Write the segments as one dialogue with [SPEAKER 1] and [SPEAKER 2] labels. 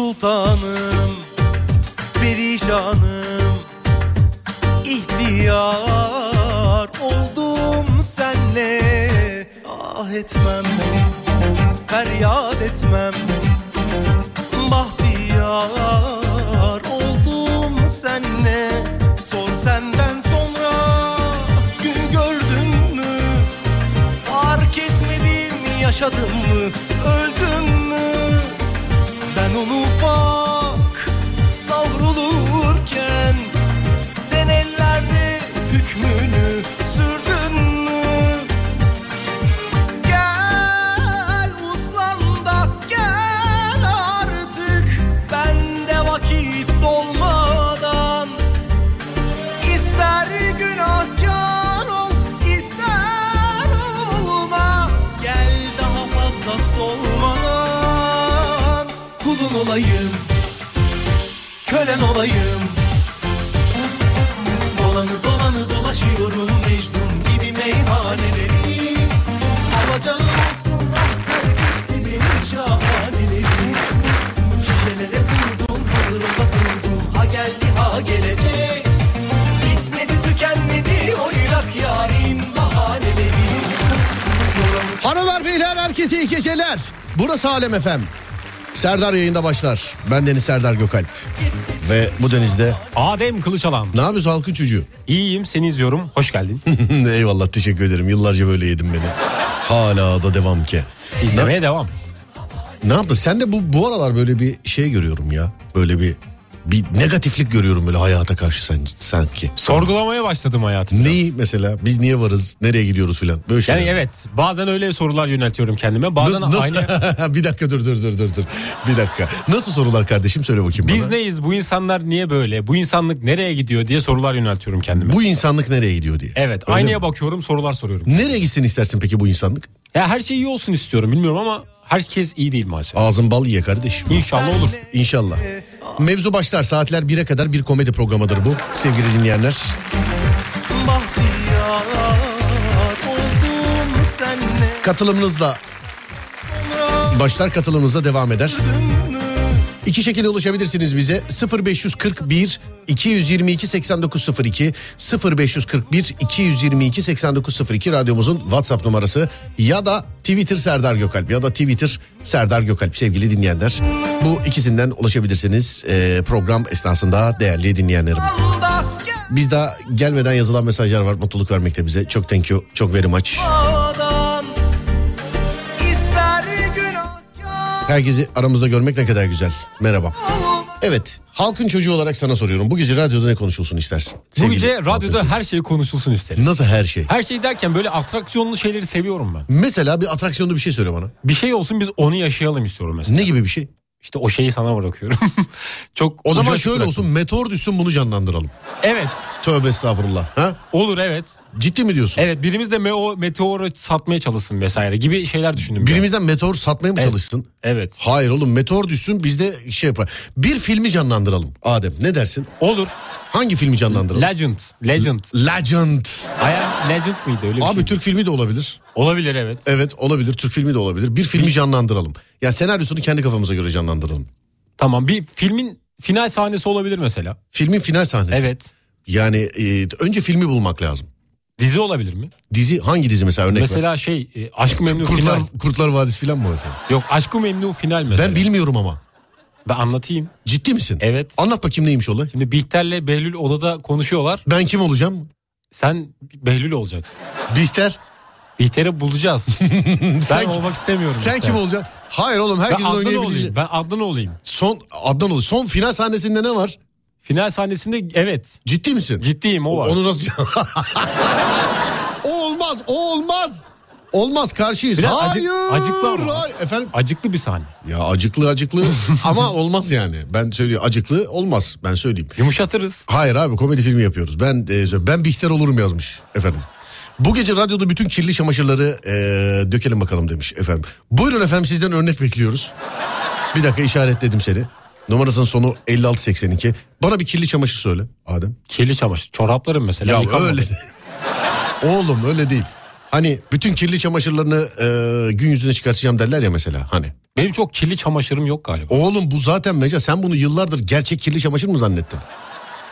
[SPEAKER 1] sultanım Perişanım İhtiyar oldum senle Ah etmem Feryat etmem Bahtiyar oldum senle Sor senden sonra Gün gördün mü Fark etmedim yaşadım mı öldüm mü Ben onu bak savrulurken Sen ellerde hükmünü sürdün mü Gel uslan da gel artık Bende vakit dolmadan İster günahkar ol, ister olma Gel daha fazla solmadan Kulun olayım, kölen olayım Dolanı dolanı dolaşıyorum Mecnun gibi meyhaneleri Alacağım olsun artık gibi şahaneleri Şişelere vurdum, hazır ola durdum Ha geldi ha gelecek Bitmedi tükenmedi oynak yarim bahaneleri
[SPEAKER 2] Hanımlar beyler herkese iyi geceler. Burası Alem Efem. Serdar yayında başlar. Ben Deniz Serdar Gökalp. Ve bu denizde
[SPEAKER 3] Adem Kılıçalan.
[SPEAKER 2] ne yapıyorsun halkın çocuğu?
[SPEAKER 3] İyiyim seni izliyorum. Hoş geldin.
[SPEAKER 2] Eyvallah teşekkür ederim. Yıllarca böyle yedim beni. Hala da devam ki. Ne,
[SPEAKER 3] İzlemeye devam.
[SPEAKER 2] ne yaptın? Sen de bu, bu aralar böyle bir şey görüyorum ya. Böyle bir bir negatiflik görüyorum böyle hayata karşı sen, sanki.
[SPEAKER 3] Sorgulamaya başladım hayatım.
[SPEAKER 2] Neyi mesela? Biz niye varız? Nereye gidiyoruz filan? Böyle şeyler.
[SPEAKER 3] Yani evet bazen öyle sorular yöneltiyorum kendime. Bazen
[SPEAKER 2] Nasıl, nasıl-
[SPEAKER 3] aile
[SPEAKER 2] bir dakika dur dur dur dur dur. Bir dakika. Nasıl sorular kardeşim söyle bakayım
[SPEAKER 3] biz
[SPEAKER 2] bana.
[SPEAKER 3] neyiz bu insanlar niye böyle bu insanlık nereye gidiyor diye sorular yöneltiyorum kendime.
[SPEAKER 2] Bu insanlık nereye gidiyor diye.
[SPEAKER 3] Evet
[SPEAKER 2] Öyle
[SPEAKER 3] aynaya
[SPEAKER 2] mi?
[SPEAKER 3] bakıyorum sorular soruyorum.
[SPEAKER 2] Nereye gitsin istersin peki bu insanlık?
[SPEAKER 3] Ya her şey iyi olsun istiyorum bilmiyorum ama herkes iyi değil maalesef.
[SPEAKER 2] Ağzın bal ye kardeşim.
[SPEAKER 3] İnşallah olur.
[SPEAKER 2] İnşallah. Mevzu başlar saatler 1'e kadar bir komedi programıdır bu sevgili dinleyenler.
[SPEAKER 1] Bahtiyar oldum senle
[SPEAKER 2] Katılımınızla başlar katılımınızla devam eder. İki şekilde ulaşabilirsiniz bize 0541 222 8902 0541 222 8902 radyomuzun WhatsApp numarası ya da Twitter Serdar Gökalp ya da Twitter Serdar Gökalp sevgili dinleyenler. Bu ikisinden ulaşabilirsiniz eee, program esnasında değerli dinleyenlerim.
[SPEAKER 1] Anda
[SPEAKER 2] Biz daha gelmeden yazılan mesajlar var mutluluk vermekte bize. Çok thank you, çok very much.
[SPEAKER 1] gelmadan İster günahkar
[SPEAKER 2] Herkesi aramızda görmek ne kadar güzel. Merhaba.
[SPEAKER 1] olma
[SPEAKER 2] Evet. Halkın çocuğu olarak sana soruyorum. Bu gece radyoda ne konuşulsun istersin?
[SPEAKER 3] Bu
[SPEAKER 2] Sevgili
[SPEAKER 3] gece
[SPEAKER 2] halkın
[SPEAKER 3] radyoda
[SPEAKER 2] çocuğu.
[SPEAKER 3] her şey konuşulsun isterim.
[SPEAKER 2] Nasıl her şey?
[SPEAKER 3] Her şey derken böyle atraksiyonlu şeyleri seviyorum ben.
[SPEAKER 2] Mesela bir atraksiyonda bir şey söyle bana.
[SPEAKER 3] Bir şey olsun biz onu yaşayalım istiyorum mesela.
[SPEAKER 2] Ne gibi bir şey?
[SPEAKER 3] İşte o şeyi sana bırakıyorum. Çok
[SPEAKER 2] O zaman
[SPEAKER 3] ucu açık
[SPEAKER 2] şöyle
[SPEAKER 3] bıraktım.
[SPEAKER 2] olsun. Meteor düşsün bunu canlandıralım.
[SPEAKER 3] Evet.
[SPEAKER 2] Tövbe estağfurullah. Ha?
[SPEAKER 3] Olur evet.
[SPEAKER 2] Ciddi mi diyorsun?
[SPEAKER 3] Evet birimiz de meo, meteoru satmaya çalışsın vesaire gibi şeyler düşündüm. ben.
[SPEAKER 2] Birimizden meteor satmaya mı çalışsın?
[SPEAKER 3] Evet.
[SPEAKER 2] Hayır oğlum meteor düşsün biz de şey yapar. Bir filmi canlandıralım Adem. Ne dersin?
[SPEAKER 3] Olur.
[SPEAKER 2] Hangi filmi canlandıralım?
[SPEAKER 3] Legend. Legend.
[SPEAKER 2] Legend.
[SPEAKER 3] Aya Legend miydi öyle bir
[SPEAKER 2] Abi
[SPEAKER 3] şey?
[SPEAKER 2] Türk filmi de olabilir.
[SPEAKER 3] Olabilir evet.
[SPEAKER 2] Evet olabilir. Türk filmi de olabilir. Bir filmi canlandıralım. Ya senaryosunu kendi kafamıza göre canlandıralım.
[SPEAKER 3] Tamam bir filmin final sahnesi olabilir mesela.
[SPEAKER 2] Filmin final sahnesi.
[SPEAKER 3] Evet.
[SPEAKER 2] Yani e, önce filmi bulmak lazım.
[SPEAKER 3] Dizi olabilir mi?
[SPEAKER 2] Dizi hangi dizi mesela örnek ver.
[SPEAKER 3] mesela şey e, Aşk-ı Memnu
[SPEAKER 2] Kurtlar,
[SPEAKER 3] final.
[SPEAKER 2] Kurtlar Vadisi filan mı mesela?
[SPEAKER 3] Yok Aşk-ı Memnu final
[SPEAKER 2] Ben
[SPEAKER 3] mesela. Ben,
[SPEAKER 2] bilmiyorum ama.
[SPEAKER 3] anlatayım.
[SPEAKER 2] Ciddi misin?
[SPEAKER 3] Evet.
[SPEAKER 2] Anlat bakayım neymiş olay.
[SPEAKER 3] Şimdi Bihter'le Behlül odada konuşuyorlar.
[SPEAKER 2] Ben kim olacağım?
[SPEAKER 3] Sen Behlül olacaksın.
[SPEAKER 2] Bihter.
[SPEAKER 3] Bihter'i bulacağız. ben
[SPEAKER 2] Sen-
[SPEAKER 3] olmak istemiyorum.
[SPEAKER 2] Sen
[SPEAKER 3] Bihter.
[SPEAKER 2] kim olacaksın? Hayır oğlum
[SPEAKER 3] Ben
[SPEAKER 2] herkesin
[SPEAKER 3] Adnan
[SPEAKER 2] oynayabileceği.
[SPEAKER 3] olayım. Ben Adnan olayım.
[SPEAKER 2] Son Adnan olur. Son final sahnesinde ne var?
[SPEAKER 3] Final sahnesinde evet.
[SPEAKER 2] Ciddi misin?
[SPEAKER 3] Ciddiyim o var.
[SPEAKER 2] Onu nasıl... o olmaz, o olmaz. Olmaz karşıyız.
[SPEAKER 3] Biraz acı-
[SPEAKER 2] hayır.
[SPEAKER 3] acıklı ama.
[SPEAKER 2] hayır. Efendim?
[SPEAKER 3] Acıklı bir sahne.
[SPEAKER 2] Ya acıklı acıklı ama olmaz yani. Ben söylüyorum acıklı olmaz ben söyleyeyim.
[SPEAKER 3] Yumuşatırız.
[SPEAKER 2] Hayır abi komedi filmi yapıyoruz. Ben e, ben Bihter olurum yazmış efendim. Bu gece radyoda bütün kirli çamaşırları e, dökelim bakalım demiş efendim. Buyurun efendim sizden örnek bekliyoruz. Bir dakika işaretledim seni. Numarasının sonu 5682. Bana bir kirli çamaşır söyle Adem.
[SPEAKER 3] Kirli çamaşır. Çoraplarım mesela.
[SPEAKER 2] Ya
[SPEAKER 3] yıkanmadı.
[SPEAKER 2] öyle. Oğlum öyle değil. Hani bütün kirli çamaşırlarını e, gün yüzüne çıkartacağım derler ya mesela hani.
[SPEAKER 3] Benim çok kirli çamaşırım yok galiba.
[SPEAKER 2] Oğlum bu zaten meca sen bunu yıllardır gerçek kirli çamaşır mı zannettin?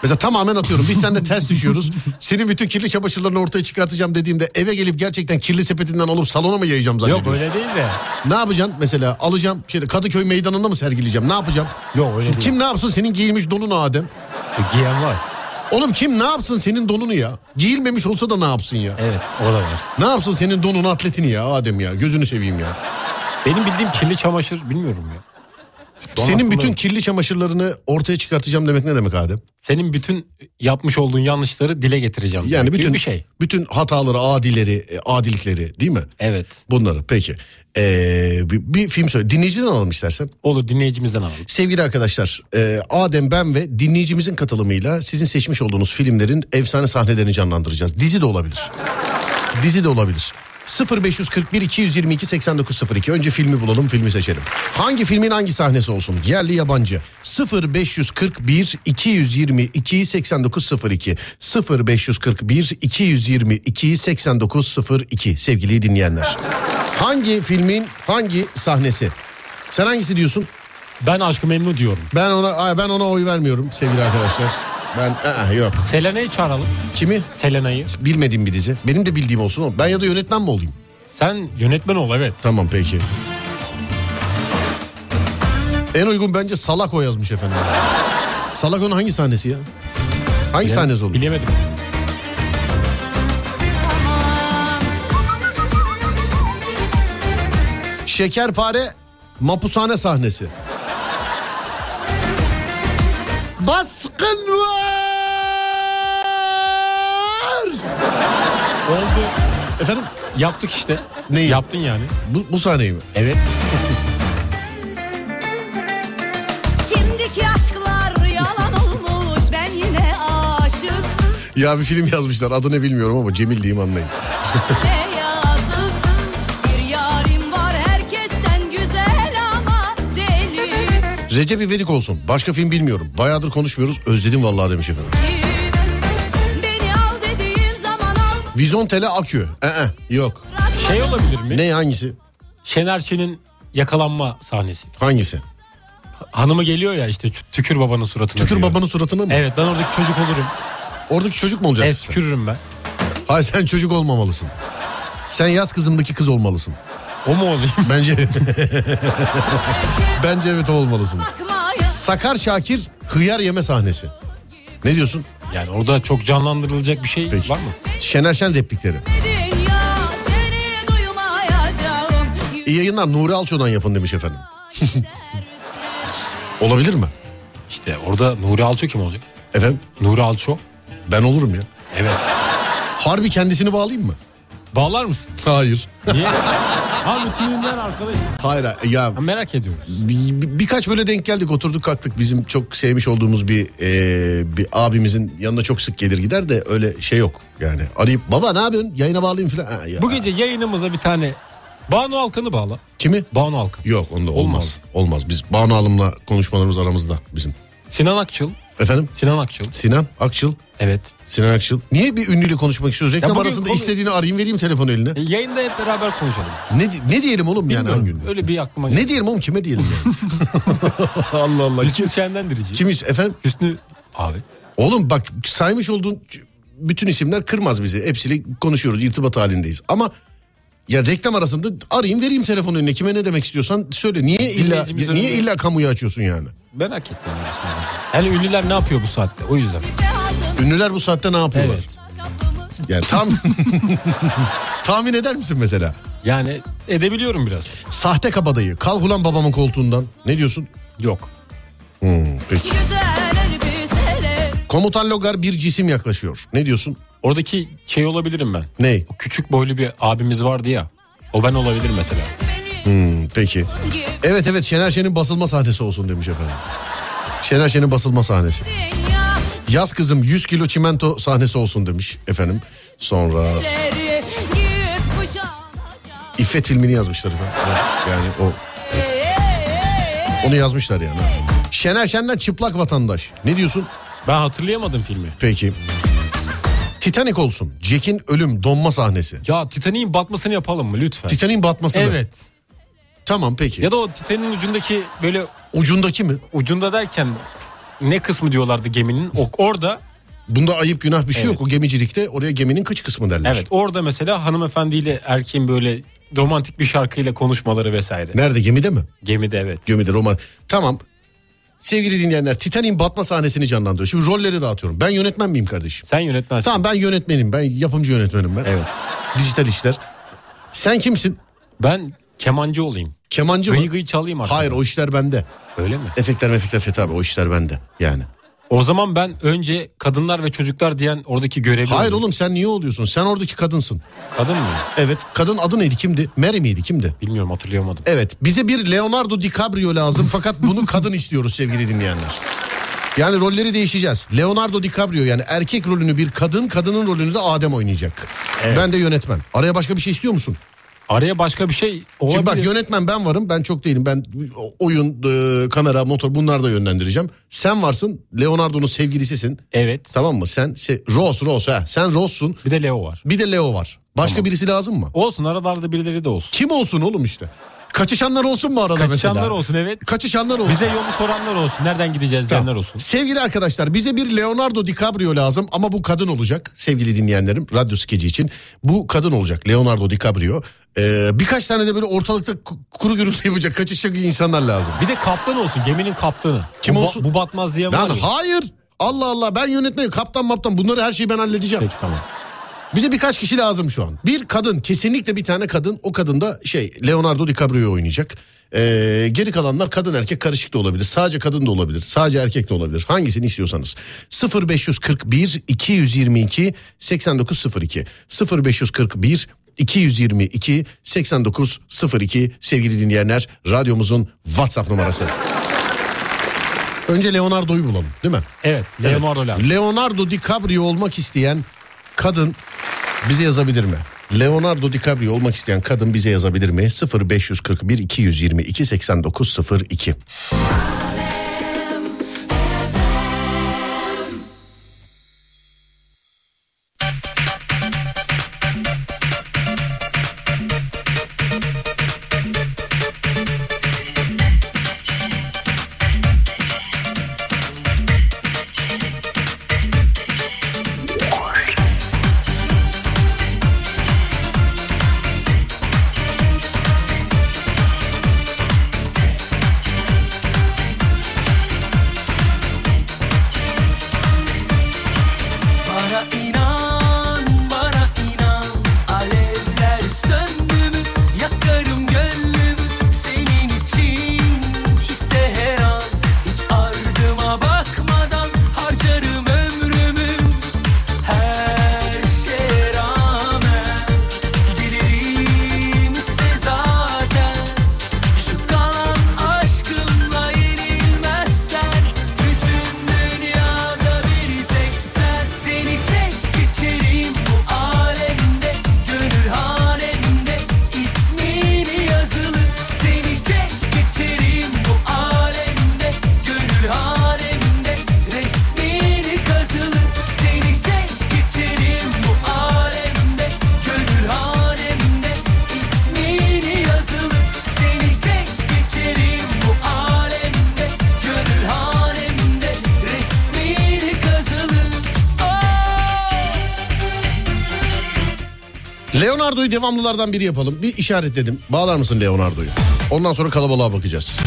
[SPEAKER 2] Mesela tamamen atıyorum biz seninle ters düşüyoruz. Senin bütün kirli çamaşırlarını ortaya çıkartacağım dediğimde eve gelip gerçekten kirli sepetinden alıp salona mı yayacağım zannediyorsun?
[SPEAKER 3] Yok öyle değil de.
[SPEAKER 2] Ne yapacaksın mesela alacağım şeyde Kadıköy meydanında mı sergileyeceğim ne yapacağım?
[SPEAKER 3] Yok öyle değil. E,
[SPEAKER 2] Kim ne yapsın senin giyilmiş donunu Adem?
[SPEAKER 3] Giyen var.
[SPEAKER 2] Oğlum kim ne yapsın senin donunu ya? Giyilmemiş olsa da ne yapsın ya?
[SPEAKER 3] Evet o da var.
[SPEAKER 2] Ne yapsın senin donunu atletini ya Adem ya gözünü seveyim ya.
[SPEAKER 3] Benim bildiğim kirli çamaşır bilmiyorum ya. Don
[SPEAKER 2] senin
[SPEAKER 3] hakkında
[SPEAKER 2] bütün
[SPEAKER 3] yok.
[SPEAKER 2] kirli çamaşırlarını ortaya çıkartacağım demek ne demek Adem?
[SPEAKER 3] Senin bütün yapmış olduğun yanlışları dile getireceğim.
[SPEAKER 2] Yani bütün
[SPEAKER 3] bir şey.
[SPEAKER 2] bütün hataları, adileri, e, adilikleri değil mi?
[SPEAKER 3] Evet.
[SPEAKER 2] Bunları peki. Ee, bir, bir film söyle. Dinleyiciden alalım istersen.
[SPEAKER 3] Olur dinleyicimizden alalım.
[SPEAKER 2] Sevgili arkadaşlar, e, Adem ben ve dinleyicimizin katılımıyla sizin seçmiş olduğunuz filmlerin efsane sahnelerini canlandıracağız. Dizi de olabilir. Dizi de olabilir. 0541 222 8902 önce filmi bulalım filmi seçelim. Hangi filmin hangi sahnesi olsun yerli yabancı 0541 222 8902 0541 222 8902 sevgili dinleyenler. Hangi filmin hangi sahnesi? Sen hangisi diyorsun?
[SPEAKER 3] Ben aşkı memnu diyorum.
[SPEAKER 2] Ben ona ay ben ona oy vermiyorum sevgili arkadaşlar. Ben aa, yok.
[SPEAKER 3] Selena'yı çağıralım.
[SPEAKER 2] Kimi?
[SPEAKER 3] Selena'yı.
[SPEAKER 2] Bilmediğim bir dizi. Benim de bildiğim olsun o. Ben ya da yönetmen mi olayım?
[SPEAKER 3] Sen yönetmen ol evet.
[SPEAKER 2] Tamam peki. En uygun bence Salako yazmış efendim. Salako'nun hangi sahnesi ya? Hangi sahnesi olur?
[SPEAKER 3] Bilemedim.
[SPEAKER 2] Şekerfare mapushane sahnesi. Baskın var! Oldu. Efendim
[SPEAKER 3] Yaptık işte.
[SPEAKER 2] Neyi?
[SPEAKER 3] Yaptın yani.
[SPEAKER 2] bu, bu sahneyi mi?
[SPEAKER 3] Evet.
[SPEAKER 4] Şimdiki aşklar yalan olmuş ben yine aşık
[SPEAKER 2] Ya bir film yazmışlar adını bilmiyorum ama Cemil diyeyim anlayın.
[SPEAKER 4] ne yazık Bir yarim var herkesten güzel ama deli
[SPEAKER 2] Recep İvedik olsun. Başka film bilmiyorum. Bayağıdır konuşmuyoruz. Özledim vallahi demiş efendim.
[SPEAKER 4] Beni al dediğim zaman al
[SPEAKER 2] Vizontele Akü. Ee, yok.
[SPEAKER 4] bırakma
[SPEAKER 3] Şey olabilir mi?
[SPEAKER 2] Ne hangisi?
[SPEAKER 3] Şener Şen'in yakalanma sahnesi.
[SPEAKER 2] Hangisi?
[SPEAKER 3] Hanımı geliyor ya işte tü- tükür babanın suratına
[SPEAKER 2] Tükür
[SPEAKER 3] diyor.
[SPEAKER 2] babanın suratına mı?
[SPEAKER 3] Evet ben oradaki çocuk olurum.
[SPEAKER 2] Oradaki çocuk mu olacaksın?
[SPEAKER 3] Evet
[SPEAKER 2] sen?
[SPEAKER 3] tükürürüm ben.
[SPEAKER 2] Hayır sen çocuk olmamalısın. Sen yaz kızımdaki kız olmalısın.
[SPEAKER 3] O mu olayım?
[SPEAKER 2] Bence bence evet o olmalısın.
[SPEAKER 4] bakmaya
[SPEAKER 2] Sakar Şakir hıyar yeme sahnesi. Ne diyorsun?
[SPEAKER 3] Yani orada çok canlandırılacak bir şey
[SPEAKER 2] Peki.
[SPEAKER 3] var mı?
[SPEAKER 2] Şener Şen replikleri.
[SPEAKER 4] dünya seni duymayacağım
[SPEAKER 2] İyi yayınlar Nuri Alço'dan yapın demiş efendim. Olabilir mi?
[SPEAKER 3] İşte orada Nuri Alço kim olacak?
[SPEAKER 2] Efendim
[SPEAKER 3] Nuri Alço.
[SPEAKER 2] ben olurum ya.
[SPEAKER 3] Evet.
[SPEAKER 2] Harbi kendisini bağlayayım mı?
[SPEAKER 3] Bağlar mısın?
[SPEAKER 2] Hayır.
[SPEAKER 3] Niye? ha bütün ünlüler arkadaş.
[SPEAKER 2] Hayır ha- ya
[SPEAKER 3] Ha, merak ediyoruz.
[SPEAKER 2] bi- bi- birkaç böyle denk geldik oturduk kalktık bizim çok sevmiş olduğumuz bir e, bir abimizin yanına çok sık gelir gider de öyle şey yok yani arayıp baba ne yapıyorsun yayına bağlayayım falan. Ha, ya.
[SPEAKER 3] Bu gece yayınımıza bir tane Banu Alkan'ı bağla.
[SPEAKER 2] Kimi?
[SPEAKER 3] Banu Alkan.
[SPEAKER 2] Yok onda olmaz. Olmaz.
[SPEAKER 3] Olmaz.
[SPEAKER 2] Biz Banu Alım'la konuşmalarımız aramızda bizim.
[SPEAKER 3] Sinan Akçıl.
[SPEAKER 2] Efendim
[SPEAKER 3] Sinan Akçıl.
[SPEAKER 2] Sinan Akçıl.
[SPEAKER 3] Evet.
[SPEAKER 2] Sinan Akçıl. Niye bir ünlüyle konuşmak istiyoruz? Reklam
[SPEAKER 3] bugün
[SPEAKER 2] arasında
[SPEAKER 3] konu-
[SPEAKER 2] istediğini arayayım vereyim telefonu eline.
[SPEAKER 3] E, yayında hep beraber konuşalım.
[SPEAKER 2] Ne, di- ne diyelim oğlum yani hangi
[SPEAKER 3] Bilmiyorum,
[SPEAKER 2] ünlü?
[SPEAKER 3] Öyle bir aklıma geldi.
[SPEAKER 2] Ne diyelim oğlum kime diyelim yani? Allah Allah. Kim,
[SPEAKER 3] Hüsnü Şen'den dirici.
[SPEAKER 2] kimiz efendim?
[SPEAKER 3] Hüsnü abi.
[SPEAKER 2] Oğlum bak saymış olduğun bütün isimler kırmaz bizi. Hepsiyle konuşuyoruz, irtibat halindeyiz. Ama ya reklam arasında arayayım vereyim telefon önüne. Kime ne demek istiyorsan söyle. Niye illa
[SPEAKER 3] Dinleyicimiz
[SPEAKER 2] niye
[SPEAKER 3] önünde.
[SPEAKER 2] illa kamuya açıyorsun yani?
[SPEAKER 3] Merak ettim. ben Hüsnü abi. Yani ünlüler ne yapıyor bu saatte? O yüzden.
[SPEAKER 4] Fehadım
[SPEAKER 2] Ünlüler bu saatte ne yapıyorlar?
[SPEAKER 3] Evet.
[SPEAKER 4] kapımı
[SPEAKER 2] Yani tam tahmin eder misin mesela?
[SPEAKER 3] Yani edebiliyorum biraz.
[SPEAKER 2] Sahte kabadayı. Kalk ulan babamın koltuğundan. Ne diyorsun?
[SPEAKER 3] Yok.
[SPEAKER 2] Hmm, peki.
[SPEAKER 4] Güzel elbiseler
[SPEAKER 2] Komutan Logar bir cisim yaklaşıyor. Ne diyorsun?
[SPEAKER 3] Oradaki şey olabilirim ben.
[SPEAKER 2] Ney?
[SPEAKER 3] O küçük boylu bir abimiz vardı ya. O ben olabilir mesela.
[SPEAKER 2] Hmm, peki.
[SPEAKER 4] gibi
[SPEAKER 2] Evet evet Şener Şen'in basılma sahnesi olsun demiş efendim. Şener Şen'in basılma sahnesi.
[SPEAKER 4] dünya
[SPEAKER 2] Yaz kızım 100 kilo çimento sahnesi olsun demiş efendim. Sonra
[SPEAKER 4] Elleri giyip kuşanacağım
[SPEAKER 2] İffet filmini yazmışlar efendim. Yani o
[SPEAKER 4] Ey, ey, ey, ey.
[SPEAKER 2] onu yazmışlar yani. Şener Şen'den çıplak vatandaş. Ne diyorsun?
[SPEAKER 3] Ben hatırlayamadım filmi.
[SPEAKER 2] Peki. Titanic olsun. Jack'in ölüm donma sahnesi.
[SPEAKER 3] Ya Titanic'in batmasını yapalım mı lütfen?
[SPEAKER 2] Titanic'in batmasını.
[SPEAKER 3] evet.
[SPEAKER 2] Tamam peki.
[SPEAKER 5] Ya da o Titan'ın ucundaki böyle
[SPEAKER 2] Ucundaki mi?
[SPEAKER 5] ucunda derken ne kısmı diyorlardı geminin? O, orada
[SPEAKER 2] Bunda ayıp günah bir şey
[SPEAKER 5] Evet.
[SPEAKER 2] yok. O gemicilikte oraya geminin kıç kısmı derler.
[SPEAKER 5] evet orada mesela hanımefendiyle erkeğin böyle romantik bir şarkıyla konuşmaları vesaire.
[SPEAKER 2] Nerede gemide mi?
[SPEAKER 5] Gemide evet.
[SPEAKER 2] Gemide roman. Tamam. Sevgili dinleyenler Titanic'in batma sahnesini canlandırıyor. Şimdi rolleri dağıtıyorum. Ben yönetmen miyim kardeşim?
[SPEAKER 5] Sen yönetmensin.
[SPEAKER 2] Tamam ben yönetmenim. Ben yapımcı yönetmenim ben.
[SPEAKER 5] Evet.
[SPEAKER 2] Dijital işler. Sen kimsin?
[SPEAKER 5] Ben kemancı olayım.
[SPEAKER 2] Kemancı mı?
[SPEAKER 5] Gıy gıy çalayım artık.
[SPEAKER 2] Hayır o işler bende.
[SPEAKER 5] Öyle mi?
[SPEAKER 2] Efektler mefekler Fethi abi o işler bende yani.
[SPEAKER 5] O zaman ben önce kadınlar ve çocuklar diyen oradaki görevli
[SPEAKER 2] Hayır
[SPEAKER 5] olayım.
[SPEAKER 2] oğlum sen niye oluyorsun? Sen oradaki kadınsın.
[SPEAKER 5] Kadın mı?
[SPEAKER 2] Evet kadın adı neydi kimdi? Mary miydi kimdi?
[SPEAKER 5] Bilmiyorum hatırlayamadım.
[SPEAKER 2] Evet bize bir Leonardo DiCaprio lazım fakat bunu kadın istiyoruz sevgili dinleyenler. Yani rolleri değişeceğiz. Leonardo DiCaprio yani erkek rolünü bir kadın, kadının rolünü de Adem oynayacak. Ben de yönetmen. Araya başka bir şey istiyor musun?
[SPEAKER 5] Araya başka bir şey olabilir.
[SPEAKER 2] Şimdi bak yönetmen ben varım. Ben çok değilim. Ben oyun, e, kamera, motor bunları da yönlendireceğim. Sen varsın. Leonardo'nun sevgilisisin.
[SPEAKER 5] Evet.
[SPEAKER 2] Tamam mı? Sen se, Rose, Rose ha. Sen Rose'sun.
[SPEAKER 5] Bir de Leo var.
[SPEAKER 2] Bir de Leo var. Başka birisi lazım mı?
[SPEAKER 5] Olsun aralarda birileri de olsun.
[SPEAKER 2] Kim olsun oğlum işte? Kaçışanlar olsun mu arada mesela?
[SPEAKER 5] Kaçışanlar olsun evet.
[SPEAKER 2] Kaçışanlar olsun.
[SPEAKER 5] Bize yolu soranlar olsun. Nereden gideceğiz
[SPEAKER 2] Tamam.
[SPEAKER 5] diyenler olsun.
[SPEAKER 2] Sevgili arkadaşlar bize bir Leonardo DiCaprio lazım ama bu kadın olacak sevgili dinleyenlerim radyo skeci için. Bu kadın olacak Leonardo DiCaprio. Ee, birkaç tane de böyle ortalıkta ku- kuru gürültü yapacak kaçışacak insanlar lazım.
[SPEAKER 5] Bir de kaptan olsun. Geminin kaptanı.
[SPEAKER 2] Kim
[SPEAKER 5] bu, ba-
[SPEAKER 2] olsun?
[SPEAKER 5] Bu batmaz diye var
[SPEAKER 2] Lan
[SPEAKER 5] ya.
[SPEAKER 2] hayır Allah Allah ben yönetmenim kaptan maptan bunları her şeyi ben halledeceğim.
[SPEAKER 5] Peki tamam.
[SPEAKER 2] Bize birkaç kişi lazım şu an. Bir kadın kesinlikle bir tane kadın o kadın da şey Leonardo DiCaprio oynayacak. Ee, geri kalanlar kadın erkek karışık da olabilir. Sadece kadın da olabilir. Sadece erkek de olabilir. Hangisini istiyorsanız. 0541 222 8902 0541 222 8902 sevgili dinleyenler radyomuzun WhatsApp numarası. Önce Leonardo'yu bulalım değil mi?
[SPEAKER 5] Evet. Leonardo
[SPEAKER 2] Evet.
[SPEAKER 5] lazım.
[SPEAKER 2] Leonardo DiCaprio olmak isteyen kadın bize yazabilir mi? Leonardo DiCaprio olmak isteyen kadın bize yazabilir mi? 0541 222 8902.
[SPEAKER 1] Bana inan, bana inan Alevler söndü mü, yakarım gönlümü Senin için iste her an Hiç ardıma bakmadan harcarım ömrümü Her şeye rağmen Gelirim iste zaten Şu kalan aşkımla yenilmezsen Bütün dünyada bir tek sen Seni tek geçerim bu alemde Gönül halemde ismini yazılı Seni tek geçerim bu alemde Gönül halemde resmini kazılı Seni tek geçerim bu alemde Gönül halemde ismini yazılı Seni tek geçerim bu alemde Gönül halemde resmini kazılı Oh!
[SPEAKER 2] Leonardo'yu devamlılardan biri yapalım. Bir işaretledim. Bağlar mısın Leonardo'yu? Ondan sonra kalabalığa bakacağız.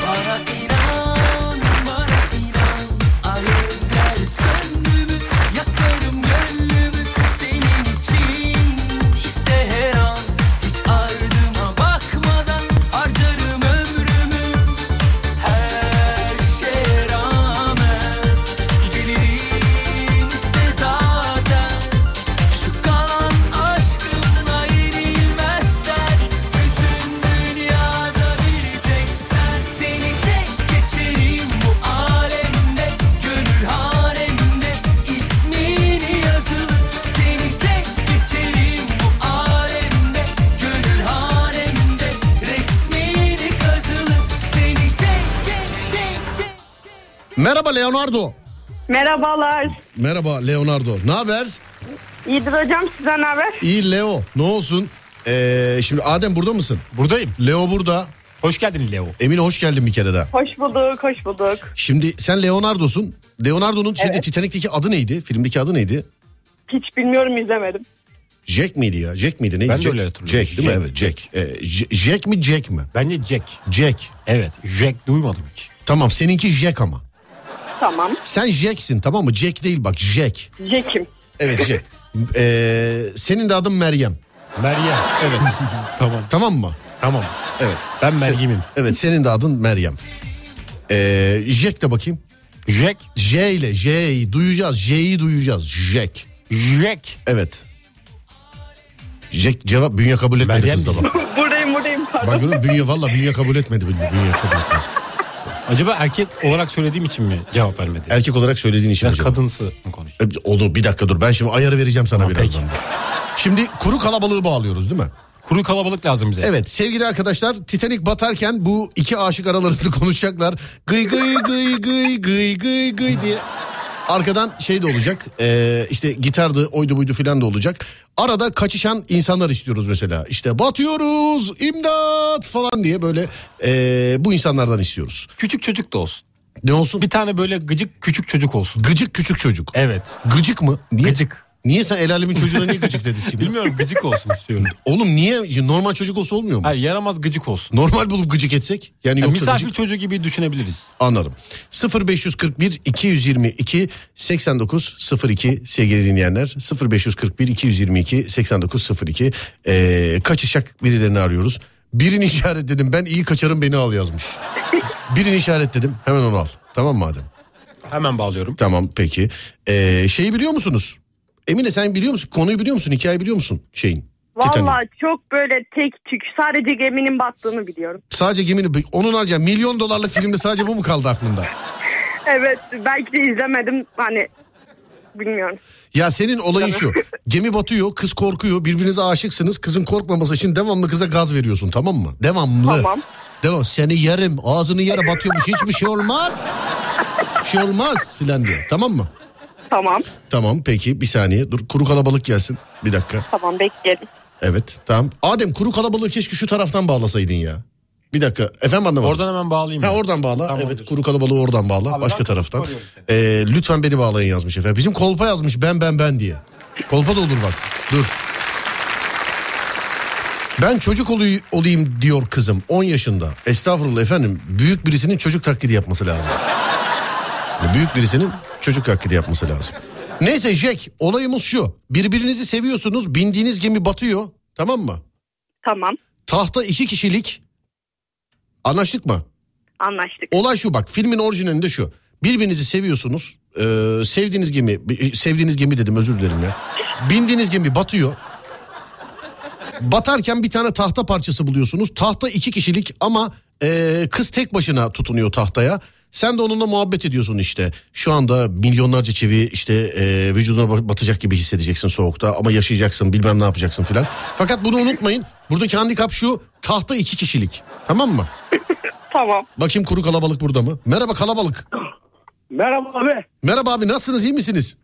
[SPEAKER 1] Bana inan, bana inan Alevler söndü mü, yakarım gönlümü Senin için iste her an Hiç ardıma bakmadan harcarım ömrümü Her şeye rağmen Gelirim iste zaten Şu kalan aşkımla yenilmezsen Bütün dünyada bir tek sen Seni tek geçerim bu alemde Gönül halemde ismini yazılı Seni tek geçerim bu alemde Gönül halemde resmini kazılı Seni tek geçerim
[SPEAKER 2] Merhaba Leonardo.
[SPEAKER 6] Merhabalar.
[SPEAKER 2] Merhaba Leonardo. Ne haber?
[SPEAKER 6] İyidir hocam sizden haber.
[SPEAKER 2] İyi Leo ne olsun? Ee, şimdi Adem burada mısın?
[SPEAKER 5] Buradayım.
[SPEAKER 2] Leo burada.
[SPEAKER 5] Hoş geldin Leo.
[SPEAKER 2] Emine hoş geldin bir kere daha.
[SPEAKER 6] Hoş bulduk, hoş bulduk.
[SPEAKER 2] Şimdi sen Leonardo'sun. Leonardo'nun şimdi Titanic'teki adı neydi? Filmdeki adı neydi?
[SPEAKER 6] Hiç bilmiyorum izlemedim.
[SPEAKER 2] Jack miydi ya? Jack miydi? Neydi?
[SPEAKER 5] Ben de
[SPEAKER 2] Jack?
[SPEAKER 5] öyle hatırlıyorum.
[SPEAKER 2] Jack değil mi?
[SPEAKER 5] Jack.
[SPEAKER 2] Evet Jack. Ee, J- Jack mi Jack mi?
[SPEAKER 5] Bence Jack.
[SPEAKER 2] Jack.
[SPEAKER 5] Evet Jack duymadım hiç.
[SPEAKER 2] Tamam seninki Jack ama.
[SPEAKER 6] Tamam.
[SPEAKER 2] Sen Jack'sin tamam mı? Jack değil bak Jack.
[SPEAKER 6] Jack'im.
[SPEAKER 2] Evet Jack. Ee, senin de adın Meryem.
[SPEAKER 5] Meryem.
[SPEAKER 2] Evet.
[SPEAKER 5] tamam
[SPEAKER 2] tamam mı?
[SPEAKER 5] tamam.
[SPEAKER 2] Evet.
[SPEAKER 5] Ben Meryem'im.
[SPEAKER 2] Evet senin de adın Meryem. Ee, Jack de bakayım.
[SPEAKER 5] Jack.
[SPEAKER 2] J ile J'yi duyacağız. J'yi duyacağız. Jack.
[SPEAKER 5] Jack.
[SPEAKER 2] Evet. Jack cevap bünye kabul etmedi
[SPEAKER 5] Meryem
[SPEAKER 2] kızda bak.
[SPEAKER 6] buradayım, buradayım. Pardon.
[SPEAKER 2] Bak görüyor musun? bünye valla bünye kabul etmedi. Bünye, bünye kabul etmedi.
[SPEAKER 5] Acaba erkek olarak söylediğim için mi cevap vermedi?
[SPEAKER 2] Erkek olarak söylediğin için
[SPEAKER 5] Biraz
[SPEAKER 2] acaba.
[SPEAKER 5] kadınsı mı konuş?
[SPEAKER 2] E, Onu bir dakika dur ben şimdi ayarı vereceğim sana
[SPEAKER 5] Tamam,
[SPEAKER 2] birazdan. Şimdi kuru kalabalığı bağlıyoruz değil mi?
[SPEAKER 5] Kuru kalabalık lazım bize.
[SPEAKER 2] Evet sevgili arkadaşlar Titanic batarken bu iki aşık aralarında konuşacaklar. Gıy gıy gıy gıy gıy gıy gıy diye. Arkadan şey de olacak e, işte gitardı oydu buydu filan da olacak. Arada kaçışan insanlar istiyoruz mesela. İşte batıyoruz imdat falan diye böyle e, bu insanlardan istiyoruz.
[SPEAKER 5] Küçük çocuk da olsun.
[SPEAKER 2] Ne olsun?
[SPEAKER 5] Bir tane böyle gıcık küçük çocuk olsun.
[SPEAKER 2] Gıcık küçük çocuk.
[SPEAKER 5] Evet.
[SPEAKER 2] Gıcık mı? Niye?
[SPEAKER 5] Gıcık.
[SPEAKER 2] Niye sen el alemin çocuğuna niye gıcık dedin şimdi?
[SPEAKER 5] Bilmiyorum gıcık olsun istiyorum.
[SPEAKER 2] Oğlum niye normal çocuk olsa olmuyor mu?
[SPEAKER 5] Hayır yaramaz gıcık olsun.
[SPEAKER 2] Normal bulup gıcık etsek
[SPEAKER 5] Yani
[SPEAKER 2] yani yoksa
[SPEAKER 5] misafir
[SPEAKER 2] gıcık
[SPEAKER 5] çocuğu gibi düşünebiliriz.
[SPEAKER 2] anlarım. 0541 222 8902 sevgili dinleyenler 0541 222 8902 ee, kaçışak birilerini arıyoruz. Birini işaretledim ben iyi kaçarım beni al yazmış. Birini işaretledim hemen onu al tamam madem.
[SPEAKER 5] Hemen bağlıyorum.
[SPEAKER 2] Tamam peki. Ee, şeyi biliyor musunuz? Emine sen biliyor musun? Konuyu biliyor musun? Hikayeyi biliyor musun? Şeyin. Titanic'in.
[SPEAKER 6] Valla çok böyle tek tük sadece geminin battığını biliyorum.
[SPEAKER 2] Sadece gemini onun harca milyon dolarlık filmde sadece bu mu kaldı aklında?
[SPEAKER 6] Evet belki de izlemedim hani bilmiyorum.
[SPEAKER 2] Ya senin olayın şu. Gemi batıyor, kız korkuyor, birbirinize aşıksınız. Kızın korkmaması için devamlı kıza gaz veriyorsun tamam mı? Devamlı.
[SPEAKER 6] Tamam.
[SPEAKER 2] Devam. Seni yerim, ağzını yere batıyormuş. Hiçbir şey olmaz. Hiçbir şey olmaz filan diyor. Tamam mı?
[SPEAKER 6] Tamam
[SPEAKER 2] Tamam peki bir saniye. Dur kuru kalabalık gelsin. Bir dakika.
[SPEAKER 6] tamam bekledim.
[SPEAKER 2] Evet tamam. Adem kuru kalabalığı keşke şu taraftan bağlasaydın ya. Bir dakika. Efendim anlamadım.
[SPEAKER 5] Oradan hemen bağlayayım.
[SPEAKER 2] Ha
[SPEAKER 5] ben.
[SPEAKER 2] oradan bağla.
[SPEAKER 5] Tamamdır.
[SPEAKER 2] Evet kuru kalabalığı oradan bağla.
[SPEAKER 5] Abi
[SPEAKER 2] Başka
[SPEAKER 5] ben
[SPEAKER 2] taraftan.
[SPEAKER 5] koruyorum
[SPEAKER 2] Ee, lütfen beni bağlayın yazmış efendim. Bizim kolpa yazmış ben ben ben diye. Kolpa da olur bak. Dur. Ben çocuk olu- olayım diyor kızım 10 yaşında. Estağfurullah efendim büyük birisinin çocuk taklidi yapması lazım. Yani büyük birisinin çocuk taklidi yapması lazım. Neyse Jack olayımız şu. Birbirinizi seviyorsunuz bindiğiniz gemi batıyor tamam mı?
[SPEAKER 6] Tamam
[SPEAKER 2] Tahta iki kişilik. Anlaştık mı?
[SPEAKER 6] anlaştık.
[SPEAKER 2] Olay şu bak filmin orijinalinde şu. Birbirinizi seviyorsunuz. Ee, sevdiğiniz gemi, sevdiğiniz gemi dedim özür dilerim ya. Bindiğiniz gemi batıyor. Batarken bir tane tahta parçası buluyorsunuz. Tahta iki kişilik ama e, kız tek başına tutunuyor tahtaya. Sen de onunla muhabbet ediyorsun işte. Şu anda milyonlarca çivi işte e, vücuduna ba- batacak gibi hissedeceksin soğukta ama yaşayacaksın bilmem ne yapacaksın filan. Fakat bunu unutmayın. Buradaki handikap şu tahta iki kişilik tamam mı?
[SPEAKER 6] Tamam.
[SPEAKER 2] Bakayım kuru kalabalık burada mı? Merhaba kalabalık.
[SPEAKER 7] Merhaba abi.
[SPEAKER 2] Merhaba abi nasılsınız iyi misiniz?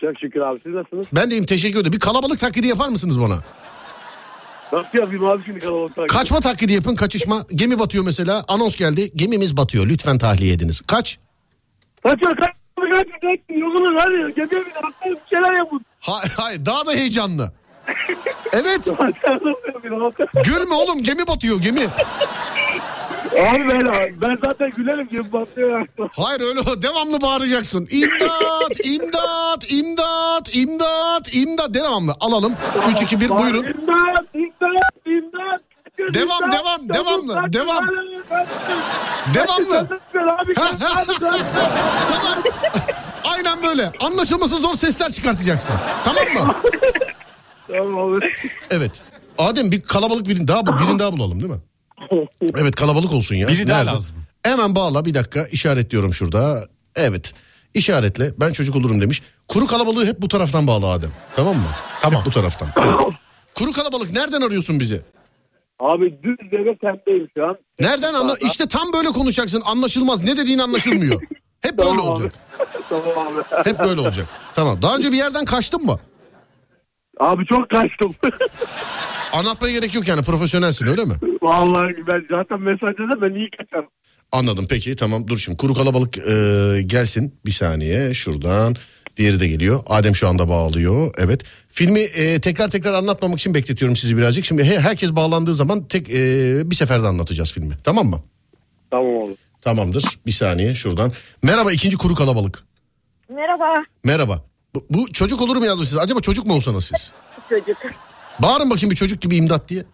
[SPEAKER 7] Çok şükür abi siz nasılsınız?
[SPEAKER 2] Ben deyim teşekkür ederim. Bir kalabalık taklidi yapar mısınız bana?
[SPEAKER 7] Nasıl yapayım abi şimdi kalabalıkta?
[SPEAKER 2] Kaçma taklidi yapın kaçışma. Gemi batıyor mesela. Anons geldi. Gemimiz batıyor. Lütfen tahliye ediniz. Kaç.
[SPEAKER 7] Kaçma kaçma kaçma kaçma. Yolunuz hadi. Gemiye bir atlayın bir şeyler yapın.
[SPEAKER 2] Ha- hayır daha da heyecanlı. Evet.
[SPEAKER 7] abi
[SPEAKER 2] Gülme oğlum gemi batıyor gemi.
[SPEAKER 7] ben, ben zaten gülerim gemi batlıyor.
[SPEAKER 2] Hayır öyle devamlı bağıracaksın. İmdat, imdat, imdat, imdat, imdat. Devamlı alalım. 3, 2, 1 buyurun.
[SPEAKER 7] İmdat imdat imdat.
[SPEAKER 2] Devam,
[SPEAKER 7] İmdat,
[SPEAKER 2] devam,
[SPEAKER 7] imdat,
[SPEAKER 2] devamlı,
[SPEAKER 7] imdat,
[SPEAKER 2] devam.
[SPEAKER 7] imdat,
[SPEAKER 2] Devamlı.
[SPEAKER 7] imdat, abi,
[SPEAKER 2] tamam. Aynen böyle. Anlaşılması zor sesler çıkartacaksın. Tamam mı?
[SPEAKER 7] Tamam abi.
[SPEAKER 2] Evet. Adem bir kalabalık birini daha bul- birini daha bulalım değil mi? Evet kalabalık olsun ya.
[SPEAKER 5] Biri daha
[SPEAKER 2] Nerede?
[SPEAKER 5] lazım.
[SPEAKER 2] Hemen bağla bir dakika işaretliyorum şurada. Evet. İşaretle ben çocuk olurum demiş. Kuru kalabalığı hep bu taraftan bağla Adem. Tamam mı?
[SPEAKER 5] Tamam.
[SPEAKER 2] Hep bu taraftan. Evet. Kuru kalabalık nereden arıyorsun bizi?
[SPEAKER 7] Abi düz deve kentteyim şu an.
[SPEAKER 2] Nereden anla? İşte tam böyle konuşacaksın anlaşılmaz. Ne dediğin anlaşılmıyor. Hep böyle
[SPEAKER 7] Tamam abi.
[SPEAKER 2] olacak.
[SPEAKER 7] Tamam abi.
[SPEAKER 2] Hep böyle olacak. Tamam. Daha önce bir yerden kaçtın mı?
[SPEAKER 7] Abi çok kaçtım.
[SPEAKER 2] Anlatmaya gerek yok yani profesyonelsin öyle mi?
[SPEAKER 7] Vallahi ben zaten mesajda da ben iyi kaçarım.
[SPEAKER 2] Anladım peki tamam dur şimdi kuru kalabalık e, gelsin bir saniye şuradan diğeri de geliyor. Adem şu anda bağlıyor evet. Filmi e, tekrar tekrar anlatmamak için bekletiyorum sizi birazcık. Şimdi he- herkes bağlandığı zaman tek e, bir seferde anlatacağız filmi tamam mı?
[SPEAKER 7] Tamam oğlum.
[SPEAKER 2] Tamamdır bir saniye şuradan. Merhaba ikinci kuru kalabalık.
[SPEAKER 6] Merhaba
[SPEAKER 2] Merhaba. Bu, bu çocuk olur mu yazmışsınız? Acaba çocuk mu olsanız siz?
[SPEAKER 6] çocuk.
[SPEAKER 2] Bağırın bakayım bir çocuk gibi imdat diye.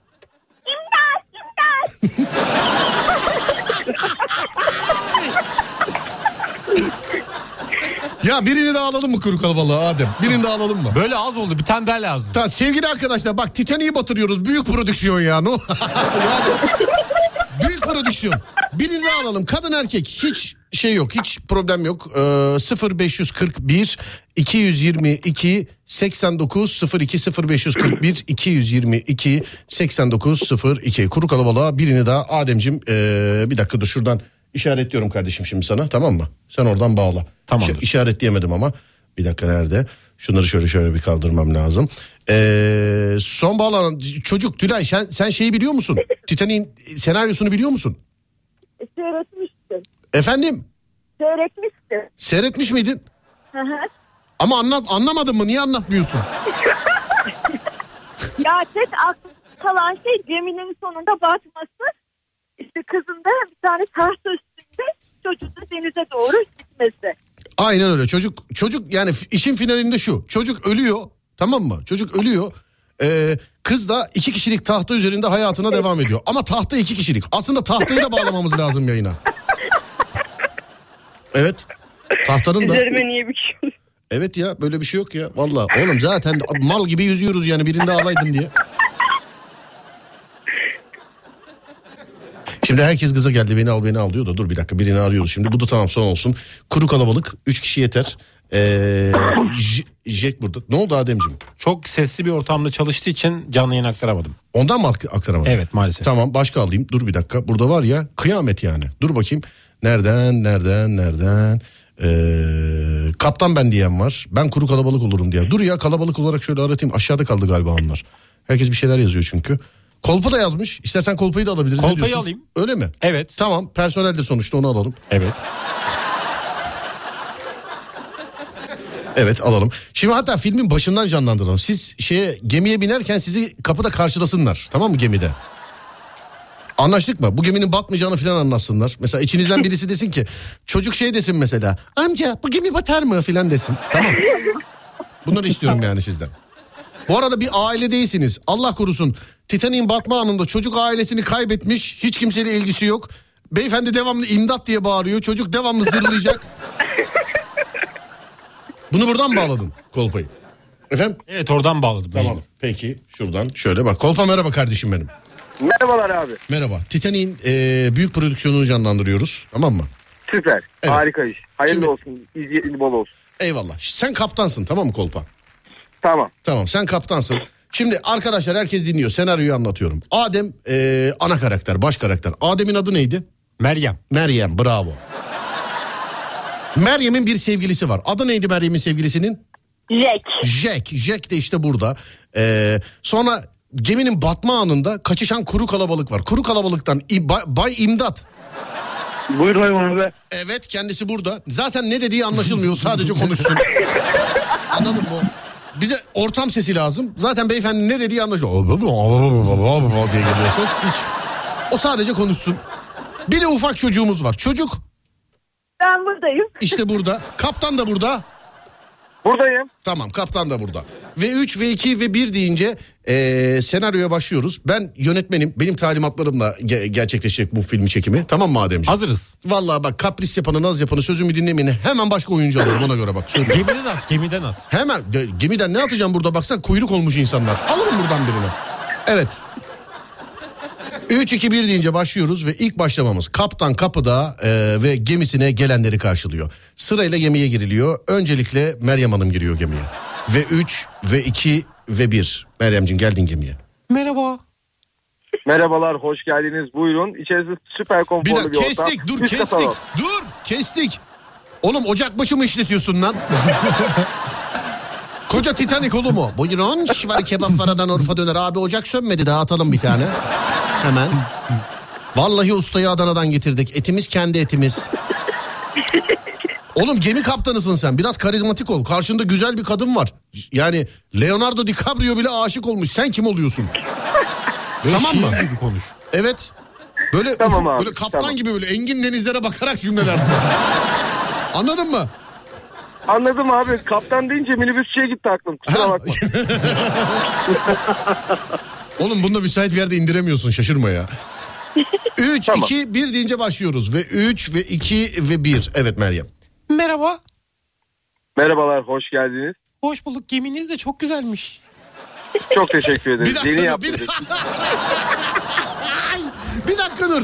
[SPEAKER 2] ya birini daha alalım mı kuru kalabalığa Adem? Birini daha alalım mı?
[SPEAKER 5] Böyle az oldu bir tane daha lazım.
[SPEAKER 2] Ta, sevgili arkadaşlar bak Titanic'i batırıyoruz. Büyük prodüksiyon ya. No. Yani büyük prodüksiyon. Birini daha alalım. Kadın erkek hiç şey yok. Hiç problem yok. Ee, 0541 222 89 02 0541 222 89 02 Kuru kalabalığa birini daha Ademcim ee, bir dakika dur şuradan işaretliyorum kardeşim şimdi sana tamam mı? Sen oradan bağla.
[SPEAKER 5] Tamamdır.
[SPEAKER 2] İşaretleyemedim ama. Bir dakika nerede? Şunları şöyle şöyle bir kaldırmam lazım. Ee, son bağlanan çocuk Tülay sen, sen şeyi biliyor musun? Titanic'in senaryosunu biliyor musun?
[SPEAKER 6] E, Seyretmiştim.
[SPEAKER 2] Efendim
[SPEAKER 6] Seyretmiştim.
[SPEAKER 2] seyretmiş miydin? Ama anlat anlamadın mı? Niye anlatmıyorsun?
[SPEAKER 6] Ya tek aklımda kalan şey geminin sonunda batması. İşte kızın da bir tane tahta üstünde çocuğun da denize doğru gitmesi.
[SPEAKER 2] Aynen öyle. Çocuk çocuk yani f- işin finalinde şu. Çocuk ölüyor. Tamam mı? Çocuk ölüyor. Ee, kız da iki kişilik tahta üzerinde hayatına devam ediyor. Ama tahta iki kişilik. Aslında tahtayı da bağlamamız lazım yayına. Evet. Tahtanın da.
[SPEAKER 6] Üzerime niye bir şey
[SPEAKER 2] Evet ya böyle bir şey yok ya. Valla oğlum zaten mal gibi yüzüyoruz yani birinde alaydın diye. Şimdi herkes kıza geldi beni al beni al diyor da dur bir dakika birini arıyoruz şimdi. Bu da tamam son olsun. Kuru kalabalık 3 kişi yeter. Ee, J- Jack burada. Ne oldu Ademciğim?
[SPEAKER 5] Çok sesli bir ortamda çalıştığı için canlı yayın aktaramadım.
[SPEAKER 2] Ondan mı ak- aktaramadın?
[SPEAKER 5] Evet maalesef.
[SPEAKER 2] Tamam başka alayım. Dur bir dakika. Burada var ya kıyamet yani. Dur bakayım. Nereden nereden nereden? Ee, kaptan ben diyen var. Ben kuru kalabalık olurum diye. Dur ya kalabalık olarak şöyle aratayım. Aşağıda kaldı galiba onlar. Herkes bir şeyler yazıyor çünkü. Kolpa da yazmış. İstersen kolpayı da alabiliriz. Ne
[SPEAKER 5] Kolpayı
[SPEAKER 2] diyorsun?
[SPEAKER 5] alayım.
[SPEAKER 2] Öyle mi?
[SPEAKER 5] Evet.
[SPEAKER 2] Tamam personel de sonuçta onu alalım.
[SPEAKER 5] Evet.
[SPEAKER 2] Evet alalım. Şimdi hatta filmin başından canlandıralım. Siz şeye gemiye binerken sizi kapıda karşılasınlar. Tamam mı gemide? Anlaştık mı? Bu geminin batmayacağını falan anlatsınlar. Mesela içinizden birisi desin ki çocuk şey desin mesela. Amca bu gemi batar mı falan desin. Tamam. Bunları istiyorum yani sizden. Bu arada bir aile değilsiniz. Allah korusun. Titanic'in batma anında çocuk ailesini kaybetmiş. Hiç kimseyle ilgisi yok. Beyefendi devamlı imdat diye bağırıyor. Çocuk devamlı zırlayacak. Bunu buradan mı bağladın kolpayı? Efendim?
[SPEAKER 5] Evet oradan bağladım.
[SPEAKER 2] Tamam.
[SPEAKER 5] mecbur.
[SPEAKER 2] Peki şuradan şöyle bak. Kolpa merhaba kardeşim benim.
[SPEAKER 8] Merhabalar abi.
[SPEAKER 2] Merhaba. Titanic'in e, büyük prodüksiyonunu canlandırıyoruz. Tamam mı?
[SPEAKER 8] Süper.
[SPEAKER 2] Evet.
[SPEAKER 8] Harika iş. Hayırlı
[SPEAKER 2] Şimdi-
[SPEAKER 8] olsun. İzleyelim bol olsun.
[SPEAKER 2] Eyvallah. Ş- Sen kaptansın tamam mı kolpa?
[SPEAKER 8] Tamam.
[SPEAKER 2] Tamam sen kaptansın. Şimdi arkadaşlar herkes dinliyor. Senaryoyu anlatıyorum. Adem e, ana karakter, baş karakter. Adem'in adı neydi?
[SPEAKER 5] Meryem.
[SPEAKER 2] Meryem bravo. Meryem'in bir sevgilisi var. Adı neydi Meryem'in sevgilisinin?
[SPEAKER 6] Jack.
[SPEAKER 2] Jack. Jack de işte burada. Ee, sonra geminin batma anında kaçışan kuru kalabalık var. Kuru kalabalıktan İ- Bay, Bay İmdat.
[SPEAKER 7] Buyur hayvan abi.
[SPEAKER 2] Evet kendisi burada. Zaten ne dediği anlaşılmıyor. Sadece konuşsun. Anladın mı? Bize ortam sesi lazım. Zaten beyefendi ne dediği anlaşılıyor. diye geliyor ses. Hiç. O sadece konuşsun. Bir de ufak çocuğumuz var. Çocuk
[SPEAKER 6] Ben buradayım.
[SPEAKER 2] işte burada. Kaptan da burada.
[SPEAKER 8] Buradayım.
[SPEAKER 2] Tamam kaptan da burada. Ve 3 ve 2 ve 1 deyince eee, senaryoya başlıyoruz. Ben yönetmenim. Benim talimatlarımla ge- gerçekleşecek bu filmi çekimi. Tamam mı Ademciğim?
[SPEAKER 5] Hazırız.
[SPEAKER 2] Vallahi bak kapris yapanı naz yapanı sözümü dinlemeyeni hemen başka oyuncu alırım ona göre bak. Söyleyeyim.
[SPEAKER 5] Gemiden at. Gemiden at.
[SPEAKER 2] Hemen de- gemiden ne atacağım burada baksan kuyruk olmuş insanlar. Alırım buradan birini. Evet. 3-2-1 deyince başlıyoruz ve ilk başlamamız kaptan kapıda e, ve gemisine gelenleri karşılıyor. Sırayla gemiye giriliyor. Öncelikle Meryem Hanım giriyor gemiye. Ve 3 ve 2 ve 1. Meryem'cim geldin gemiye.
[SPEAKER 5] Merhaba.
[SPEAKER 8] Merhabalar. Hoş geldiniz. Buyurun. İçerisi süper
[SPEAKER 2] Bir
[SPEAKER 8] konforlu bir,
[SPEAKER 2] dakika
[SPEAKER 8] ortam.
[SPEAKER 2] kestik dur
[SPEAKER 8] Üst
[SPEAKER 2] kestik.
[SPEAKER 8] katalog.
[SPEAKER 2] Dur kestik. Oğlum ocakbaşı mı işletiyorsun lan? Koca Titanik oğlu mu? Buyurun şivari kebap varadan Urfa döner. Abi ocak sönmedi daha atalım bir tane. Hemen. Vallahi ustayı Adana'dan getirdik. Etimiz kendi etimiz. Oğlum gemi kaptanısın sen. Biraz karizmatik ol. Karşında güzel bir kadın var. Yani Leonardo DiCaprio bile aşık olmuş. Sen kim oluyorsun?
[SPEAKER 5] Böyle
[SPEAKER 2] Tamam mı?
[SPEAKER 5] şiir gibi konuş.
[SPEAKER 2] Evet. Böyle
[SPEAKER 8] Tamam
[SPEAKER 2] ufuk-
[SPEAKER 8] abi,
[SPEAKER 2] böyle kaptan
[SPEAKER 8] tamam.
[SPEAKER 2] gibi böyle engin denizlere bakarak cümleler. kur. Anladın mı?
[SPEAKER 8] Anladım abi. Kaptan deyince minibüsçüye gitti aklım. Kusura bakma.
[SPEAKER 2] Oğlum bunu da müsait bir yerde indiremiyorsun şaşırma ya. 3,
[SPEAKER 8] Tamam.
[SPEAKER 2] 2, 1 deyince başlıyoruz. Ve 3 ve 2 ve 1. Evet Meryem.
[SPEAKER 5] Merhaba.
[SPEAKER 8] Merhabalar, hoş geldiniz.
[SPEAKER 5] Hoş bulduk. Geminiz de çok güzelmiş.
[SPEAKER 8] Çok teşekkür ederiz.
[SPEAKER 2] Bir dakika
[SPEAKER 8] Yeni
[SPEAKER 2] dur. Bir,
[SPEAKER 8] yaptınız.
[SPEAKER 2] Ay, bir dakika dur.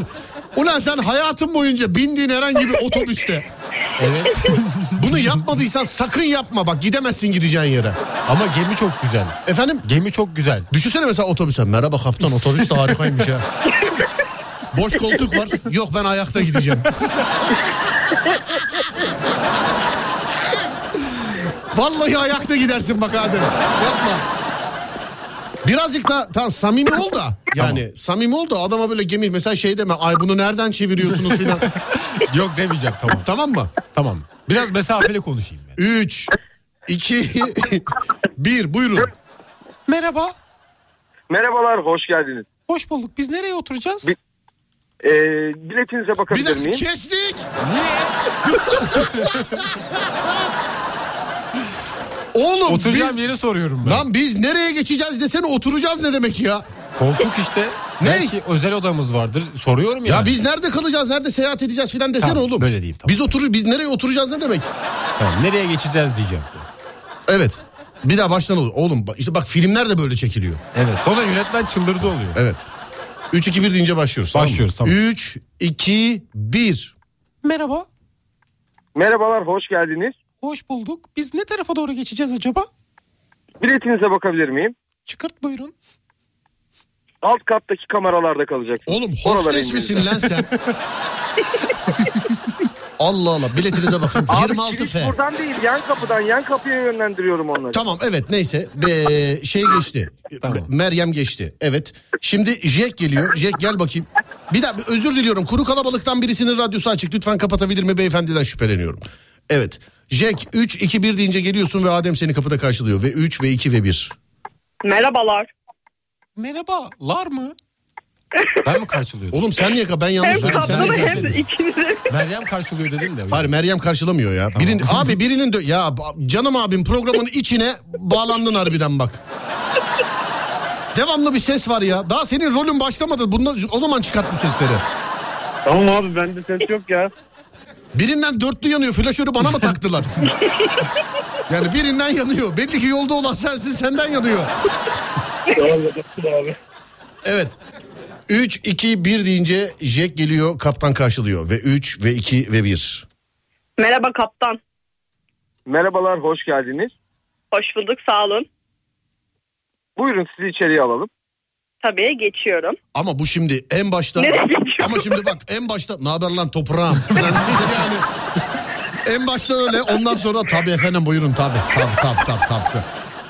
[SPEAKER 2] Ulan sen hayatın boyunca bindiğin herhangi bir otobüste.
[SPEAKER 5] Evet.
[SPEAKER 2] Bunu yapmadıysan sakın yapma bak gidemezsin gideceğin yere.
[SPEAKER 5] Ama gemi çok güzel.
[SPEAKER 2] Efendim?
[SPEAKER 5] Gemi çok güzel.
[SPEAKER 2] Düşünsene mesela otobüse. Merhaba kaptan otobüs de harikaymış ya. Boş koltuk var. Yok ben ayakta gideceğim. Vallahi ayakta gidersin bak Adem. Yapma. Birazcık da tam samimi ol da yani samimi ol da adama böyle gemi mesela şey deme ay bunu nereden çeviriyorsunuz filan
[SPEAKER 5] Yok demeyeceğim tamam.
[SPEAKER 2] tamam mı?
[SPEAKER 5] Tamam. Biraz mesafeli konuşayım ben.
[SPEAKER 2] 3 2 1 buyurun.
[SPEAKER 5] Merhaba.
[SPEAKER 8] Merhabalar, hoş geldiniz.
[SPEAKER 5] Hoş bulduk. Biz nereye oturacağız?
[SPEAKER 8] Bir- Ee, biletinize
[SPEAKER 2] Bir
[SPEAKER 8] bakabilir
[SPEAKER 2] dakika
[SPEAKER 8] miyim?
[SPEAKER 2] kestik. Niye? Oğlum
[SPEAKER 5] Oturacağım
[SPEAKER 2] biz...
[SPEAKER 5] yeri soruyorum ben.
[SPEAKER 2] Lan biz nereye geçeceğiz desene oturacağız ne demek ya?
[SPEAKER 5] Koltuk işte.
[SPEAKER 2] Ne?
[SPEAKER 5] Belki özel odamız vardır. Soruyorum yani.
[SPEAKER 2] Ya biz nerede kalacağız, nerede seyahat edeceğiz filan desene
[SPEAKER 5] Tamam,
[SPEAKER 2] oğlum.
[SPEAKER 5] böyle diyeyim, tamam.
[SPEAKER 2] Biz oturur, biz nereye oturacağız ne demek?
[SPEAKER 5] Tamam, nereye geçeceğiz diyeceğim.
[SPEAKER 2] Evet. Bir daha baştan olur. Oğlum bak- işte bak filmler de böyle çekiliyor.
[SPEAKER 5] Evet. Sonra yönetmen çıldırdı oluyor.
[SPEAKER 2] Evet. 3 2 1 deyince başlıyoruz.
[SPEAKER 5] Başlıyoruz, tamam.
[SPEAKER 2] 3 2 1.
[SPEAKER 5] Merhaba.
[SPEAKER 8] Merhabalar, hoş geldiniz.
[SPEAKER 5] Hoş bulduk. Biz ne tarafa doğru geçeceğiz acaba?
[SPEAKER 8] Biletinize bakabilir miyim?
[SPEAKER 5] Çıkart buyurun.
[SPEAKER 8] Alt kattaki kameralarda kalacaksınız.
[SPEAKER 2] Oğlum
[SPEAKER 8] Oralara
[SPEAKER 2] hostes
[SPEAKER 8] indireceğim.
[SPEAKER 2] misin lan sen? Allah Allah biletinize bakın.
[SPEAKER 8] Abi
[SPEAKER 2] 26
[SPEAKER 8] giriş
[SPEAKER 2] F.
[SPEAKER 8] buradan değil, yan kapıdan, yan kapıya yönlendiriyorum onları.
[SPEAKER 2] Tamam evet neyse Be- şey geçti.
[SPEAKER 5] Tamam.
[SPEAKER 2] Be- Meryem geçti. Evet. Şimdi Jack geliyor. Jack gel bakayım. Bir daha bir özür diliyorum. Kuru kalabalıktan birisinin radyosu açık. Lütfen kapatabilir mi beyefendiden şüpheleniyorum. Evet. Jack 3 2 1 deyince geliyorsun ve Adem seni kapıda karşılıyor ve 3 ve 2 ve 1.
[SPEAKER 7] Merhabalar.
[SPEAKER 5] Merhaba. Lar mı? Ben mi karşılıyordum?
[SPEAKER 2] Oğlum sen niye ka- ben yanlış
[SPEAKER 7] Hem
[SPEAKER 2] söyledim. Sen
[SPEAKER 7] kaptanı
[SPEAKER 2] niye
[SPEAKER 7] hem
[SPEAKER 2] karşılıyorsun?
[SPEAKER 7] ikinizi.
[SPEAKER 5] Meryem karşılıyor dedim de.
[SPEAKER 2] Hayır Meryem karşılamıyor ya. Birin, abi birinin dö- ya ba- canım abim programın içine bağlandın harbiden bak. Devamlı bir ses var ya. Daha senin rolün başlamadı. Bundan o zaman çıkart bu sesleri.
[SPEAKER 7] Tamam abi bende ses yok ya.
[SPEAKER 2] Birinden dörtlü yanıyor. Flaşörü bana mı taktılar? yani birinden yanıyor. Belli ki yolda olan sensin senden yanıyor.
[SPEAKER 7] Tamam yaparsın abi.
[SPEAKER 2] Evet. 3, 2, 1 deyince Jack geliyor kaptan karşılıyor. Ve 3 ve 2 ve 1.
[SPEAKER 9] Merhaba kaptan.
[SPEAKER 8] Merhabalar, hoş geldiniz.
[SPEAKER 9] Hoş bulduk sağ olun.
[SPEAKER 8] Buyurun sizi içeriye alalım.
[SPEAKER 9] Tabii geçiyorum.
[SPEAKER 2] Ama bu şimdi en başta...
[SPEAKER 9] Nereye geçiyorum?
[SPEAKER 2] Ama şimdi bak en başta... Ne haber lan toprağım? Yani en başta öyle ondan sonra tabii efendim buyurun tabii. Tabii tabii tabii tabii.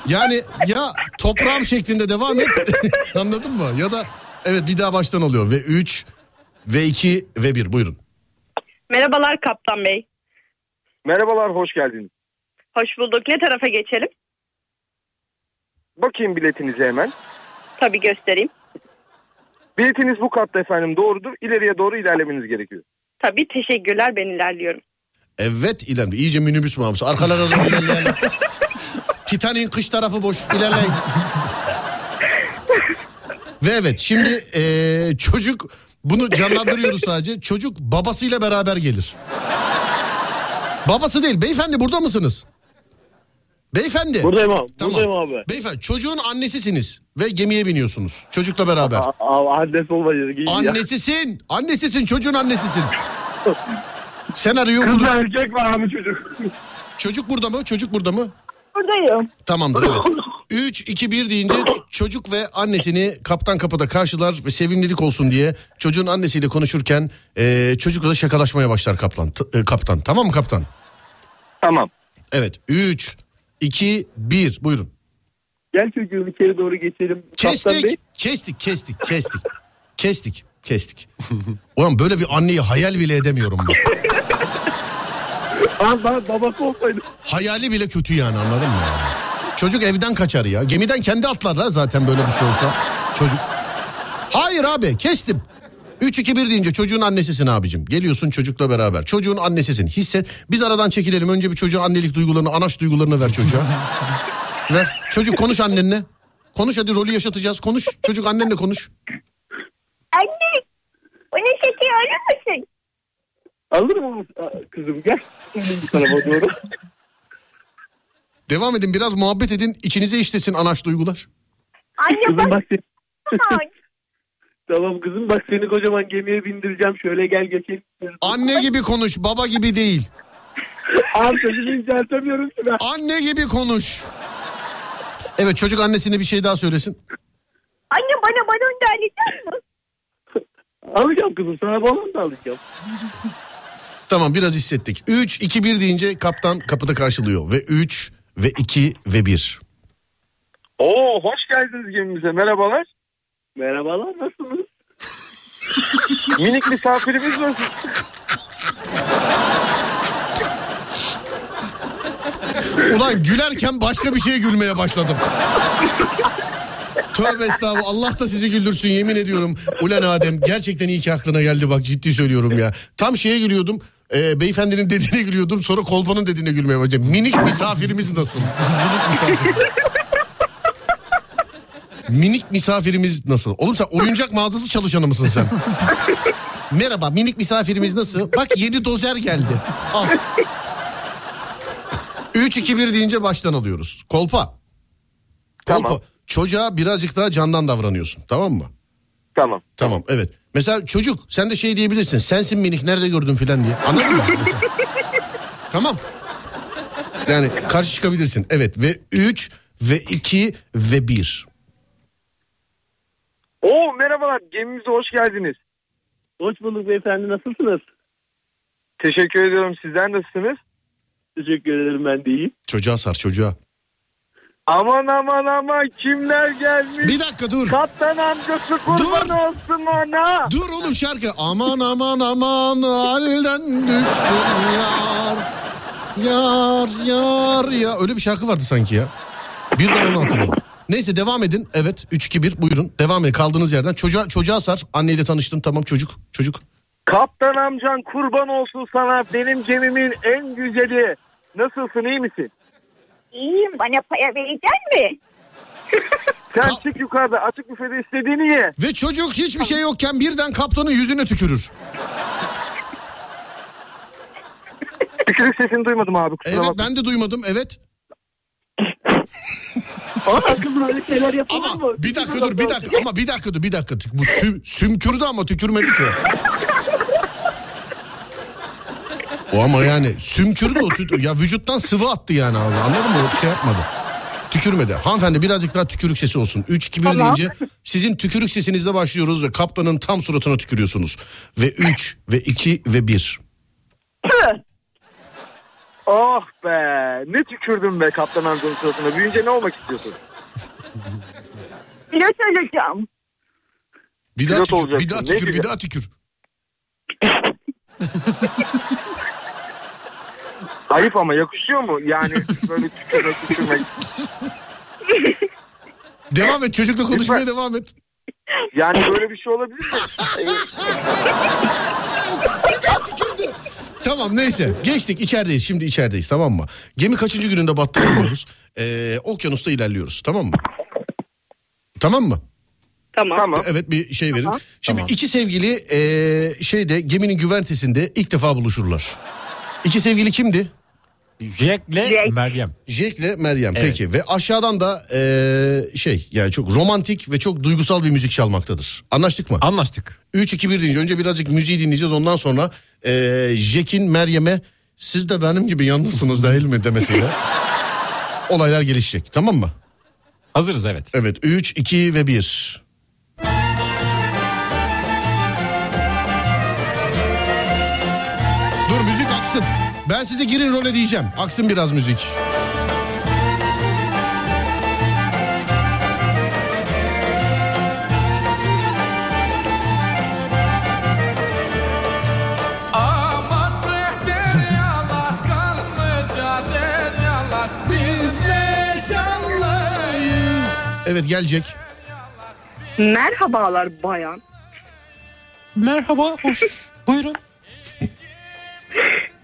[SPEAKER 2] Yani ya toprağım şeklinde devam et. Anladın mı? Ya da evet bir daha baştan oluyor. Ve 3 ve 2 ve 1 buyurun.
[SPEAKER 9] Merhabalar kaptan bey.
[SPEAKER 8] Merhabalar, hoş geldiniz.
[SPEAKER 9] Hoş bulduk. Ne tarafa geçelim?
[SPEAKER 8] Bakayım biletinize hemen.
[SPEAKER 9] Tabii göstereyim.
[SPEAKER 8] Biletiniz bu katta efendim doğrudur. İleriye doğru ilerlemeniz gerekiyor.
[SPEAKER 9] Tabii teşekkürler ben ilerliyorum.
[SPEAKER 2] Evet ilerle. İyice minibüs muhabbesi. Arkalara doğru ilerleyelim. Titanik'in kış tarafı boş. İlerleyin. Ve evet şimdi eee, çocuk bunu canlandırıyoruz sadece. Çocuk babasıyla beraber gelir. Babası değil. Beyefendi burada mısınız? Beyefendi.
[SPEAKER 7] Buradayım abi.
[SPEAKER 2] Tamam.
[SPEAKER 7] Buradayım abi.
[SPEAKER 2] Beyefendi çocuğun annesisiniz ve gemiye biniyorsunuz. Çocukla beraber.
[SPEAKER 7] Abi adres olmayacak. iyi ya.
[SPEAKER 2] Annesisin. Annesisin çocuğun annesisin. Senaryoyu budur.
[SPEAKER 7] Kızla erkek var abi çocuk.
[SPEAKER 2] Çocuk burada mı? Çocuk burada mı?
[SPEAKER 6] Buradayım.
[SPEAKER 2] Tamamdır evet. 3, 2, 1 deyince çocuk ve annesini kaptan kapıda karşılar ve sevimlilik olsun diye çocuğun annesiyle konuşurken e, çocukla da şakalaşmaya başlar kaplan, t- e, kaptan. Tamam mı kaptan?
[SPEAKER 8] Tamam.
[SPEAKER 2] Evet. 3, 2, 1. Buyurun.
[SPEAKER 7] Gel çocuğum içeri doğru geçelim. Kaptan Bey.
[SPEAKER 2] Kestik. Kestik, kestik, kestik. Kestik, kestik. Ulan böyle bir anneyi hayal bile edemiyorum ben.
[SPEAKER 7] Allah babası olsaydı.
[SPEAKER 2] Hayali bile kötü yani anladın mı? Çocuk evden kaçar ya. Gemiden kendi atlar da zaten böyle bir şey olsa. Çocuk. Hayır abi kestim. 3-2-1 deyince çocuğun annesisin abicim. Geliyorsun çocukla beraber. Çocuğun annesisin. Hisse biz aradan çekilelim. Önce bir çocuğa annelik duygularını, anaç duygularını ver çocuğa. ver. Çocuk konuş annenle. Konuş hadi rolü yaşatacağız. Konuş. Çocuk annenle konuş.
[SPEAKER 6] Anne onu şekeri alır mısın?
[SPEAKER 7] Alır mı kızım gel. Senin tarafa doğru.
[SPEAKER 2] Devam edin biraz muhabbet edin. İçinize işlesin anaç duygular.
[SPEAKER 6] Anne
[SPEAKER 7] Kızım bak seni-
[SPEAKER 6] bak.
[SPEAKER 7] Tamam kızım bak seni kocaman gemiye bindireceğim. Şöyle gel geçelim.
[SPEAKER 2] Anne gibi konuş, baba gibi değil.
[SPEAKER 7] Arkadaşını inceltemiyorum sana.
[SPEAKER 2] Anne gibi konuş. Evet çocuk annesine bir şey daha söylesin.
[SPEAKER 6] Anne bana balon da alacak mı?
[SPEAKER 7] Alacağım kızım sana balon da alacağım.
[SPEAKER 2] Tamam biraz hissettik. 3 2 1 deyince kaptan kapıda karşılıyor ve 3 ve 2 ve 1.
[SPEAKER 8] Oo hoş geldiniz gemimize merhabalar.
[SPEAKER 7] Merhabalar nasılsınız?
[SPEAKER 8] Minik misafirimiz var.
[SPEAKER 2] Ulan gülerken başka bir şeye gülmeye başladım. Tövbe estağfurullah Allah da sizi güldürsün yemin ediyorum. Ulan Adem gerçekten iyi ki aklına geldi bak ciddi söylüyorum ya. Tam şeye gülüyordum. e, beyefendinin dediğine gülüyordum sonra kolpanın dediğine gülmeye başladım. Minik misafirimiz nasıl? Minik misafir. minik misafirimiz nasıl? Oğlum sen oyuncak mağazası çalışanı mısın sen? Merhaba minik misafirimiz nasıl? Bak yeni dozer geldi. Al. 3-2-1 deyince baştan alıyoruz. Kolpa. Kolpa.
[SPEAKER 8] Tamam.
[SPEAKER 2] Çocuğa birazcık daha candan davranıyorsun tamam mı?
[SPEAKER 8] Tamam.
[SPEAKER 2] Tamam evet. Mesela çocuk sen de şey diyebilirsin. Sensin minik nerede gördün filan diye. Anladın mı? tamam. Yani karşı çıkabilirsin. Evet ve 3 ve 2 ve 1.
[SPEAKER 8] Oo merhabalar gemimize hoş geldiniz.
[SPEAKER 7] Hoş bulduk beyefendi nasılsınız?
[SPEAKER 8] Teşekkür ediyorum sizden nasılsınız?
[SPEAKER 7] Teşekkür ederim ben de iyiyim.
[SPEAKER 2] Çocuğa sar çocuğa.
[SPEAKER 8] Aman aman aman kimler gelmiş?
[SPEAKER 2] Bir dakika dur.
[SPEAKER 8] Kaptan amcası kurban
[SPEAKER 2] Dur.
[SPEAKER 8] olsun ona.
[SPEAKER 2] Dur oğlum şarkı. Aman aman aman halden düştüm yar. Yar yar ya. Öyle bir şarkı vardı sanki ya. Bir de onu hatırladım. Neyse devam edin. Evet 3-2-1 buyurun. Devam edin kaldığınız yerden. Çocuğa, çocuğa sar. Anneyle tanıştın tamam çocuk. Çocuk.
[SPEAKER 8] Kaptan amcan kurban olsun sana benim gemimin en güzeli. Nasılsın iyi misin?
[SPEAKER 6] İyiyim bana paya verecek mi?
[SPEAKER 8] Sen
[SPEAKER 2] Ka-
[SPEAKER 8] çık yukarıda açık büfede istediğini ye.
[SPEAKER 2] Ve çocuk hiçbir şey yokken birden kaptanın yüzüne tükürür.
[SPEAKER 8] Tükürük sesini duymadım abi kusura
[SPEAKER 2] Evet
[SPEAKER 8] bakma.
[SPEAKER 2] ben de duymadım evet.
[SPEAKER 7] Aa kızım öyle şeyler yapılır
[SPEAKER 2] Ama
[SPEAKER 7] mı?
[SPEAKER 2] bir dakika dur bir dakika ama bir dakika dur bir dakika. Bu sü- sümkürdü ama tükürmedi ki. O ama yani sümkürdü o tü- ya vücuttan sıvı attı yani abi anladın mı? O şey yapmadı. Tükürmedi. Hanımefendi birazcık daha tükürük sesi olsun. 3 2 1 deyince sizin tükürük sesinizle başlıyoruz ve kaptanın tam suratına tükürüyorsunuz. Ve 3 ve 2 ve 1.
[SPEAKER 8] Oh be ne tükürdün be kaptan amcanın suratına. Büyünce ne olmak istiyorsun?
[SPEAKER 6] Pilot olacağım.
[SPEAKER 2] Bir daha
[SPEAKER 8] Pilot
[SPEAKER 2] tükür, bir
[SPEAKER 8] olacaksın,
[SPEAKER 2] daha
[SPEAKER 8] ne
[SPEAKER 2] tükür, bir
[SPEAKER 8] güzel.
[SPEAKER 2] daha tükür.
[SPEAKER 8] Ayıp ama yakışıyor mu? Yani böyle tükürmek tükürmek.
[SPEAKER 2] Devam et çocukla konuşmaya devam et.
[SPEAKER 8] Yani böyle bir şey olabilir mi?
[SPEAKER 2] Tükürdü. Tamam neyse geçtik içerideyiz şimdi içerideyiz tamam mı? Gemi kaçıncı gününde battı bilmiyoruz. Ee, okyanusta ilerliyoruz tamam mı? Tamam mı?
[SPEAKER 9] Tamam.
[SPEAKER 8] tamam.
[SPEAKER 2] Evet bir şey verin. Şimdi iki sevgili ee, şeyde geminin güvertesinde ilk defa buluşurlar. İki sevgili kimdi?
[SPEAKER 5] Jack'le
[SPEAKER 6] Jack.
[SPEAKER 5] Meryem.
[SPEAKER 2] Jack'le Meryem
[SPEAKER 5] Evet.
[SPEAKER 2] peki ve aşağıdan da ee, şey yani çok romantik ve çok duygusal bir müzik çalmaktadır. Anlaştık mı?
[SPEAKER 5] Anlaştık.
[SPEAKER 2] 3-2-1 deyince önce birazcık müziği dinleyeceğiz. Ondan sonra eee Jack'in Meryem'e siz de benim gibi yalnızsınız değil mi demesiyle olaylar gelişecek. Tamam mı?
[SPEAKER 5] Hazırız evet.
[SPEAKER 2] Evet 3, 2 ve 1. Dur müzik aksın. Ben size girin role diyeceğim. Aksın biraz müzik. Evet gelecek.
[SPEAKER 9] Merhabalar bayan.
[SPEAKER 5] Merhaba, hoş. Buyurun.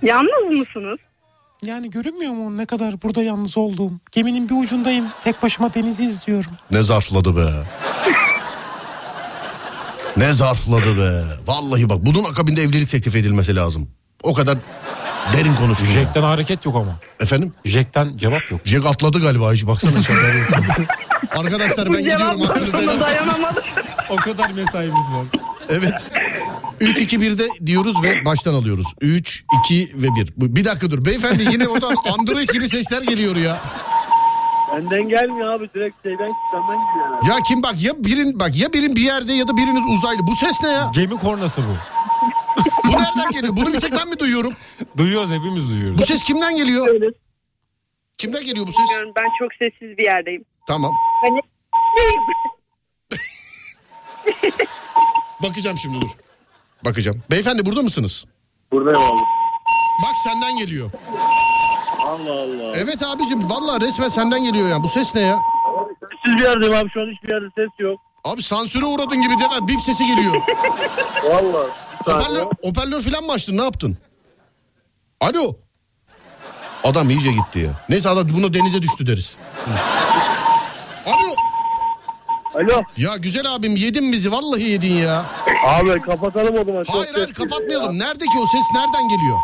[SPEAKER 9] Yalnız mısınız?
[SPEAKER 5] Yani görünmüyor mu ne kadar burada yalnız olduğum? Geminin bir ucundayım. Tek başıma denizi izliyorum.
[SPEAKER 2] Ne zarfladı be. ne zarfladı be. Vallahi bak bunun akabinde evlilik teklif edilmesi lazım. O kadar derin konuşuyor.
[SPEAKER 5] Jack'ten hareket yok ama.
[SPEAKER 2] Efendim?
[SPEAKER 5] Jack'ten cevap yok.
[SPEAKER 2] Jack atladı galiba hiç baksana hiç haberi yok. Arkadaşlar ben gidiyorum. Hakkınızı helal-
[SPEAKER 9] dayanamadım.
[SPEAKER 5] O kadar mesaimiz var.
[SPEAKER 2] Evet. 3 2 1'de diyoruz ve baştan alıyoruz. 3 2 ve 1. Bu- Bir dakika dur. Beyefendi yine oradan Android gibi sesler geliyor ya.
[SPEAKER 7] Benden gelmiyor abi direkt şeyden senden geliyor.
[SPEAKER 2] Ya kim bak ya birin bak ya birin bir yerde ya da biriniz uzaylı. Bu ses ne ya?
[SPEAKER 5] Gemi kornası bu.
[SPEAKER 2] Bu nereden geliyor? Bunu bir tek ben mi duyuyorum?
[SPEAKER 5] Duyuyoruz hepimiz duyuyoruz.
[SPEAKER 2] Bu ses kimden geliyor? Kimden geliyor bu ses?
[SPEAKER 9] Bilmiyorum, ben çok sessiz bir yerdeyim.
[SPEAKER 2] Tamam.
[SPEAKER 10] Hani-
[SPEAKER 2] Bakacağım şimdi dur. Bakacağım. Beyefendi burada mısınız?
[SPEAKER 7] Buradayım abi.
[SPEAKER 2] Bak senden geliyor.
[SPEAKER 7] Allah Allah.
[SPEAKER 2] Evet abicim vallahi resmen senden geliyor ya. Bu ses ne ya?
[SPEAKER 7] Siz bir yerdeyim abi şu an hiçbir yerde ses yok.
[SPEAKER 2] Abi sansüre uğradın gibi deme. Bip sesi geliyor.
[SPEAKER 7] Valla.
[SPEAKER 2] hoparlör, hoparlör falan mı açtın? Ne yaptın? Alo. Adam iyice gitti ya. Neyse adam buna denize düştü deriz. Alo.
[SPEAKER 7] Alo.
[SPEAKER 2] Ya güzel abim yedin bizi. Vallahi yedin ya.
[SPEAKER 7] Abi kapatalım o zaman.
[SPEAKER 2] Hayır
[SPEAKER 7] Çok
[SPEAKER 2] hayır
[SPEAKER 7] ses geliyor ya.
[SPEAKER 2] kapatmayalım. Nerede ki o ses? Nereden geliyor?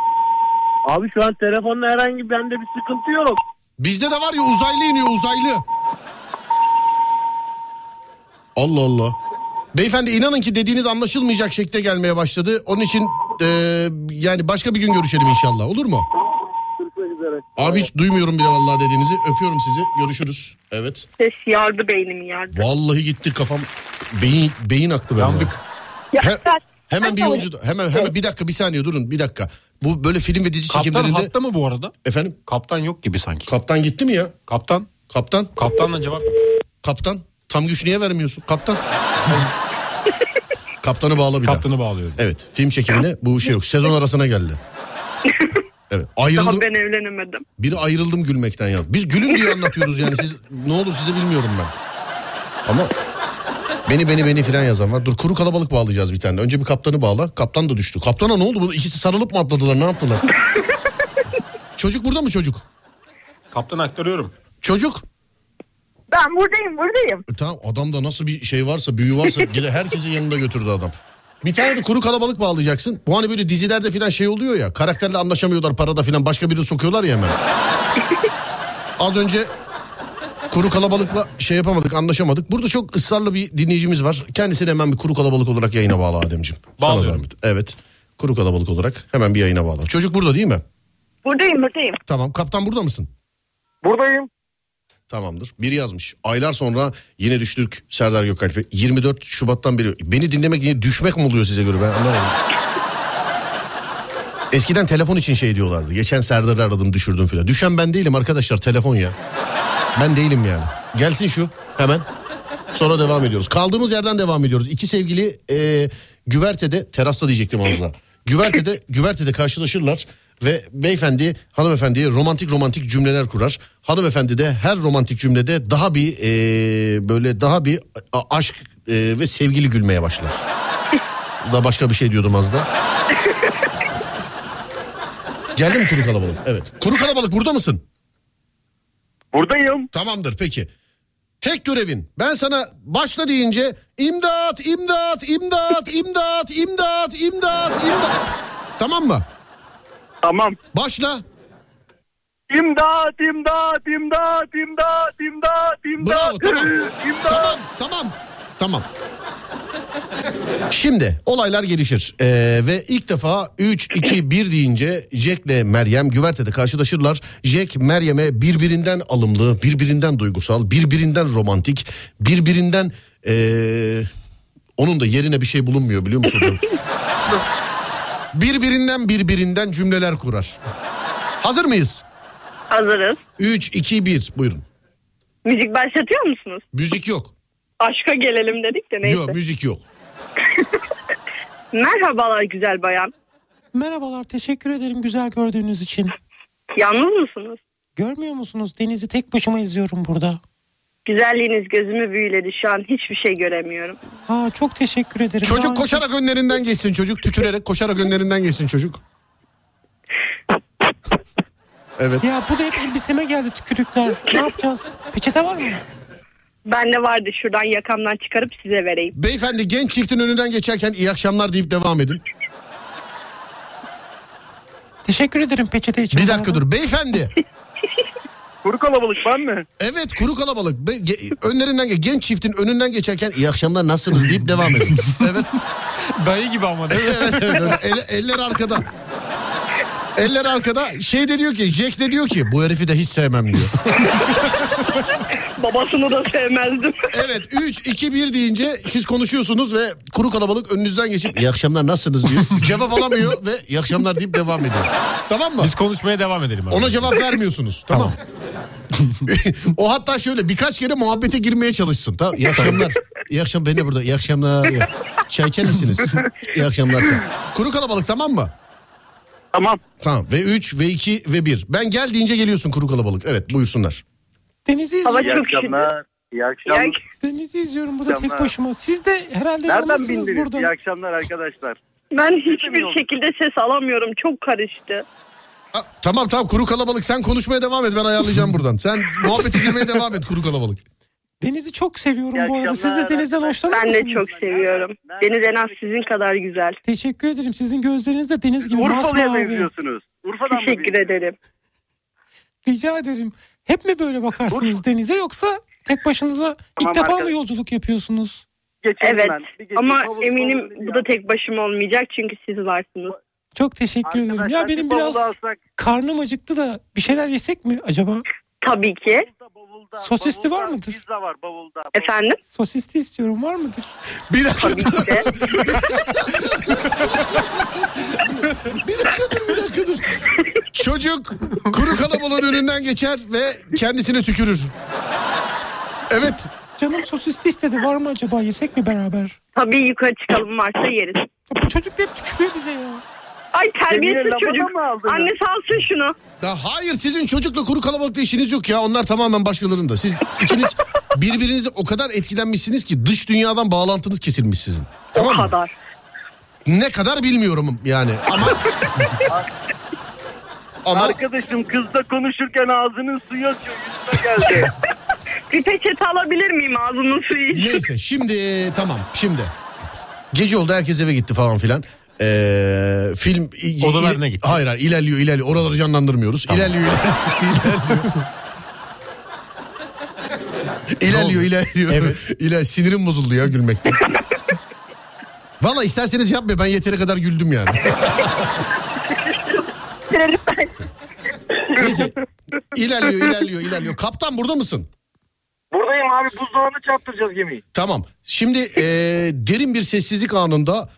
[SPEAKER 7] Abi şu an telefonla herhangi bende bir sıkıntı yok.
[SPEAKER 2] Bizde de var ya uzaylı iniyor uzaylı. Allah Allah. Beyefendi inanın ki dediğiniz anlaşılmayacak şekilde gelmeye başladı. Onun için eee, yani başka bir gün görüşelim inşallah olur mu?
[SPEAKER 7] Görüşmek üzere.
[SPEAKER 2] Abi hiç duymuyorum bile vallahi dediğinizi. Öpüyorum sizi. Görüşürüz. Evet.
[SPEAKER 9] Ses yardı beynimi yardı.
[SPEAKER 2] Vallahi gitti kafam. Beyin beyin aktı bende.
[SPEAKER 5] Yandık.
[SPEAKER 2] He- hemen bir yolcu hemen hemen bir dakika bir saniye durun bir dakika. Bu böyle film ve dizi
[SPEAKER 5] Kaptan
[SPEAKER 2] çekimlerinde
[SPEAKER 5] hatta mı bu arada?
[SPEAKER 2] efendim
[SPEAKER 5] Kaptan yok gibi sanki.
[SPEAKER 2] kaptan gitti mi ya?
[SPEAKER 5] Kaptan.
[SPEAKER 2] Kaptan
[SPEAKER 5] Kaptanla cevap.
[SPEAKER 2] Kaptan. Tam güç niye vermiyorsun? Kaptan. Kaptanı bağla bir daha.
[SPEAKER 5] Kaptanı bağlıyorum.
[SPEAKER 2] Evet. Film çekimine bu şey yok. Sezon arasına geldi. Evet. Ayrıldım.
[SPEAKER 9] Daha ben evlenemedim.
[SPEAKER 2] Biri ayrıldım gülmekten ya. Biz gülün diye anlatıyoruz yani. Siz ne olur sizi bilmiyorum ben. Ama beni beni beni filan yazan var. Dur kuru kalabalık bağlayacağız bir tane. Önce bir kaptanı bağla. Kaptan da düştü. Kaptana ne oldu? Bu ikisi sarılıp mı atladılar? Ne yaptılar? çocuk burada mı çocuk?
[SPEAKER 5] Kaptan aktarıyorum.
[SPEAKER 2] Çocuk.
[SPEAKER 6] Ben buradayım buradayım.
[SPEAKER 2] E tamam adamda nasıl bir şey varsa büyü varsa gene herkesin yanında götürdü adam. Bir tane de kuru kalabalık bağlayacaksın. Bu hani böyle dizilerde filan şey oluyor ya. Karakterle anlaşamıyorlar parada filan başka birini sokuyorlar ya hemen. Az önce kuru kalabalıkla şey yapamadık anlaşamadık. Burada çok ısrarlı bir dinleyicimiz var. Kendisini hemen bir kuru kalabalık olarak yayına bağla Ademciğim. Sana
[SPEAKER 5] Bağlıyorum.
[SPEAKER 2] zahmet. Evet. Kuru kalabalık olarak hemen bir yayına bağla. Çocuk burada değil mi?
[SPEAKER 9] Buradayım buradayım.
[SPEAKER 2] Tamam. Kaptan burada mısın?
[SPEAKER 8] Buradayım.
[SPEAKER 2] Tamamdır. Biri yazmış. Aylar sonra yine düştük Serdar Gökalp'e. 24 Şubat'tan beri. Beni dinlemek yine düşmek mi oluyor size göre ben anlamadım. Eskiden telefon için şey diyorlardı. Geçen Serdar'ı aradım düşürdüm filan. Düşen ben değilim arkadaşlar telefon ya. Ben değilim yani. Gelsin şu hemen. Sonra devam ediyoruz. Kaldığımız yerden devam ediyoruz. İki sevgili e, güvertede terasta diyecektim ağzına. Güvertede, güvertede karşılaşırlar ve beyefendi hanımefendiye romantik romantik cümleler kurar. Hanımefendi de her romantik cümlede daha bir e, böyle daha bir a- aşk e, ve sevgili gülmeye başlar. da başka bir şey diyordum az da. Geldi mi kuru kalabalık? Evet. Kuru kalabalık burada mısın?
[SPEAKER 8] Buradayım.
[SPEAKER 2] Tamamdır peki. Tek görevin ben sana başla deyince imdat imdat imdat imdat imdat imdat imdat. Tamam mı?
[SPEAKER 8] Tamam.
[SPEAKER 2] Başla.
[SPEAKER 8] İmdat, imdat, imdat, imdat, imdat,
[SPEAKER 2] Bravo
[SPEAKER 8] imdat.
[SPEAKER 2] tamam.
[SPEAKER 8] İmdat.
[SPEAKER 2] Tamam tamam. Tamam. Şimdi olaylar gelişir Ee, ve ilk defa 3-2-1 deyince Jack ile Meryem güvertede karşılaşırlar. Jack Meryem'e birbirinden alımlı, birbirinden duygusal, birbirinden romantik, birbirinden ee, onun da yerine bir şey bulunmuyor biliyor musun? birbirinden birbirinden cümleler kurar. Hazır mıyız?
[SPEAKER 9] Hazırız.
[SPEAKER 2] 3-2-1 buyurun.
[SPEAKER 9] Müzik başlatıyor musunuz?
[SPEAKER 2] Müzik yok.
[SPEAKER 9] Aşka gelelim dedik de neyse.
[SPEAKER 2] Yok müzik yok.
[SPEAKER 9] Merhabalar güzel bayan.
[SPEAKER 5] Merhabalar teşekkür ederim güzel gördüğünüz için.
[SPEAKER 9] Yalnız mısınız?
[SPEAKER 5] Görmüyor musunuz denizi tek başıma izliyorum burada.
[SPEAKER 10] Güzelliğiniz gözümü büyüledi şu an hiçbir şey göremiyorum.
[SPEAKER 3] Ha çok teşekkür ederim.
[SPEAKER 2] Çocuk
[SPEAKER 3] Daha-
[SPEAKER 2] koşarak önlerinden geçsin çocuk. Tükürerek koşarak önlerinden geçsin çocuk. Evet.
[SPEAKER 3] Ya bu da hep elbiseme geldi tükürükler. Ne yapacağız? Peçete var mı?
[SPEAKER 10] Bende vardı şuradan yakamdan çıkarıp size vereyim.
[SPEAKER 2] Beyefendi genç çiftin önünden geçerken iyi akşamlar deyip devam edin.
[SPEAKER 3] Teşekkür ederim peçete için.
[SPEAKER 2] Bir dakika dur. Beyefendi.
[SPEAKER 7] Kuru kalabalık ben mi?
[SPEAKER 2] Evet kuru kalabalık. Be- ge- önlerinden ge- genç çiftin önünden geçerken iyi akşamlar nasılsınız deyip devam edin. Evet.
[SPEAKER 3] Dayı gibi ama değil
[SPEAKER 2] evet, evet, öyle. El- eller arkada. Eller arkada şey de diyor ki Jack de diyor ki bu herifi de hiç sevmem diyor.
[SPEAKER 10] Babasını da sevmezdim.
[SPEAKER 2] Evet 3 2 1 deyince siz konuşuyorsunuz ve kuru kalabalık önünüzden geçip iyi akşamlar nasılsınız diyor. Cevap alamıyor ve iyi akşamlar deyip devam ediyor. Tamam mı?
[SPEAKER 11] Biz konuşmaya devam edelim. abi.
[SPEAKER 2] Ona cevap vermiyorsunuz. Tamam. o hatta şöyle birkaç kere muhabbete girmeye çalışsın. Tamam. İyi akşamlar. İyi akşam ben de burada. İyi akşamlar. İyi- Çay içer misiniz? İyi akşamlar. Kuru kalabalık tamam mı?
[SPEAKER 7] Tamam.
[SPEAKER 2] Tamam. Ve 3 ve 2 ve 1. Ben gel deyince geliyorsun kuru kalabalık. Evet buyursunlar.
[SPEAKER 3] Denizi
[SPEAKER 10] Hava
[SPEAKER 3] izliyorum.
[SPEAKER 7] İyi
[SPEAKER 10] çok
[SPEAKER 7] akşamlar. İyi
[SPEAKER 10] Ya,
[SPEAKER 7] akşamlar.
[SPEAKER 3] Denizi izliyorum burada tek
[SPEAKER 7] Canlar.
[SPEAKER 3] başıma. Siz de herhalde
[SPEAKER 7] Nereden
[SPEAKER 3] yalnızsınız
[SPEAKER 7] bindiniz?
[SPEAKER 3] burada.
[SPEAKER 7] İyi akşamlar arkadaşlar.
[SPEAKER 10] ben hiçbir şekilde ses alamıyorum. Çok karıştı.
[SPEAKER 2] Ha, tamam tamam kuru kalabalık sen konuşmaya devam et ben ayarlayacağım buradan. Sen muhabbete girmeye devam et kuru kalabalık.
[SPEAKER 3] Denizi çok seviyorum
[SPEAKER 7] İyi
[SPEAKER 3] bu arada. Siz de
[SPEAKER 7] akşamlar.
[SPEAKER 3] denizden hoşlanır
[SPEAKER 10] Ben
[SPEAKER 3] mısınız?
[SPEAKER 10] de çok seviyorum. Deniz en az sizin kadar güzel.
[SPEAKER 3] Teşekkür ederim. Sizin gözleriniz de deniz gibi
[SPEAKER 7] Urfalı'ya
[SPEAKER 3] masmavi.
[SPEAKER 7] benziyorsunuz. Urfa'dan mı
[SPEAKER 10] Teşekkür
[SPEAKER 7] bildiniz?
[SPEAKER 10] ederim.
[SPEAKER 3] Rica ederim. Hep mi böyle bakarsınız denize yoksa tek başınıza
[SPEAKER 7] Tamam,
[SPEAKER 3] ilk defa mı
[SPEAKER 7] arkadaş.
[SPEAKER 3] yolculuk yapıyorsunuz?
[SPEAKER 7] Geçelim
[SPEAKER 10] Evet
[SPEAKER 7] ben. Bir geçelim.
[SPEAKER 10] ama
[SPEAKER 7] Havuz-
[SPEAKER 10] eminim
[SPEAKER 7] havuz-
[SPEAKER 10] bu da tek başıma olmayacak çünkü siz varsınız.
[SPEAKER 3] Çok teşekkür ederim.
[SPEAKER 7] Arkadaşlar,
[SPEAKER 3] Ya
[SPEAKER 7] bir
[SPEAKER 3] benim
[SPEAKER 7] bavul
[SPEAKER 3] biraz
[SPEAKER 7] alsak,
[SPEAKER 3] karnım acıktı da bir şeyler yesek mi acaba?
[SPEAKER 10] Tabii ki.
[SPEAKER 7] bavulda, bavulda,
[SPEAKER 3] Sosisli var
[SPEAKER 7] bavulda,
[SPEAKER 3] mıdır?
[SPEAKER 7] Pizza var bavulda. bavulda.
[SPEAKER 10] Efendim?
[SPEAKER 3] Sosisli istiyorum var mıdır?
[SPEAKER 2] Bir dakika
[SPEAKER 10] Tabii ki de.
[SPEAKER 2] bir dakika dur bir dakika dur. Çocuk kuru kalabalığın önünden geçer ve kendisine tükürür. Evet
[SPEAKER 3] Canım sosisli istedi. Var mı acaba yesek mi beraber?
[SPEAKER 10] Tabii yukarı çıkalım varsa yeriz.
[SPEAKER 3] Ya bu çocuk da hep tükürüyor bize ya.
[SPEAKER 10] Ay
[SPEAKER 7] Demir'e
[SPEAKER 10] terbiyesiz
[SPEAKER 7] lafını
[SPEAKER 10] çocuk.
[SPEAKER 7] mı aldınız?
[SPEAKER 10] Anne salsın şunu.
[SPEAKER 2] Ya hayır sizin çocukla kuru kalabalıkta işiniz yok ya. Onlar tamamen başkalarında. Siz ikiniz birbirinize o kadar etkilenmişsiniz ki dış dünyadan bağlantınız kesilmiş sizin. Tamam
[SPEAKER 10] o
[SPEAKER 2] mı?
[SPEAKER 10] kadar.
[SPEAKER 2] Ne kadar bilmiyorum yani ama... ama
[SPEAKER 7] Arkadaşım kızla konuşurken ağzının suyu akıyor yüzüme geldi.
[SPEAKER 10] Bir peçete alabilir miyim ağzımın suyu için?
[SPEAKER 2] neyse şimdi tamam şimdi. Gece oldu herkes eve gitti falan filan. Ee, film
[SPEAKER 11] Odalarına gitti.
[SPEAKER 2] Hayır hayır ilerliyor ilerliyor. Oraları canlandırmıyoruz. İlerliyor ilerliyor. İlerliyor ilerliyor.
[SPEAKER 11] Evet.
[SPEAKER 2] İler, sinirim bozuldu ya gülmekten. Valla isterseniz yapma ben yeteri kadar güldüm yani. Neyse. İlerliyor ilerliyor ilerliyor. Kaptan burada mısın?
[SPEAKER 7] Buradayım abi buzdolabını çarptıracağız gemiyi.
[SPEAKER 2] Tamam. Şimdi eee, derin bir sessizlik anında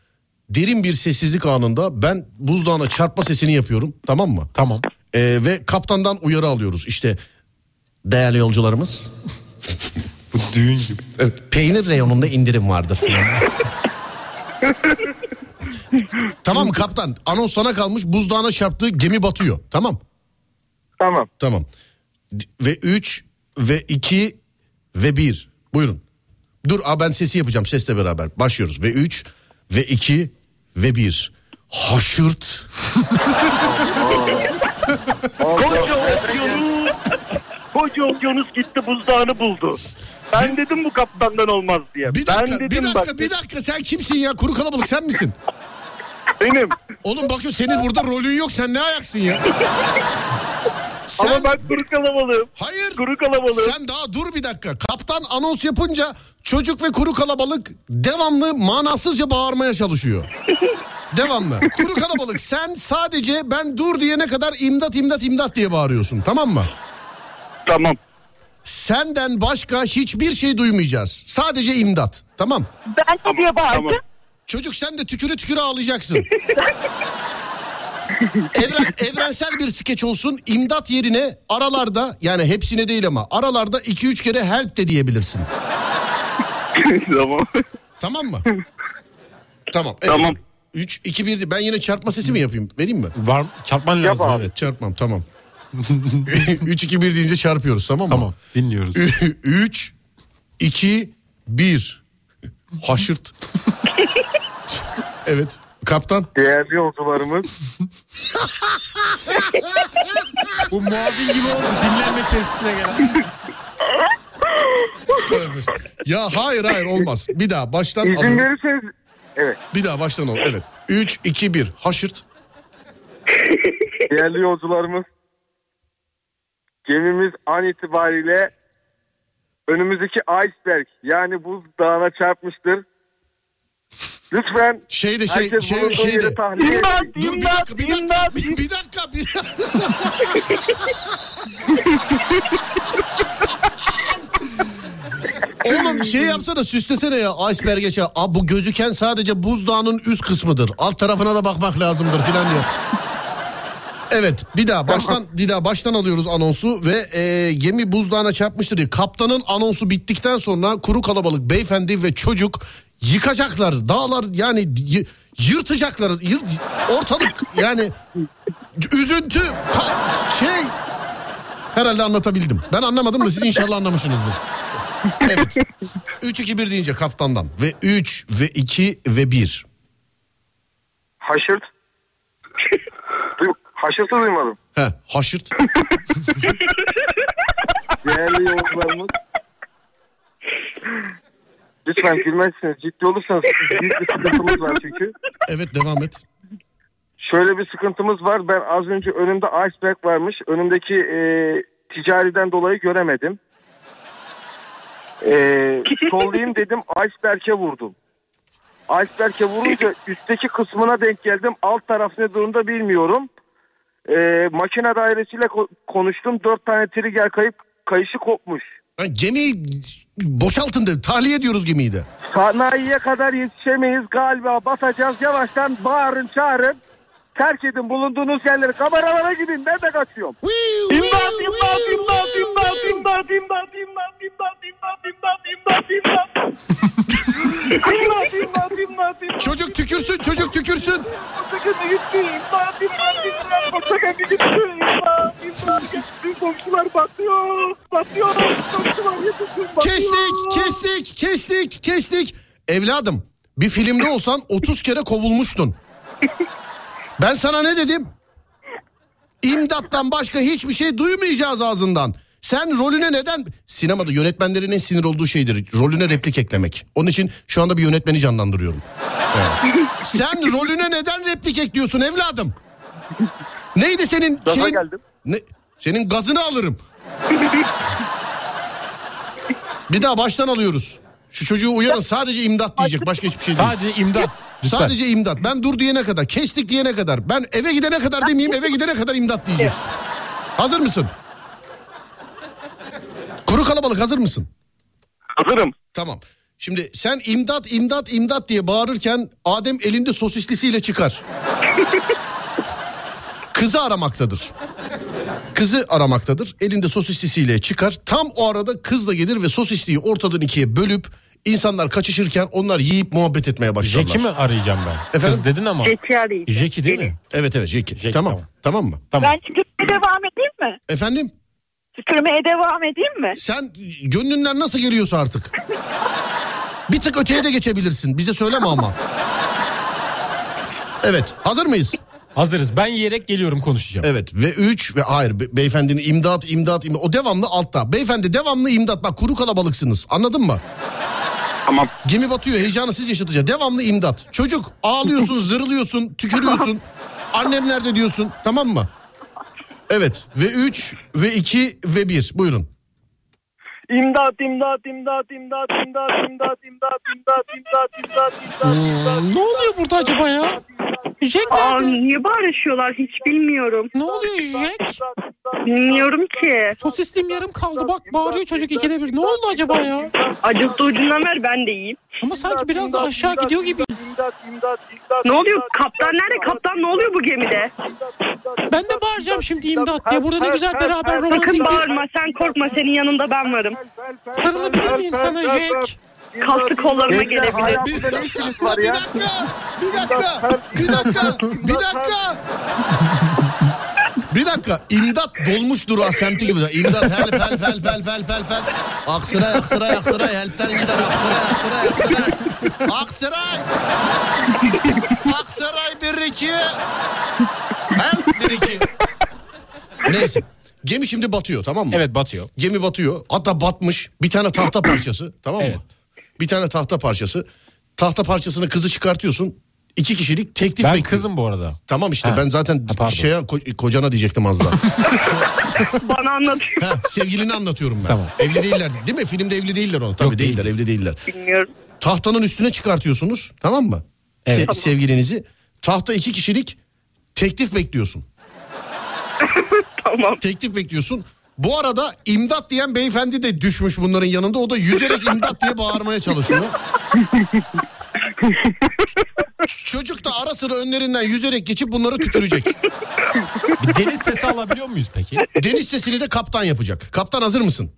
[SPEAKER 2] derin bir sessizlik anında ben buzdağına çarpma sesini yapıyorum. Tamam mı?
[SPEAKER 11] Tamam.
[SPEAKER 2] Eee, ve kaptandan uyarı alıyoruz. İşte değerli yolcularımız
[SPEAKER 11] Bu düğün gibi.
[SPEAKER 2] peynir reyonunda indirim vardır. tamam mı kaptan? Anons sana kalmış. Buzdağına çarptığı gemi batıyor. Tamam.
[SPEAKER 7] Tamam.
[SPEAKER 2] Tamam. D- Ve 3 ve 2 ve 1. Buyurun. Dur aa ben sesi yapacağım sesle beraber. Başlıyoruz. Ve 3 ve 2 ve 1. Haşırt.
[SPEAKER 7] Koca okyanus, koca okyanus gitti buzdağını buldu. Ben dedim bu kaptandan olmaz diye.
[SPEAKER 2] Bir dakika,
[SPEAKER 7] ben
[SPEAKER 2] bir
[SPEAKER 7] dedim
[SPEAKER 2] dakika,
[SPEAKER 7] bak,
[SPEAKER 2] bir dakika. Sen kimsin ya? Kuru kalabalık sen misin?
[SPEAKER 7] Benim.
[SPEAKER 2] Oğlum bakıyor senin burada rolün yok. Sen ne ayaksın ya? Sen,
[SPEAKER 7] Ama ben kuru kalabalığım.
[SPEAKER 2] hayır.
[SPEAKER 7] Kuru kalabalığım.
[SPEAKER 2] Sen daha dur bir dakika. Kaptan anons yapınca çocuk ve kuru kalabalık devamlı manasızca bağırmaya çalışıyor. devamlı. Kuru kalabalık sen sadece ben dur diyene kadar imdat imdat imdat diye bağırıyorsun tamam mı?
[SPEAKER 7] Tamam.
[SPEAKER 2] Senden başka hiçbir şey duymayacağız. Sadece imdat tamam.
[SPEAKER 12] Ben ne diye bağırdım?
[SPEAKER 2] Çocuk sen de tükürü tükürü ağlayacaksın. Evren, evrensel bir skeç olsun. İmdat yerine aralarda yani hepsine değil ama aralarda 2-3 kere help de diyebilirsin.
[SPEAKER 7] tamam.
[SPEAKER 2] Tamam mı? tamam.
[SPEAKER 7] Tamam.
[SPEAKER 2] 3, 2, 1. Ben yine çarpma sesi mi yapayım? Vereyim mi?
[SPEAKER 11] Var mı? çarpman lazım
[SPEAKER 7] abi.
[SPEAKER 11] evet.
[SPEAKER 2] Çarpmam tamam. 3, 2, 1 deyince çarpıyoruz tamam mı?
[SPEAKER 11] Tamam dinliyoruz.
[SPEAKER 2] 3, 2, 1. Haşırt. evet. Kaptan.
[SPEAKER 8] Değerli yolcularımız
[SPEAKER 3] Bu muavin gibi oldu dinlenme tesisine gelen.
[SPEAKER 2] Tövbe estağfurullah. ya hayır hayır olmaz. Bir daha baştan
[SPEAKER 8] izin
[SPEAKER 2] alalım.
[SPEAKER 8] verirseniz evet
[SPEAKER 2] Bir daha baştan alalım. Evet. 3, 2, 1. Haşırt.
[SPEAKER 8] değerli yolcularımız gemimiz an itibariyle önümüzdeki iceberg yani buz dağına çarpmıştır. Lütfen
[SPEAKER 2] Şey de şey
[SPEAKER 8] herkes
[SPEAKER 2] şey
[SPEAKER 8] bulunduğu
[SPEAKER 2] şey de.
[SPEAKER 8] yere tahliye edin.
[SPEAKER 2] Dur bir dakika bir dakika bir, bir dakika bir Oğlum şey yapsana süslesene ya iceberg'e şey. Aa, bu gözüken sadece buzdağının üst kısmıdır. Alt tarafına da bakmak lazımdır filan diye. Evet bir daha baştan bir daha baştan alıyoruz anonsu ve e, gemi buzdağına çarpmıştır diye. Kaptanın anonsu bittikten sonra kuru kalabalık beyefendi ve çocuk yıkacaklar. Dağlar yani y- yırtacaklar. Yırt, ortalık yani üzüntü ka- şey herhalde anlatabildim. Ben anlamadım da siz inşallah anlamışsınızdır. Evet. 3 2 1 deyince kaftandan ve 3 ve 2 ve 1.
[SPEAKER 8] Haşırt. Duy- Haşırtı duymadım.
[SPEAKER 2] He, haşırt.
[SPEAKER 8] Değerli yolcularımız. Lütfen gülmezsiniz. Ciddi olursanız büyük bir sıkıntımız var çünkü.
[SPEAKER 2] Evet devam et.
[SPEAKER 8] Şöyle bir sıkıntımız var. Ben az önce önümde iceberg varmış. Önümdeki e, ticariden dolayı göremedim. E, sollayayım dedim. Iceberg'e vurdum. Iceberg'e vurunca üstteki kısmına denk geldim. Alt taraf ne durumda bilmiyorum. E, makine dairesiyle ko- konuştum. Dört tane trigger kayıp kayışı kopmuş.
[SPEAKER 2] Yani gemiyi boşaltın dedi. Tahliye ediyoruz gemiyi de.
[SPEAKER 8] Sanayiye kadar yetişemeyiz galiba batacağız. Yavaştan bağırın çağırın. Terk edin bulunduğunuz yerleri. Kameralara gidin. Ben de kaçıyorum.
[SPEAKER 7] İmdat imdat imdat imdat imdat imdat imdat imdat imdat imdat imdat imdat. İmdat imdat imdat imdat.
[SPEAKER 2] Çocuk tükürsün, çocuk tükürsün.
[SPEAKER 7] Sakın gitti imdat imdat imdat. Sakın gitti imdat imdat. Bütün komşular batıyor batıyor. Komşular yetişin batıyor.
[SPEAKER 2] Kestik, kestik, kestik, kestik. Evladım, bir filmde olsan 30 kere kovulmuştun. Ben sana ne dedim? İmdattan başka hiçbir şey duymayacağız ağzından. Sen rolüne neden? Sinemada yönetmenlerin en sinir olduğu şeydir. Rolüne replik eklemek. Onun için şu anda bir yönetmeni canlandırıyorum. Evet. Sen rolüne neden replik ekliyorsun evladım? Neydi senin
[SPEAKER 8] Gaza
[SPEAKER 2] şeyin-
[SPEAKER 8] geldim.
[SPEAKER 2] Ne? Senin gazını alırım. Bir daha baştan alıyoruz. Şu çocuğu uyarın sadece imdat diyecek. Başka hiçbir şey değil.
[SPEAKER 3] Sadece imdat. Lütfen.
[SPEAKER 2] Sadece imdat. Ben dur diyene kadar, kestik diyene kadar, ben eve gidene kadar demeyeyim, eve gidene kadar imdat diyeceksin. Hazır mısın? Kuru kalabalık hazır mısın?
[SPEAKER 8] Hazırım.
[SPEAKER 2] Tamam. Şimdi sen imdat imdat imdat diye bağırırken Adem elinde sosislisiyle çıkar. Kızı aramaktadır. Kızı aramaktadır. Elinde sosislisiyle çıkar. Tam o arada kız da gelir ve sosisliği ortadan ikiye bölüp insanlar kaçışırken onlar yiyip muhabbet etmeye başlarlar.
[SPEAKER 3] Jack'i mi arayacağım ben?
[SPEAKER 2] Efendim?
[SPEAKER 3] Kız dedin ama.
[SPEAKER 9] Zeki arayacağım.
[SPEAKER 3] Jack'i değil mi?
[SPEAKER 2] Evet evet Jackie.
[SPEAKER 3] Jackie,
[SPEAKER 2] tamam.
[SPEAKER 3] tamam.
[SPEAKER 2] tamam. mı?
[SPEAKER 3] Tamam.
[SPEAKER 6] Ben tükürmeye devam edeyim mi?
[SPEAKER 2] Efendim
[SPEAKER 6] Tükürmeye devam edeyim mi?
[SPEAKER 2] sen gönlünden nasıl geliyorsa artık. Bir tık öteye de geçebilirsin. Bize söyleme ama. Evet hazır mıyız?
[SPEAKER 3] Hazırız. Ben yiyerek geliyorum konuşacağım.
[SPEAKER 2] Evet ve 3 ve hayır be- beyefendinin imdat imdat imdat o devamlı altta. Beyefendi devamlı imdat bak kuru kalabalıksınız anladın mı?
[SPEAKER 8] Tamam.
[SPEAKER 2] Gemi batıyor heyecanı siz yaşatacak devamlı imdat. Çocuk ağlıyorsun zırlıyorsun tükürüyorsun annem nerede diyorsun tamam mı? Evet ve 3 ve 2 ve 1 buyurun.
[SPEAKER 7] İmdat imdat imdat imdat imdat imdat imdat imdat imdat imdat imdat imdat.
[SPEAKER 5] Ne oluyor burada acaba ya? Jack
[SPEAKER 9] Aa,
[SPEAKER 5] nerede?
[SPEAKER 9] niye bağırışıyorlar hiç bilmiyorum.
[SPEAKER 5] Ne oluyor Jack?
[SPEAKER 9] Bilmiyorum ki.
[SPEAKER 5] Sosislim yarım kaldı bak bağırıyor çocuk ikide bir. Ne oldu acaba ya?
[SPEAKER 9] Acıktı ucundan ver ben de yiyeyim.
[SPEAKER 5] Ama sanki biraz da aşağı gidiyor gibiyiz.
[SPEAKER 7] İmdat imdat imdat.
[SPEAKER 9] Ne oluyor? Kaptan nerede? Kaptan ne oluyor bu gemide?
[SPEAKER 5] Ben de bağıracağım şimdi imdat diye. Burada ne güzel beraber
[SPEAKER 9] Sakın
[SPEAKER 5] romantik bir
[SPEAKER 9] bağırma sen korkma senin yanında ben varım.
[SPEAKER 5] sarılabilir miyim sana Jack?
[SPEAKER 9] Kaslı kollarına gelebilir.
[SPEAKER 2] Bir,
[SPEAKER 8] Hayatımda ne işiniz var
[SPEAKER 2] bir
[SPEAKER 8] ya?
[SPEAKER 2] dakika bir dakika bir dakika bir dakika Bir dakika imdat dolmuş durağı semti gibi. İmdat help help help help help help help. Aksaray aksaray aksaray helpten gider aksaray aksaray aksaray. Aksaray. Aksaray bir iki. Help bir iki. Neyse. Gemi şimdi batıyor tamam mı?
[SPEAKER 3] Evet batıyor.
[SPEAKER 2] Gemi batıyor. Hatta batmış. Bir tane tahta parçası. Tamam mı?
[SPEAKER 3] Evet.
[SPEAKER 2] Bir tane tahta parçası. Tahta parçasını kızı çıkartıyorsun. İki kişilik teklif
[SPEAKER 3] Ben
[SPEAKER 2] bekliyor.
[SPEAKER 3] kızım bu arada.
[SPEAKER 2] Tamam işte
[SPEAKER 3] Ha.
[SPEAKER 2] ben zaten
[SPEAKER 3] Ha, pardon.
[SPEAKER 2] şeye ko- kocana diyecektim az daha.
[SPEAKER 9] Bana anlatıyor
[SPEAKER 2] ha, sevgilini anlatıyorum ben.
[SPEAKER 3] Tamam.
[SPEAKER 2] Evli değiller değil mi? Filmde evli değiller onu. Tabii
[SPEAKER 3] Yok,
[SPEAKER 2] değiller
[SPEAKER 3] değiliz.
[SPEAKER 2] evli değiller.
[SPEAKER 9] bilmiyorum.
[SPEAKER 2] Tahtanın üstüne çıkartıyorsunuz tamam mı? Se-
[SPEAKER 3] Evet. Tamam.
[SPEAKER 2] Sevgilinizi. Tahta iki kişilik teklif bekliyorsun.
[SPEAKER 9] Tamam.
[SPEAKER 2] Teklif bekliyorsun. Bu arada imdat diyen beyefendi de düşmüş bunların yanında. O da yüzerek imdat diye bağırmaya çalışıyor. Çocuk da ara sıra önlerinden yüzerek geçip bunları tükürecek.
[SPEAKER 3] Bir deniz sesi alabiliyor muyuz peki?
[SPEAKER 2] Deniz sesini de kaptan yapacak. Kaptan hazır mısın?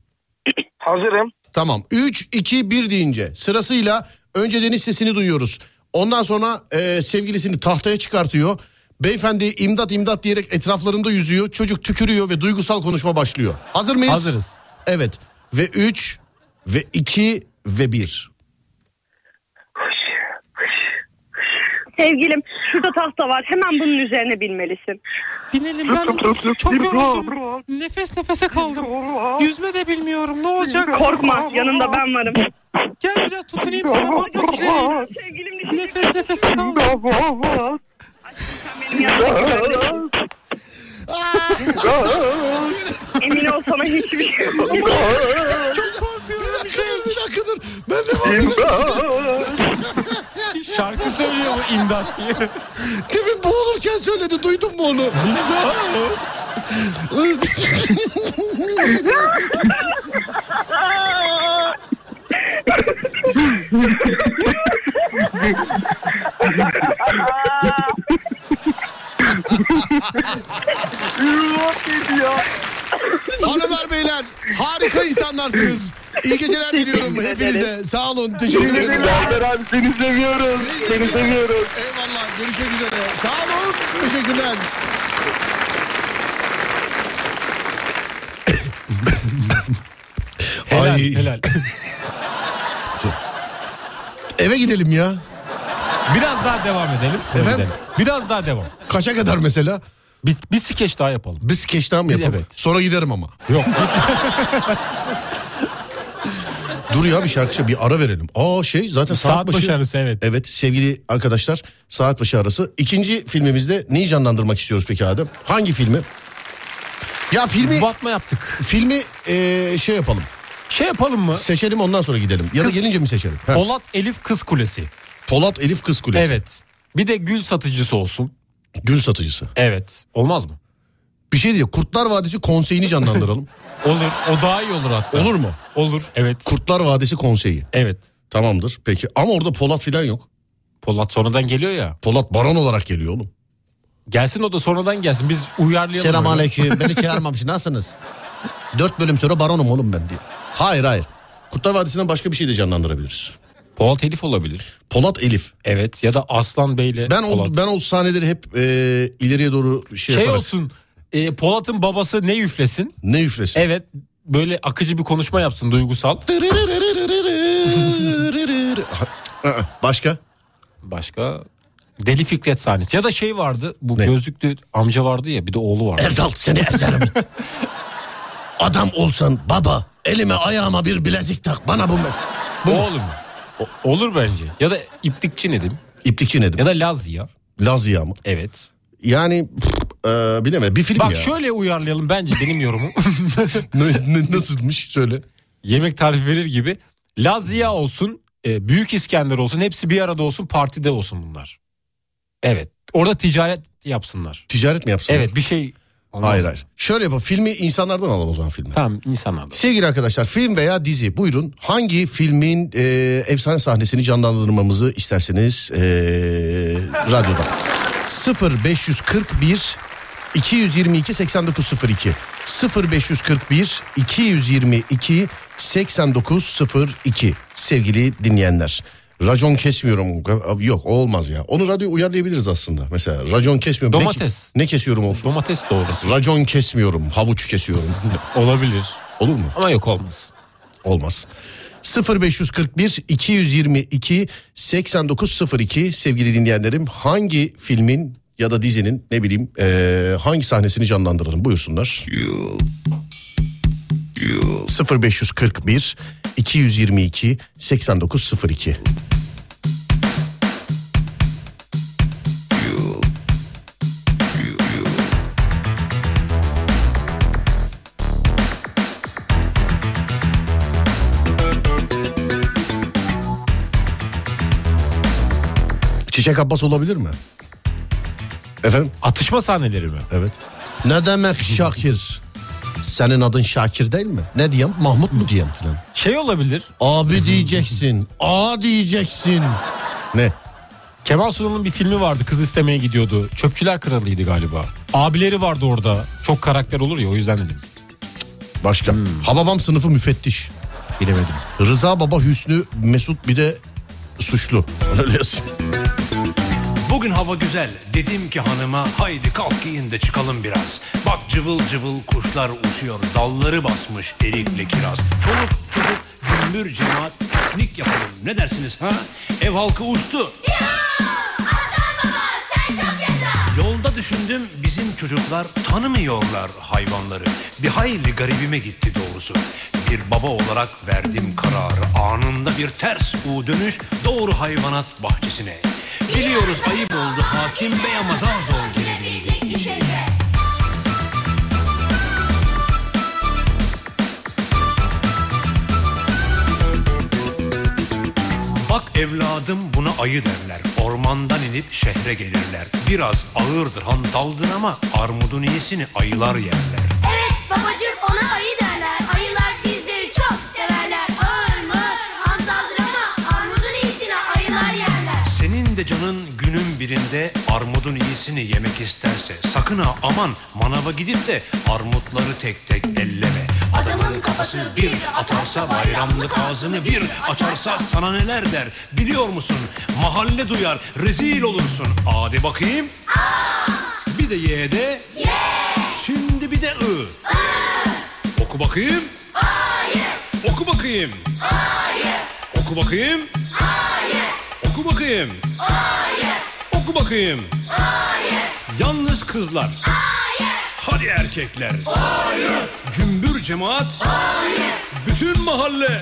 [SPEAKER 8] Hazırım.
[SPEAKER 2] Tamam. 3, 2, 1 deyince sırasıyla önce deniz sesini duyuyoruz. Ondan sonra e, sevgilisini tahtaya çıkartıyor. Beyefendi imdat imdat diyerek etraflarında yüzüyor. Çocuk tükürüyor ve duygusal konuşma başlıyor. Hazır mıyız?
[SPEAKER 3] Hazırız.
[SPEAKER 2] Evet. Ve 3 ve 2 ve 1.
[SPEAKER 9] Sevgilim şurada tahta var hemen bunun üzerine binmelisin.
[SPEAKER 5] Binelim ben çok yoruldum. Nefes nefese kaldım. Yüzme de bilmiyorum ne olacak.
[SPEAKER 9] Korkma yanında ben varım.
[SPEAKER 5] Gel biraz tutunayım sana bakmak üzereyim.
[SPEAKER 9] Sevgilim şey
[SPEAKER 5] Nefes nefese kaldım.
[SPEAKER 9] benim yanımda güvendesin. Emin ol sana hiçbir şey olmaz.
[SPEAKER 2] Bir
[SPEAKER 5] şey
[SPEAKER 2] dakika dur bir dakika dur. Ben de
[SPEAKER 3] Şarkı söylüyor bu imdat diye.
[SPEAKER 2] Demin boğulurken söyledi. Duydun mu onu? Hanımlar beyler harika insanlarsınız. İyi geceler diliyorum hepinize. Sağ olun. Teşekkür ederim.
[SPEAKER 7] abi seni seviyorum. Seni seviyorum.
[SPEAKER 2] Eyvallah. Görüşmek üzere. Sağ olun. Teşekkürler.
[SPEAKER 3] Helal
[SPEAKER 2] Ay.
[SPEAKER 3] helal.
[SPEAKER 2] Eve gidelim ya.
[SPEAKER 3] Biraz daha devam edelim. Devam
[SPEAKER 2] Efendim?
[SPEAKER 3] edelim. Biraz daha devam.
[SPEAKER 2] Kaça kadar mesela?
[SPEAKER 3] Bir, bir skeç daha yapalım.
[SPEAKER 2] Biz skeç daha mı yapalım?
[SPEAKER 3] Evet.
[SPEAKER 2] Sonra giderim ama.
[SPEAKER 3] Yok.
[SPEAKER 2] Dur ya bir şarkı şey- bir ara verelim. Aa şey zaten saat,
[SPEAKER 3] Saat başı arası, evet.
[SPEAKER 2] Evet sevgili arkadaşlar saat başı arası. İkinci filmimizde neyi canlandırmak istiyoruz peki Adem? Hangi filmi? Ya filmi
[SPEAKER 3] Batma yaptık.
[SPEAKER 2] filmi eee, şey yapalım.
[SPEAKER 3] Şey yapalım mı?
[SPEAKER 2] Seçelim ondan sonra gidelim. Ya da
[SPEAKER 3] Kız-
[SPEAKER 2] gelince mi seçelim? Ha.
[SPEAKER 3] Polat Elif Kız Kulesi.
[SPEAKER 2] Polat Elif Kız Kulesi.
[SPEAKER 3] Evet. Bir de gül satıcısı olsun.
[SPEAKER 2] Gül satıcısı.
[SPEAKER 3] Evet. Olmaz mı?
[SPEAKER 2] Bir şey diye Kurtlar Vadisi konseyini canlandıralım.
[SPEAKER 3] Olur. O daha iyi olur hatta.
[SPEAKER 2] Olur mu?
[SPEAKER 3] Olur. Evet.
[SPEAKER 2] Kurtlar Vadisi konseyi.
[SPEAKER 3] evet.
[SPEAKER 2] Tamamdır. Peki ama orada Polat filan yok.
[SPEAKER 3] Polat sonradan geliyor ya.
[SPEAKER 2] Polat Baran olarak geliyor oğlum.
[SPEAKER 3] Gelsin o da sonradan gelsin. Biz uyarlayalım.
[SPEAKER 2] Selam
[SPEAKER 3] onu.
[SPEAKER 2] aleyküm. Beni çağırmamış. Nasılsınız? Dört bölüm sonra baronum oğlum ben diye. Hayır hayır. Kurtlar Vadisi'nden başka bir şey de canlandırabiliriz.
[SPEAKER 3] Polat Elif olabilir.
[SPEAKER 2] Polat Elif.
[SPEAKER 3] Evet. Ya da Aslan Bey'le
[SPEAKER 2] Ben
[SPEAKER 3] E, Polat.
[SPEAKER 2] o, ben o sahneleri hep e, ileriye doğru
[SPEAKER 3] şey
[SPEAKER 2] şey, yaparak-
[SPEAKER 3] olsun. e, Polat'ın babası ne üflesin?
[SPEAKER 2] Ne üflesin?
[SPEAKER 3] Evet. Böyle akıcı bir konuşma yapsın duygusal.
[SPEAKER 2] Ha, Başka?
[SPEAKER 3] Başka Deli Fikret sahnesi. Ya da şey vardı. Bu
[SPEAKER 2] Ne?
[SPEAKER 3] gözlüklü amca vardı ya bir de oğlu vardı.
[SPEAKER 2] Erdal seni ezerim. Adam olsan baba elime ayağıma bir bilezik tak bana bu...
[SPEAKER 3] Oğlum. O- olur bence. Ya da iplikçi Nedim.
[SPEAKER 2] İplikçi nedir?
[SPEAKER 3] Ya da Lazya.
[SPEAKER 2] Lazia mı?
[SPEAKER 3] Evet.
[SPEAKER 2] Yani pff, e, bilemedim bir film
[SPEAKER 3] Bak
[SPEAKER 2] ya.
[SPEAKER 3] şöyle uyarlayalım bence benim yorumum.
[SPEAKER 2] Ne- ne- nasılmış şöyle?
[SPEAKER 3] Yemek tarifi verir gibi. Lazya olsun, e, Büyük İskender olsun, hepsi bir arada olsun, partide olsun bunlar. Evet. Orada ticaret yapsınlar.
[SPEAKER 2] Ticaret mi yapsın?
[SPEAKER 3] Evet bir şey.
[SPEAKER 2] Hayır hayır. Şöyle yapalım. Filmi insanlardan alalım o zaman filmi.
[SPEAKER 3] Tamam insanlar. da.
[SPEAKER 2] Sevgili arkadaşlar film veya dizi buyurun hangi filmin e, efsane sahnesini canlandırmamızı isterseniz e, radyoda. 0541 222 8902 0541 222 8902 sevgili dinleyenler. Racon kesmiyorum. Yok o olmaz ya. Onu radyo uyarlayabiliriz aslında. Mesela racon kesmiyorum. Ne ki-
[SPEAKER 3] Domates.
[SPEAKER 2] Ne, kesiyorum olsun?
[SPEAKER 3] Domates doğrusu.
[SPEAKER 2] Racon kesmiyorum. Havuç kesiyorum.
[SPEAKER 3] Olabilir.
[SPEAKER 2] Olur mu?
[SPEAKER 3] Ama yok olmaz.
[SPEAKER 2] Olmaz. 0541 222 8902 sevgili dinleyenlerim hangi filmin ya da dizinin ne bileyim eee, hangi sahnesini canlandıralım buyursunlar. 0541 222 8902 Çiçek Abbas olabilir mi? Efendim?
[SPEAKER 3] Atışma sahneleri mi?
[SPEAKER 2] Evet. Ne demek Şakir? Senin adın Şakir değil mi? Ne diyeyim? Mahmut mu diyeyim filan?
[SPEAKER 3] Şey olabilir.
[SPEAKER 2] Abi diyeceksin. A diyeceksin. Ne?
[SPEAKER 3] Kemal Sunal'ın bir filmi vardı. Kız istemeye gidiyordu. Çöpçüler Kralı'ydı galiba. Abileri vardı orada. Çok karakter olur ya o yüzden dedim. Hmm.
[SPEAKER 2] Başka. Hmm. Hababam sınıfı müfettiş.
[SPEAKER 3] Bilemedim.
[SPEAKER 2] Rıza Baba Hüsnü Mesut bir de suçlu. Öyle yazıyor.
[SPEAKER 13] Bugün hava güzel. Dedim ki hanıma haydi kalk giyin de çıkalım biraz. Bak cıvıl cıvıl kuşlar uçuyor. Dalları basmış erikle kiraz. Çoluk çocuk cümbür cemaat piknik yapalım. Ne dersiniz ha? Ev halkı uçtu. Yolda düşündüm bizim çocuklar tanımıyorlar hayvanları. Bir hayli garibime gitti doğrusu. Bir baba olarak verdim kararı. Anında bir ters U dönüş doğru hayvanat bahçesine. Biliyoruz ayıp oldu hakim bey ama zar zor gelebildi. Bak evladım buna ayı derler. Ormandan inip şehre gelirler. Biraz ağırdır hantaldır ama armudun iyisini ayılar yerler.
[SPEAKER 14] Evet babacığım ona ayı derler. Ayılar bizleri çok severler. Ağır mı? Hantaldır ama armudun iyisini ayılar yerler.
[SPEAKER 13] Senin de canın günün birinde armudun iyisini yemek isterse sakın ha aman manava gidip de armutları tek tek elleme. Adamın kafası bir atarsa bayramlık ağzını bir açarsa sana neler der biliyor musun? Mahalle duyar rezil olursun. Hadi bakayım. Bir de ye de. Şimdi bir de ı. Oku bakayım. Hayır. Oku bakayım. Hayır. Oku bakayım. Oku bakayım. Hayır. Oku bakayım. Hayır. Yalnız kızlar. Hayır. Hadi erkekler. Hayır. Cümbür cemaat. Hayır. Bütün mahalle.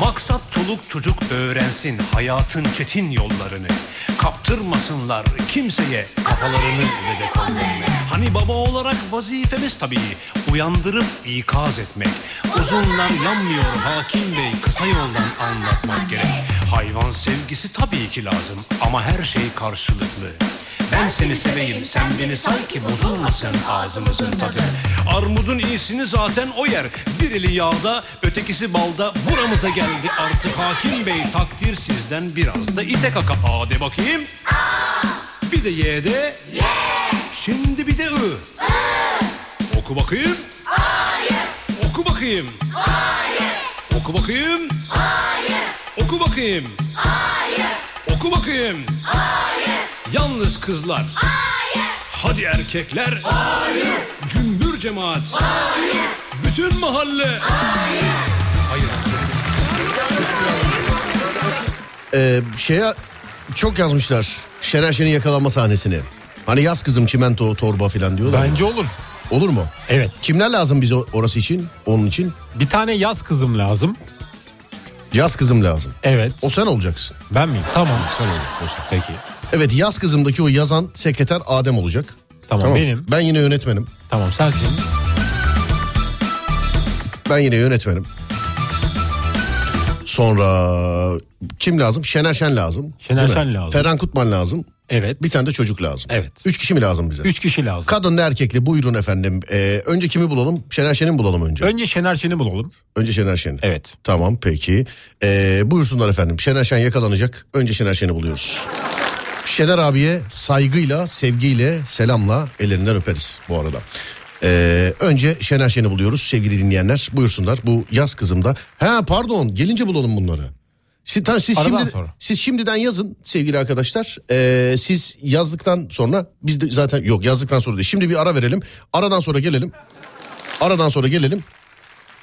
[SPEAKER 13] Maksat çoluk çocuk öğrensin hayatın çetin yollarını. Kaptırmasınlar kimseye kafalarını ve de kollarını. Hani baba olarak vazifemiz tabii uyandırıp ikaz etmek. Uzunlar yanmıyor hakim bey kısa yoldan anlatmak gerek. Hayvan sevgisi tabii ki lazım ama her şey karşılıklı. Ben seni seveyim sen beni sanki ki bozulmasın ağzımızın tadı. Armudun iyisini zaten o yer. Bir eli yağda, ötekisi balda. Buramıza geldi artık hakim bey. Takdir sizden biraz da ite kaka. A de bakayım. Bir de ye de. Şimdi bir de ı. Oku bakayım. Oku bakayım. Oku bakayım. Oku bakayım. Oku bakayım. Yalnız kızlar. Hadi erkekler. Cümbür cemaat. Bütün mahalle. Hayır.
[SPEAKER 2] Ee, şeye çok yazmışlar. Şener Şen'in yakalanma sahnesini. Hani yaz kızım çimento torba filan diyorlar.
[SPEAKER 3] Bence olur.
[SPEAKER 2] Olur mu?
[SPEAKER 3] Evet.
[SPEAKER 2] Kimler lazım bize orası için? Onun için?
[SPEAKER 3] Bir tane yaz kızım lazım.
[SPEAKER 2] Yaz kızım lazım.
[SPEAKER 3] Evet.
[SPEAKER 2] O sen olacaksın.
[SPEAKER 3] Ben miyim? Tamam.
[SPEAKER 2] Sen olacaksın.
[SPEAKER 3] Peki.
[SPEAKER 2] Evet yaz kızımdaki o yazan sekreter Adem olacak.
[SPEAKER 3] Tamam, benim.
[SPEAKER 2] Ben yine yönetmenim.
[SPEAKER 3] Tamam sensin.
[SPEAKER 2] Ben yine yönetmenim. Sonra kim lazım? Şener Şen lazım.
[SPEAKER 3] Şener
[SPEAKER 2] Değil mi?
[SPEAKER 3] Şen lazım.
[SPEAKER 2] Ferhan Kutman lazım.
[SPEAKER 3] Evet.
[SPEAKER 2] Bir tane de çocuk lazım.
[SPEAKER 3] Evet.
[SPEAKER 2] Üç kişi mi lazım bize?
[SPEAKER 3] Üç kişi lazım.
[SPEAKER 2] Kadın erkekli buyurun efendim. Ee, önce kimi bulalım? Şener Şen'i mi bulalım önce?
[SPEAKER 3] Önce Şener Şen'i bulalım.
[SPEAKER 2] Önce Şener Şen'i.
[SPEAKER 3] Evet.
[SPEAKER 2] Tamam peki. Ee, buyursunlar efendim. Şener Şen yakalanacak. Önce Şener Şen'i buluyoruz. Şener abiye saygıyla, sevgiyle, selamla ellerinden öperiz bu arada. Ee, önce Şener Şen'i buluyoruz sevgili dinleyenler. Buyursunlar bu yaz kızımda. Ha pardon gelince bulalım bunları. Siz, tamam, siz,
[SPEAKER 3] Aradan
[SPEAKER 2] şimdi,
[SPEAKER 3] sonra.
[SPEAKER 2] siz şimdiden yazın sevgili arkadaşlar. Ee, siz yazdıktan sonra biz de zaten yok yazdıktan sonra değil. Şimdi bir ara verelim. Aradan sonra gelelim. Aradan sonra gelelim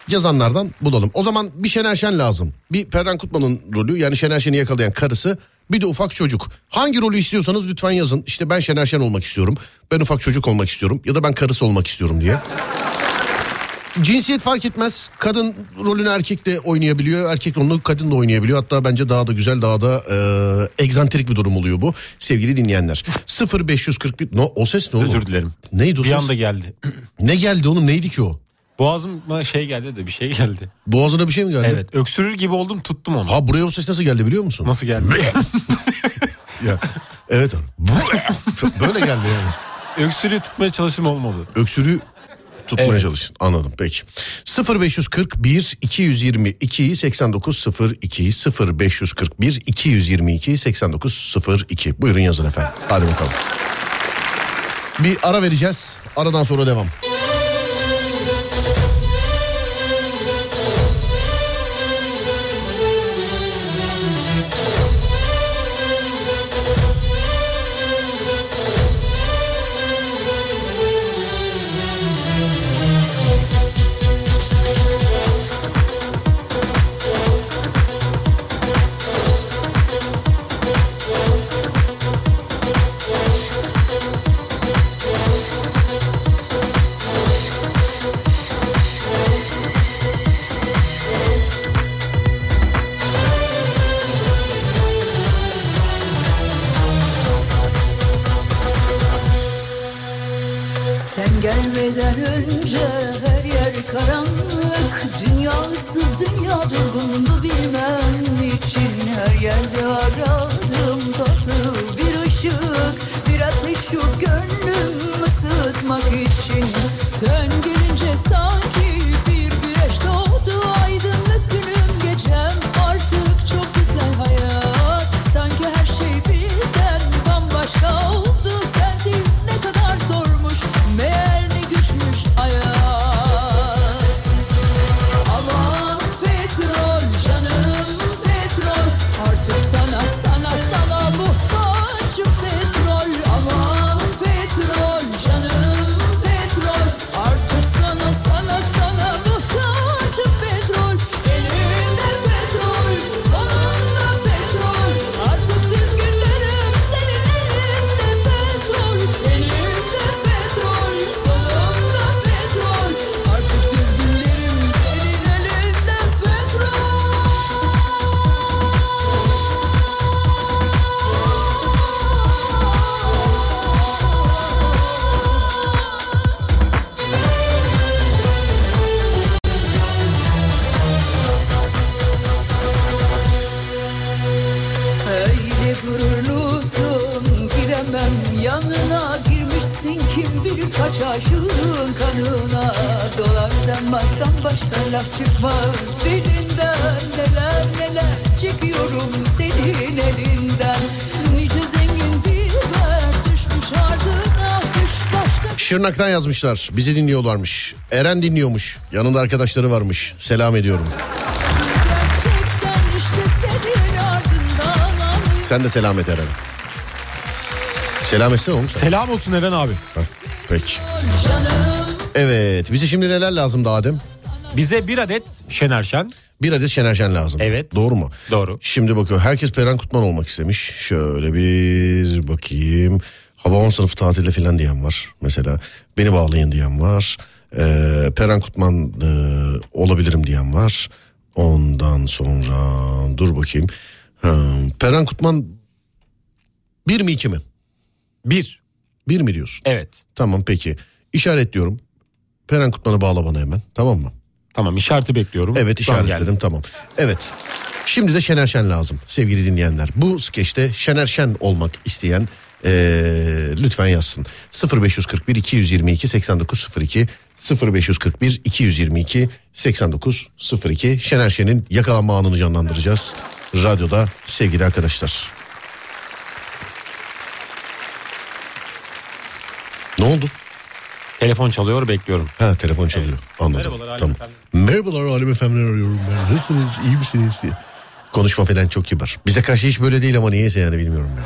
[SPEAKER 2] yazanlardan bulalım. O zaman bir Şener Şen lazım. Bir Perden Kutman'ın rolü yani Şener Şen'i yakalayan karısı bir de ufak çocuk. Hangi rolü istiyorsanız lütfen yazın. İşte ben Şener Şen olmak istiyorum. Ben ufak çocuk olmak istiyorum. Ya da ben karısı olmak istiyorum diye. Cinsiyet fark etmez. Kadın rolünü erkek de oynayabiliyor. Erkek rolünü kadın da oynayabiliyor. Hatta bence daha da güzel, daha da e, egzantrik bir durum oluyor bu. Sevgili dinleyenler. 0541... No, o ses ne oğlum?
[SPEAKER 3] Özür dilerim.
[SPEAKER 2] Neydi o
[SPEAKER 3] Bir
[SPEAKER 2] ses?
[SPEAKER 3] anda geldi.
[SPEAKER 2] Ne geldi oğlum? Neydi ki o?
[SPEAKER 3] Boğazıma şey geldi de bir şey geldi.
[SPEAKER 2] Boğazına bir şey mi geldi?
[SPEAKER 3] Evet öksürür gibi oldum tuttum onu.
[SPEAKER 2] Ha buraya o ses nasıl geldi biliyor musun?
[SPEAKER 3] Nasıl geldi?
[SPEAKER 2] Ya, evet abi. Böyle geldi yani.
[SPEAKER 3] Öksürüğü tutmaya çalışım olmadı.
[SPEAKER 2] Öksürüğü tutmaya
[SPEAKER 3] Evet.
[SPEAKER 2] çalışın. Anladım peki. 0541 222 8902 0541 222 8902 buyurun yazın efendim. Hadi bakalım. Bir ara vereceğiz. Aradan sonra devam.
[SPEAKER 1] Sen gelmeden önce her yer karanlık Dünyasız dünya durgundu bilmem niçin Her yerde aradım tatlı bir ışık Bir ateş şu gönlüm ısıtmak için Sen gelince sanki bir güneş doğdu Aydınlık günüm gecem artık çok güzel hayat Sanki her şey birden bambaşka oldu Sensiz ne kadar zormuş Meğer ne güçmüş hayat Aman petrol canım petrol Artık sana sana sana muhtaçım petrol Aman petrol canım petrol Artık sana sana sana muhtaçım petrol Elinde petrol sonunda petrol Artık düzgünlerim senin elinde petrol Elinde petrol sonunda petrol Artık düzgünlerim senin elinde petrol Öyle gururlusun giremem yanına Girmişsin kim bilir kaç aşığın kanına Dolardan marktan başka laf çıkmaz Dilinden neler neler çekiyorum senin elinden Nice zengin dilber düşmüş ardına Düş başka
[SPEAKER 2] Şırnak'tan yazmışlar. Bizi dinliyorlarmış. Eren dinliyormuş. Yanında arkadaşları varmış. Selam ediyorum.
[SPEAKER 1] işte senin ardından alın
[SPEAKER 2] Sen de selam et Eren. Selam etsene oğlum sen.
[SPEAKER 3] Selam olsun Eren abi.
[SPEAKER 2] Peki. Evet bize şimdi neler lazım da Adem?
[SPEAKER 3] Bize bir adet Şener Şen.
[SPEAKER 2] Bir adet Şener Şen lazım.
[SPEAKER 3] Evet.
[SPEAKER 2] Doğru mu?
[SPEAKER 3] Doğru.
[SPEAKER 2] Şimdi bakıyor herkes Peren Kutman olmak istemiş. Şöyle bir bakayım. Hava 10 sınıfı tatilde falan diyen var mesela. Beni bağlayın diyen var. Ee, Peren Kutman e, olabilirim diyen var. Ondan sonra dur bakayım. Ha, Peren Kutman bir mi iki mi?
[SPEAKER 3] Bir.
[SPEAKER 2] Bir mi diyorsun?
[SPEAKER 3] Evet.
[SPEAKER 2] Tamam peki. İşaretliyorum. Peren Kutman'ı bağla bana hemen. Tamam mı?
[SPEAKER 3] Tamam işareti bekliyorum.
[SPEAKER 2] Evet
[SPEAKER 3] Şu an
[SPEAKER 2] işaretledim
[SPEAKER 3] geldi.
[SPEAKER 2] tamam. Evet. Şimdi de Şener Şen lazım sevgili dinleyenler. Bu skeçte Şener Şen olmak isteyen Ee, lütfen yazsın. 0541 222 8902 0541 222 8902 Şener Şen'in yakalanma anını canlandıracağız. Radyoda sevgili arkadaşlar. Ne oldu?
[SPEAKER 3] Telefon çalıyor bekliyorum.
[SPEAKER 2] Ha telefon çalıyor. Anladım.
[SPEAKER 3] Merhabalar, Halim
[SPEAKER 2] tamam. Merhabalar Halim Efendi'ni arıyorum ben. Nasılsınız? iyi misiniz? diye. Konuşma falan çok kibar. Bize karşı hiç böyle değil ama niyeyse yani bilmiyorum ya.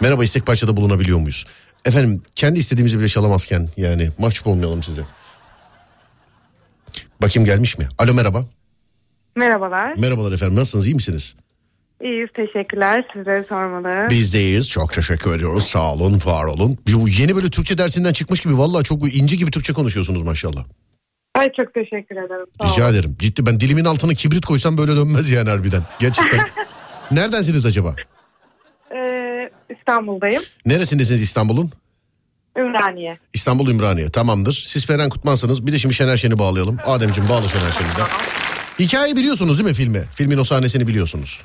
[SPEAKER 2] Merhaba istek parçada bulunabiliyor muyuz? Efendim kendi istediğimizi bile çalamazken yani mahcup olmayalım size. Bakayım gelmiş mi? Alo merhaba.
[SPEAKER 10] Merhabalar.
[SPEAKER 2] Merhabalar efendim nasılsınız iyi misiniz?
[SPEAKER 10] İyiyiz teşekkler sizlere sormalı.
[SPEAKER 2] Bizdeyiz çok teşekkür ediyoruz sağ olun var olun. Bu yeni böyle Türkçe dersinden çıkmış gibi vallahi çok inci gibi Türkçe konuşuyorsunuz maşallah.
[SPEAKER 10] Ay çok teşekkür ederim. Sağ
[SPEAKER 2] Rica ederim. Ciddi ben dilimin altına kibrit koysam böyle dönmez yani harbiden. Gerçekten. Neredensiniz acaba?
[SPEAKER 10] olun. Ee, İstanbul'dayım.
[SPEAKER 2] Neresindesiniz İstanbul'un?
[SPEAKER 10] Ümraniye.
[SPEAKER 2] İstanbul Ümraniye tamamdır. Siz Ferhan Kutman'sınız. Bir de şimdi Şener Şen'i bağlayalım. Ademciğim bağla Şener Şen'i de. Hikayeyi biliyorsunuz değil mi filmi? Filmin o sahnesini biliyorsunuz.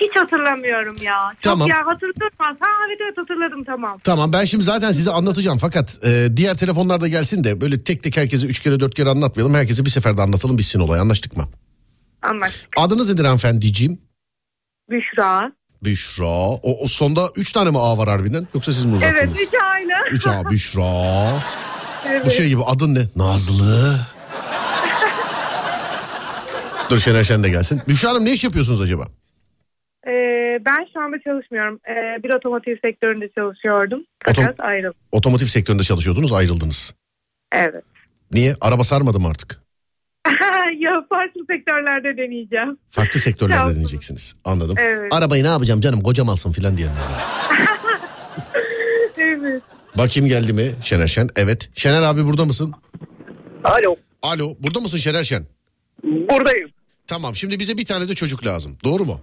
[SPEAKER 10] Hiç hatırlamıyorum ya. Çok
[SPEAKER 2] Tamam.
[SPEAKER 10] ya hatırlatmaz. Ha evet evet hatırladım tamam.
[SPEAKER 2] Tamam ben şimdi zaten size anlatacağım fakat e, diğer telefonlar da gelsin de böyle tek tek herkese üç kere dört kere anlatmayalım. Herkese bir seferde anlatalım bitsin olay anlaştık mı?
[SPEAKER 10] Anlaştık.
[SPEAKER 2] Adınız nedir hanımefendiciğim?
[SPEAKER 10] Büşra.
[SPEAKER 2] Büşra. O, o sonda üç tane mi A var harbiden yoksa siz mi uzattınız?
[SPEAKER 10] Evet üç aynı.
[SPEAKER 2] Üç A Büşra.
[SPEAKER 10] Evet.
[SPEAKER 2] Bu şey gibi adın ne? Nazlı. Dur Şener Şen de gelsin. Büşra Hanım ne iş yapıyorsunuz acaba?
[SPEAKER 10] Ee, ben şu anda çalışmıyorum. Ee, bir otomotiv sektöründe çalışıyordum. Fakat ayrıldım.
[SPEAKER 2] Otomotiv sektöründe çalışıyordunuz ayrıldınız.
[SPEAKER 10] Evet.
[SPEAKER 2] Niye? Araba sarmadı mı artık?
[SPEAKER 10] ya farklı sektörlerde deneyeceğim.
[SPEAKER 2] Farklı
[SPEAKER 10] Tamam.
[SPEAKER 2] sektörlerde deneyeceksiniz. Anladım.
[SPEAKER 10] Evet.
[SPEAKER 2] Arabayı ne yapacağım canım kocam alsın filan diyenler.
[SPEAKER 10] evet.
[SPEAKER 2] Bakayım geldi mi Şener Şen? Evet. Şener abi burada mısın?
[SPEAKER 15] Alo.
[SPEAKER 2] Alo burada mısın Şener Şen?
[SPEAKER 15] Buradayım.
[SPEAKER 2] Tamam şimdi bize bir tane de çocuk lazım. Doğru mu?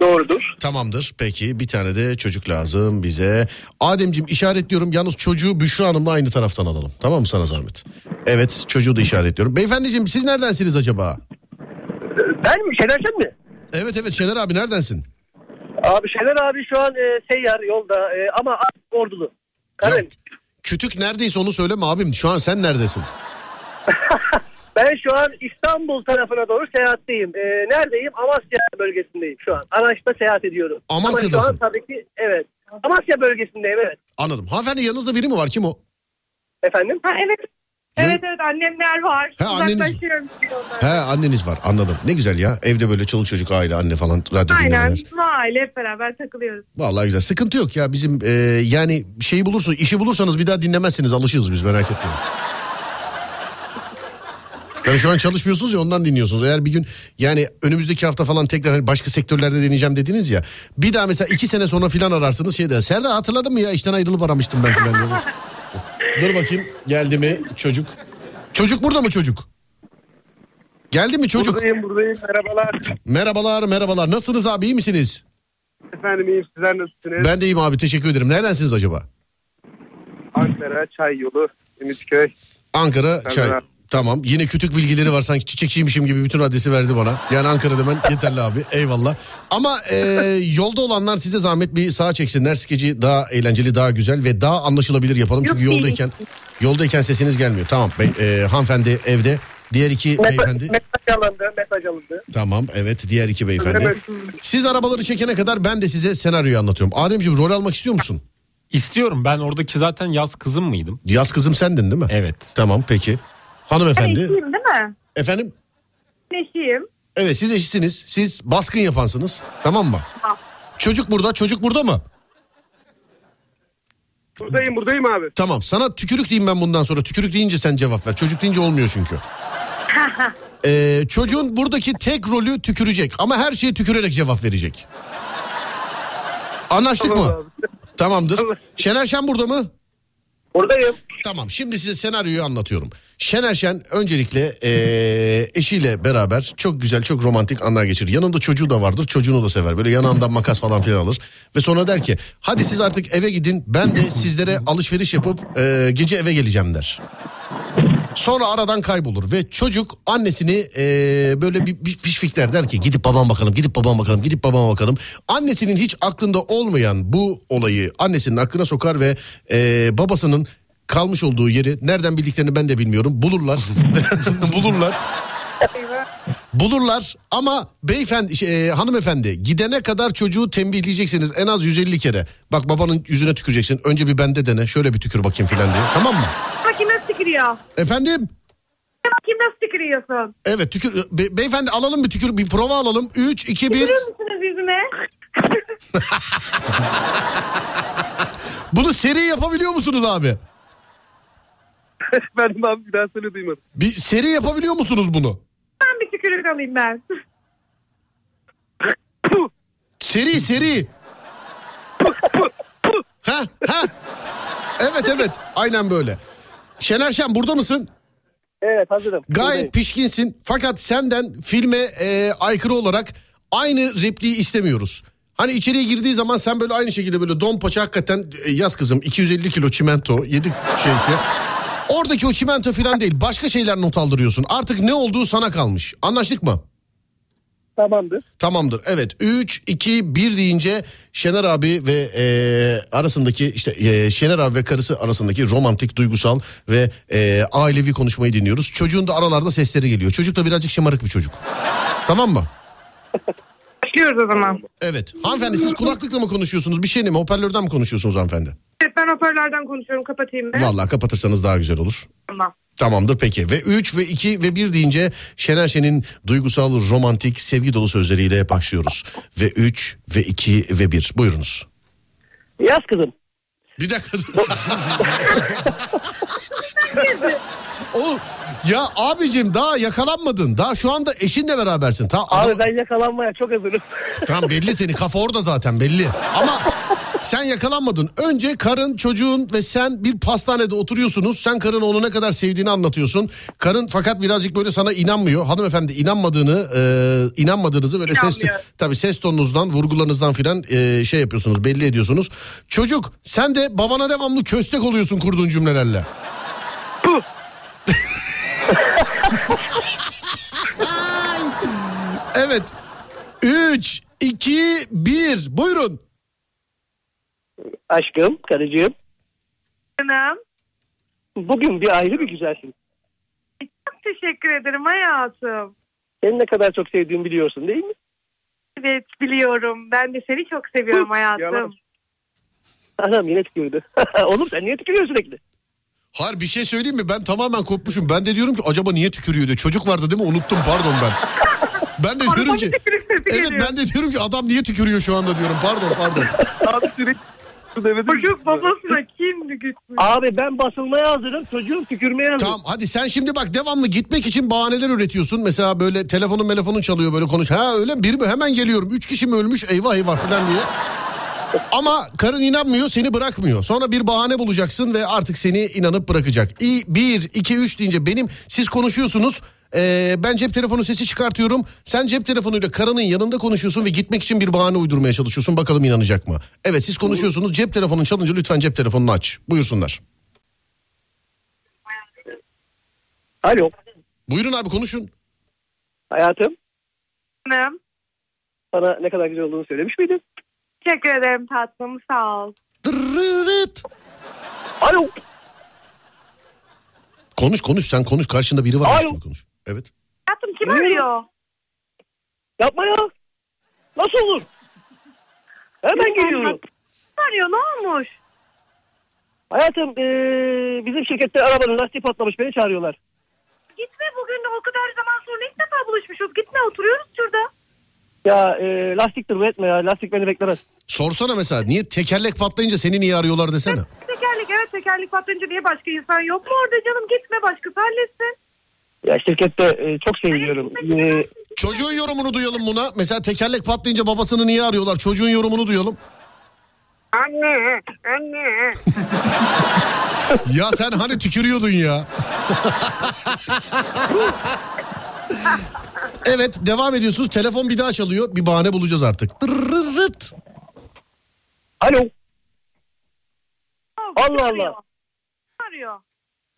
[SPEAKER 15] Doğrudur.
[SPEAKER 2] Tamamdır. Peki bir tane de çocuk lazım bize. Ademcim işaretliyorum. Yalnız çocuğu Büşra Hanım'la aynı taraftan alalım. Tamam mı sana zahmet? Evet çocuğu da işaretliyorum. Beyefendiciğim siz neredensiniz acaba?
[SPEAKER 15] Ben mi? Şener Şen mi?
[SPEAKER 2] Evet evet Şener abi neredensin?
[SPEAKER 15] Abi Şener abi şu an e, seyyar yolda e, ama artık ordulu.
[SPEAKER 2] Ya, kütük neredeyse onu söyleme abim. Şu an sen neredesin?
[SPEAKER 15] Ben şu an İstanbul tarafına doğru seyahatteyim. E, neredeyim? Amasya bölgesindeyim şu an. Araçta seyahat ediyorum. Ama şu
[SPEAKER 2] Amasya'dasın.
[SPEAKER 15] an tabii ki evet. Amasya bölgesindeyim evet.
[SPEAKER 2] Anladım. Hanımefendi yanınızda biri mi var? Kim o?
[SPEAKER 15] Efendim?
[SPEAKER 10] Ha, evet. Evet evet annemler var.
[SPEAKER 2] Ha, anneniz-
[SPEAKER 10] Uzaklaşıyorum şimdi onlardan.
[SPEAKER 2] He anneniz var. Anladım. Ne güzel ya. Evde böyle çoluk çocuk aile anne falan radyo
[SPEAKER 10] Aynen.
[SPEAKER 2] dinlemeler.
[SPEAKER 10] Aile hep beraber takılıyoruz.
[SPEAKER 2] Vallahi güzel. Sıkıntı yok ya bizim e, yani şeyi bulursun işi bulursanız bir daha dinlemezsiniz alışırız biz merak etmeyin. Yani şu an çalışmıyorsunuz ya ondan dinliyorsunuz. Eğer bir gün yani önümüzdeki hafta falan tekrar hani başka sektörlerde deneyeceğim dediniz ya. Bir daha mesela iki sene sonra filan ararsınız şey der. Serdar hatırladın mı ya işten ayrılıp aramıştım ben filan. diye. Dur bakayım geldi mi çocuk? Çocuk burada mı çocuk? Geldi mi çocuk?
[SPEAKER 16] Buradayım buradayım merhabalar.
[SPEAKER 2] Merhabalar merhabalar. Nasılsınız abi iyi misiniz?
[SPEAKER 16] Efendim iyiyim sizler nasılsınız?
[SPEAKER 2] Ben de iyiyim abi teşekkür ederim. Neredensiniz acaba?
[SPEAKER 16] Ankara Çay Yolu Ümitköy.
[SPEAKER 2] Ankara
[SPEAKER 16] Serdar
[SPEAKER 2] Çay.
[SPEAKER 16] abi.
[SPEAKER 2] Tamam yine kütük bilgileri var sanki çiçekçiymişim gibi bütün adresi verdi bana. Yani Ankara demen yeterli abi eyvallah. Ama e, yolda olanlar size zahmet bir sağa çeksinler. Skeci daha eğlenceli daha güzel ve daha anlaşılabilir yapalım. Çünkü yoldayken yoldayken sesiniz gelmiyor. Tamam be, e, hanımefendi evde. Diğer iki
[SPEAKER 15] Mesaj,
[SPEAKER 2] beyefendi.
[SPEAKER 15] mesaj alındı. Mesaj alındı.
[SPEAKER 2] Tamam evet diğer iki beyefendi.
[SPEAKER 15] Evet.
[SPEAKER 2] Siz arabaları çekene kadar ben de size senaryoyu anlatıyorum. Ademciğim rol almak istiyor musun?
[SPEAKER 3] İstiyorum ben oradaki zaten yaz kızım mıydım?
[SPEAKER 2] Yaz kızım sendin değil mi?
[SPEAKER 3] Evet.
[SPEAKER 2] Tamam peki.
[SPEAKER 10] Ben
[SPEAKER 2] Hanımefendi.
[SPEAKER 10] eşiyim değil mi?
[SPEAKER 2] Efendim?
[SPEAKER 10] Ben eşiyim.
[SPEAKER 2] Evet siz eşitsiniz. Siz baskın yapansınız. Tamam mı? Çocuk burada, çocuk burada mı?
[SPEAKER 16] Buradayım buradayım abi.
[SPEAKER 2] Tamam. Sana tükürük diyeyim ben bundan sonra. Tükürük deyince sen cevap ver. Çocuk deyince olmuyor çünkü. Ee, çocuğun buradaki tek rolü tükürecek ama her şeye tükürerek cevap verecek. Anlaştık mı? Tamamdır. Şener Şen burada mı?
[SPEAKER 15] Buradayım.
[SPEAKER 2] Tamam şimdi size senaryoyu anlatıyorum. Şener Şen öncelikle eee, eşiyle beraber çok güzel çok romantik anlar geçirir. Yanında çocuğu da vardır çocuğunu da sever. Böyle yanağından makas falan filan alır. Ve sonra der ki hadi siz ee, artık eve gidin ben de sizlere alışveriş yapıp eee, gece eve geleceğim der. Sonra aradan kaybolur ve çocuk annesini eee, böyle bir, bir pişfikler der ki gidip babam bakalım gidip babam bakalım gidip babam bakalım. Annesinin hiç aklında olmayan bu olayı annesinin aklına sokar ve eee, babasının kalmış olduğu yeri nereden bildiklerini ben de bilmiyorum bulurlar bulurlar Bulurlar ama beyefendi şey, e, hanımefendi gidene kadar çocuğu tembihleyeceksiniz en az 150 kere. Bak babanın yüzüne tüküreceksin. Önce bir bende dene. Şöyle bir tükür bakayım filan diye. Tamam mı?
[SPEAKER 10] Bakayım nasıl tükürüyor.
[SPEAKER 2] Efendim?
[SPEAKER 10] Bakayım nasıl tükürüyorsun.
[SPEAKER 2] Evet tükür. Be- beyefendi alalım bir tükür. Bir prova alalım. 3 2 1.
[SPEAKER 10] Tükürür müsünüz yüzüme?
[SPEAKER 2] Bunu seri yapabiliyor musunuz abi?
[SPEAKER 16] ben abi bir daha seni duymadım.
[SPEAKER 2] Bir seri yapabiliyor musunuz bunu?
[SPEAKER 10] Ben bir tükürük alayım ben.
[SPEAKER 2] Seri seri. ha ha. Evet evet. Aynen böyle. Şener Şen burada mısın?
[SPEAKER 15] Evet hazırım.
[SPEAKER 2] Gayet pişkinsin fakat senden filme e, aykırı olarak aynı repliği istemiyoruz. Hani içeriye girdiği zaman sen böyle aynı şekilde böyle don paça hakikaten e, yaz kızım 250 kilo çimento 7 şey ki. Oradaki o çimento falan değil başka şeyler not aldırıyorsun. Artık ne olduğu sana kalmış anlaştık mı?
[SPEAKER 15] Tamamdır.
[SPEAKER 2] Tamamdır evet 3 2 1 deyince Şener abi ve e, arasındaki işte e, Şener abi ve karısı arasındaki romantik duygusal ve e, ailevi konuşmayı dinliyoruz. Çocuğun da aralarda sesleri geliyor. Çocuk da birazcık şımarık bir çocuk. tamam mı?
[SPEAKER 10] Başlıyoruz o zaman.
[SPEAKER 2] Evet. Hanımefendi siz kulaklıkla mı konuşuyorsunuz? Bir şeyle mi? Hoparlörden mi konuşuyorsunuz hanımefendi?
[SPEAKER 10] Evet ben hoparlardan konuşuyorum kapatayım ben.
[SPEAKER 2] Vallahi kapatırsanız daha güzel olur.
[SPEAKER 10] Tamam.
[SPEAKER 2] Tamamdır peki. Ve 3 ve 2 ve 1 deyince Şener Şen'in duygusal, romantik, sevgi dolu sözleriyle başlıyoruz. Ve 3 ve 2 ve 1. Buyurunuz.
[SPEAKER 15] Yaz kızım.
[SPEAKER 2] Bir dakika. Oğlum ya abicim daha yakalanmadın. Daha şu anda eşinle berabersin. Tamam,
[SPEAKER 15] Abi ben yakalanmaya çok hazırım.
[SPEAKER 2] Tamam belli seni kafa orada zaten belli. Ama sen yakalanmadın. Önce karın çocuğun ve sen bir pastanede oturuyorsunuz. Sen karın onu ne kadar sevdiğini anlatıyorsun. Karın fakat birazcık böyle sana inanmıyor. Hanımefendi inanmadığını e, inanmadığınızı böyle ses
[SPEAKER 10] İnanmıyor.
[SPEAKER 2] tabii ses tonunuzdan vurgularınızdan filan e, şey yapıyorsunuz belli ediyorsunuz. Çocuk sen de babana devamlı köstek oluyorsun kurduğun cümlelerle. Evet. 3, 2, 1. Buyurun.
[SPEAKER 15] Aşkım, karıcığım.
[SPEAKER 10] Canım.
[SPEAKER 15] Bugün bir ayrı bir güzelsin.
[SPEAKER 10] Çok teşekkür ederim hayatım.
[SPEAKER 15] Seni ne kadar çok sevdiğimi biliyorsun değil mi?
[SPEAKER 10] Evet biliyorum. Ben de seni çok seviyorum hayatım.
[SPEAKER 15] Anam yine tükürdü. Oğlum sen niye tükürüyorsun sürekli?
[SPEAKER 2] Har bir şey söyleyeyim mi? Ben tamamen kopmuşum. Ben de diyorum ki acaba niye tükürüyor diye. Çocuk vardı değil mi? Unuttum pardon ben. Ben de diyorum ki Evet ben de diyorum ki adam niye tükürüyor şu anda diyorum. Pardon pardon.
[SPEAKER 16] Abi sürekli
[SPEAKER 10] Çocuk babasına kim güçlü?
[SPEAKER 15] Abi ben basılmaya hazırım. Çocuğum tükürmeye hazır.
[SPEAKER 2] Tamam hadi sen şimdi bak devamlı gitmek için bahaneler üretiyorsun. Mesela böyle telefonun telefonun çalıyor böyle konuş. Ha öyle mi? Biri mi? Hemen geliyorum. Üç kişi mi ölmüş? Eyvah eyvah falan diye. Ama karın inanmıyor seni bırakmıyor. Sonra bir bahane bulacaksın ve artık seni inanıp bırakacak. İ, bir, iki, üç deyince benim siz konuşuyorsunuz. Ee, ben cep telefonu sesi çıkartıyorum. Sen cep telefonuyla karının yanında konuşuyorsun ve gitmek için bir bahane uydurmaya çalışıyorsun. Bakalım inanacak mı? Evet siz konuşuyorsunuz. Cep telefonun çalınca lütfen cep telefonunu aç. Buyursunlar.
[SPEAKER 15] Alo.
[SPEAKER 2] Buyurun abi konuşun.
[SPEAKER 15] Hayatım
[SPEAKER 10] Canım.
[SPEAKER 15] bana ne kadar güzel olduğunu söylemiş miydin?
[SPEAKER 10] Teşekkür ederim tatlım sağ ol.
[SPEAKER 15] Alo.
[SPEAKER 2] Konuş konuş sen konuş karşında biri var. Alo. Konuş. Evet.
[SPEAKER 10] Hayatım kim arıyor?
[SPEAKER 15] Yapma ya. Nasıl olur? Hemen geliyorum.
[SPEAKER 10] Kim arıyor ne olmuş?
[SPEAKER 15] Hayatım ee, bizim şirkette arabanın lastiği patlamış beni çağırıyorlar.
[SPEAKER 10] Gitme bugün o kadar zaman sonra ilk defa buluşmuşuz. Gitme oturuyoruz şurada.
[SPEAKER 15] Ya ee, lastik dur etme ya lastik beni beklemez.
[SPEAKER 2] Sorsana mesela niye tekerlek patlayınca seni niye arıyorlar desene.
[SPEAKER 10] Tekerlek evet tekerlek patlayınca niye başka insan yok mu orada canım? Gitme başkası halletsin.
[SPEAKER 15] Ya şirkette ee, çok seviliyorum. Ee,
[SPEAKER 2] Çocuğun yorumunu duyalım buna. Mesela tekerlek patlayınca babasını niye arıyorlar? Çocuğun yorumunu duyalım.
[SPEAKER 7] Anne, anne.
[SPEAKER 2] ya sen hani tükürüyordun ya. evet devam ediyorsunuz. Telefon bir daha çalıyor. Bir bahane bulacağız artık. Dırırırt.
[SPEAKER 15] Alo.
[SPEAKER 10] Kim
[SPEAKER 15] Allah
[SPEAKER 10] arıyor?
[SPEAKER 15] Allah.
[SPEAKER 10] Kim arıyor?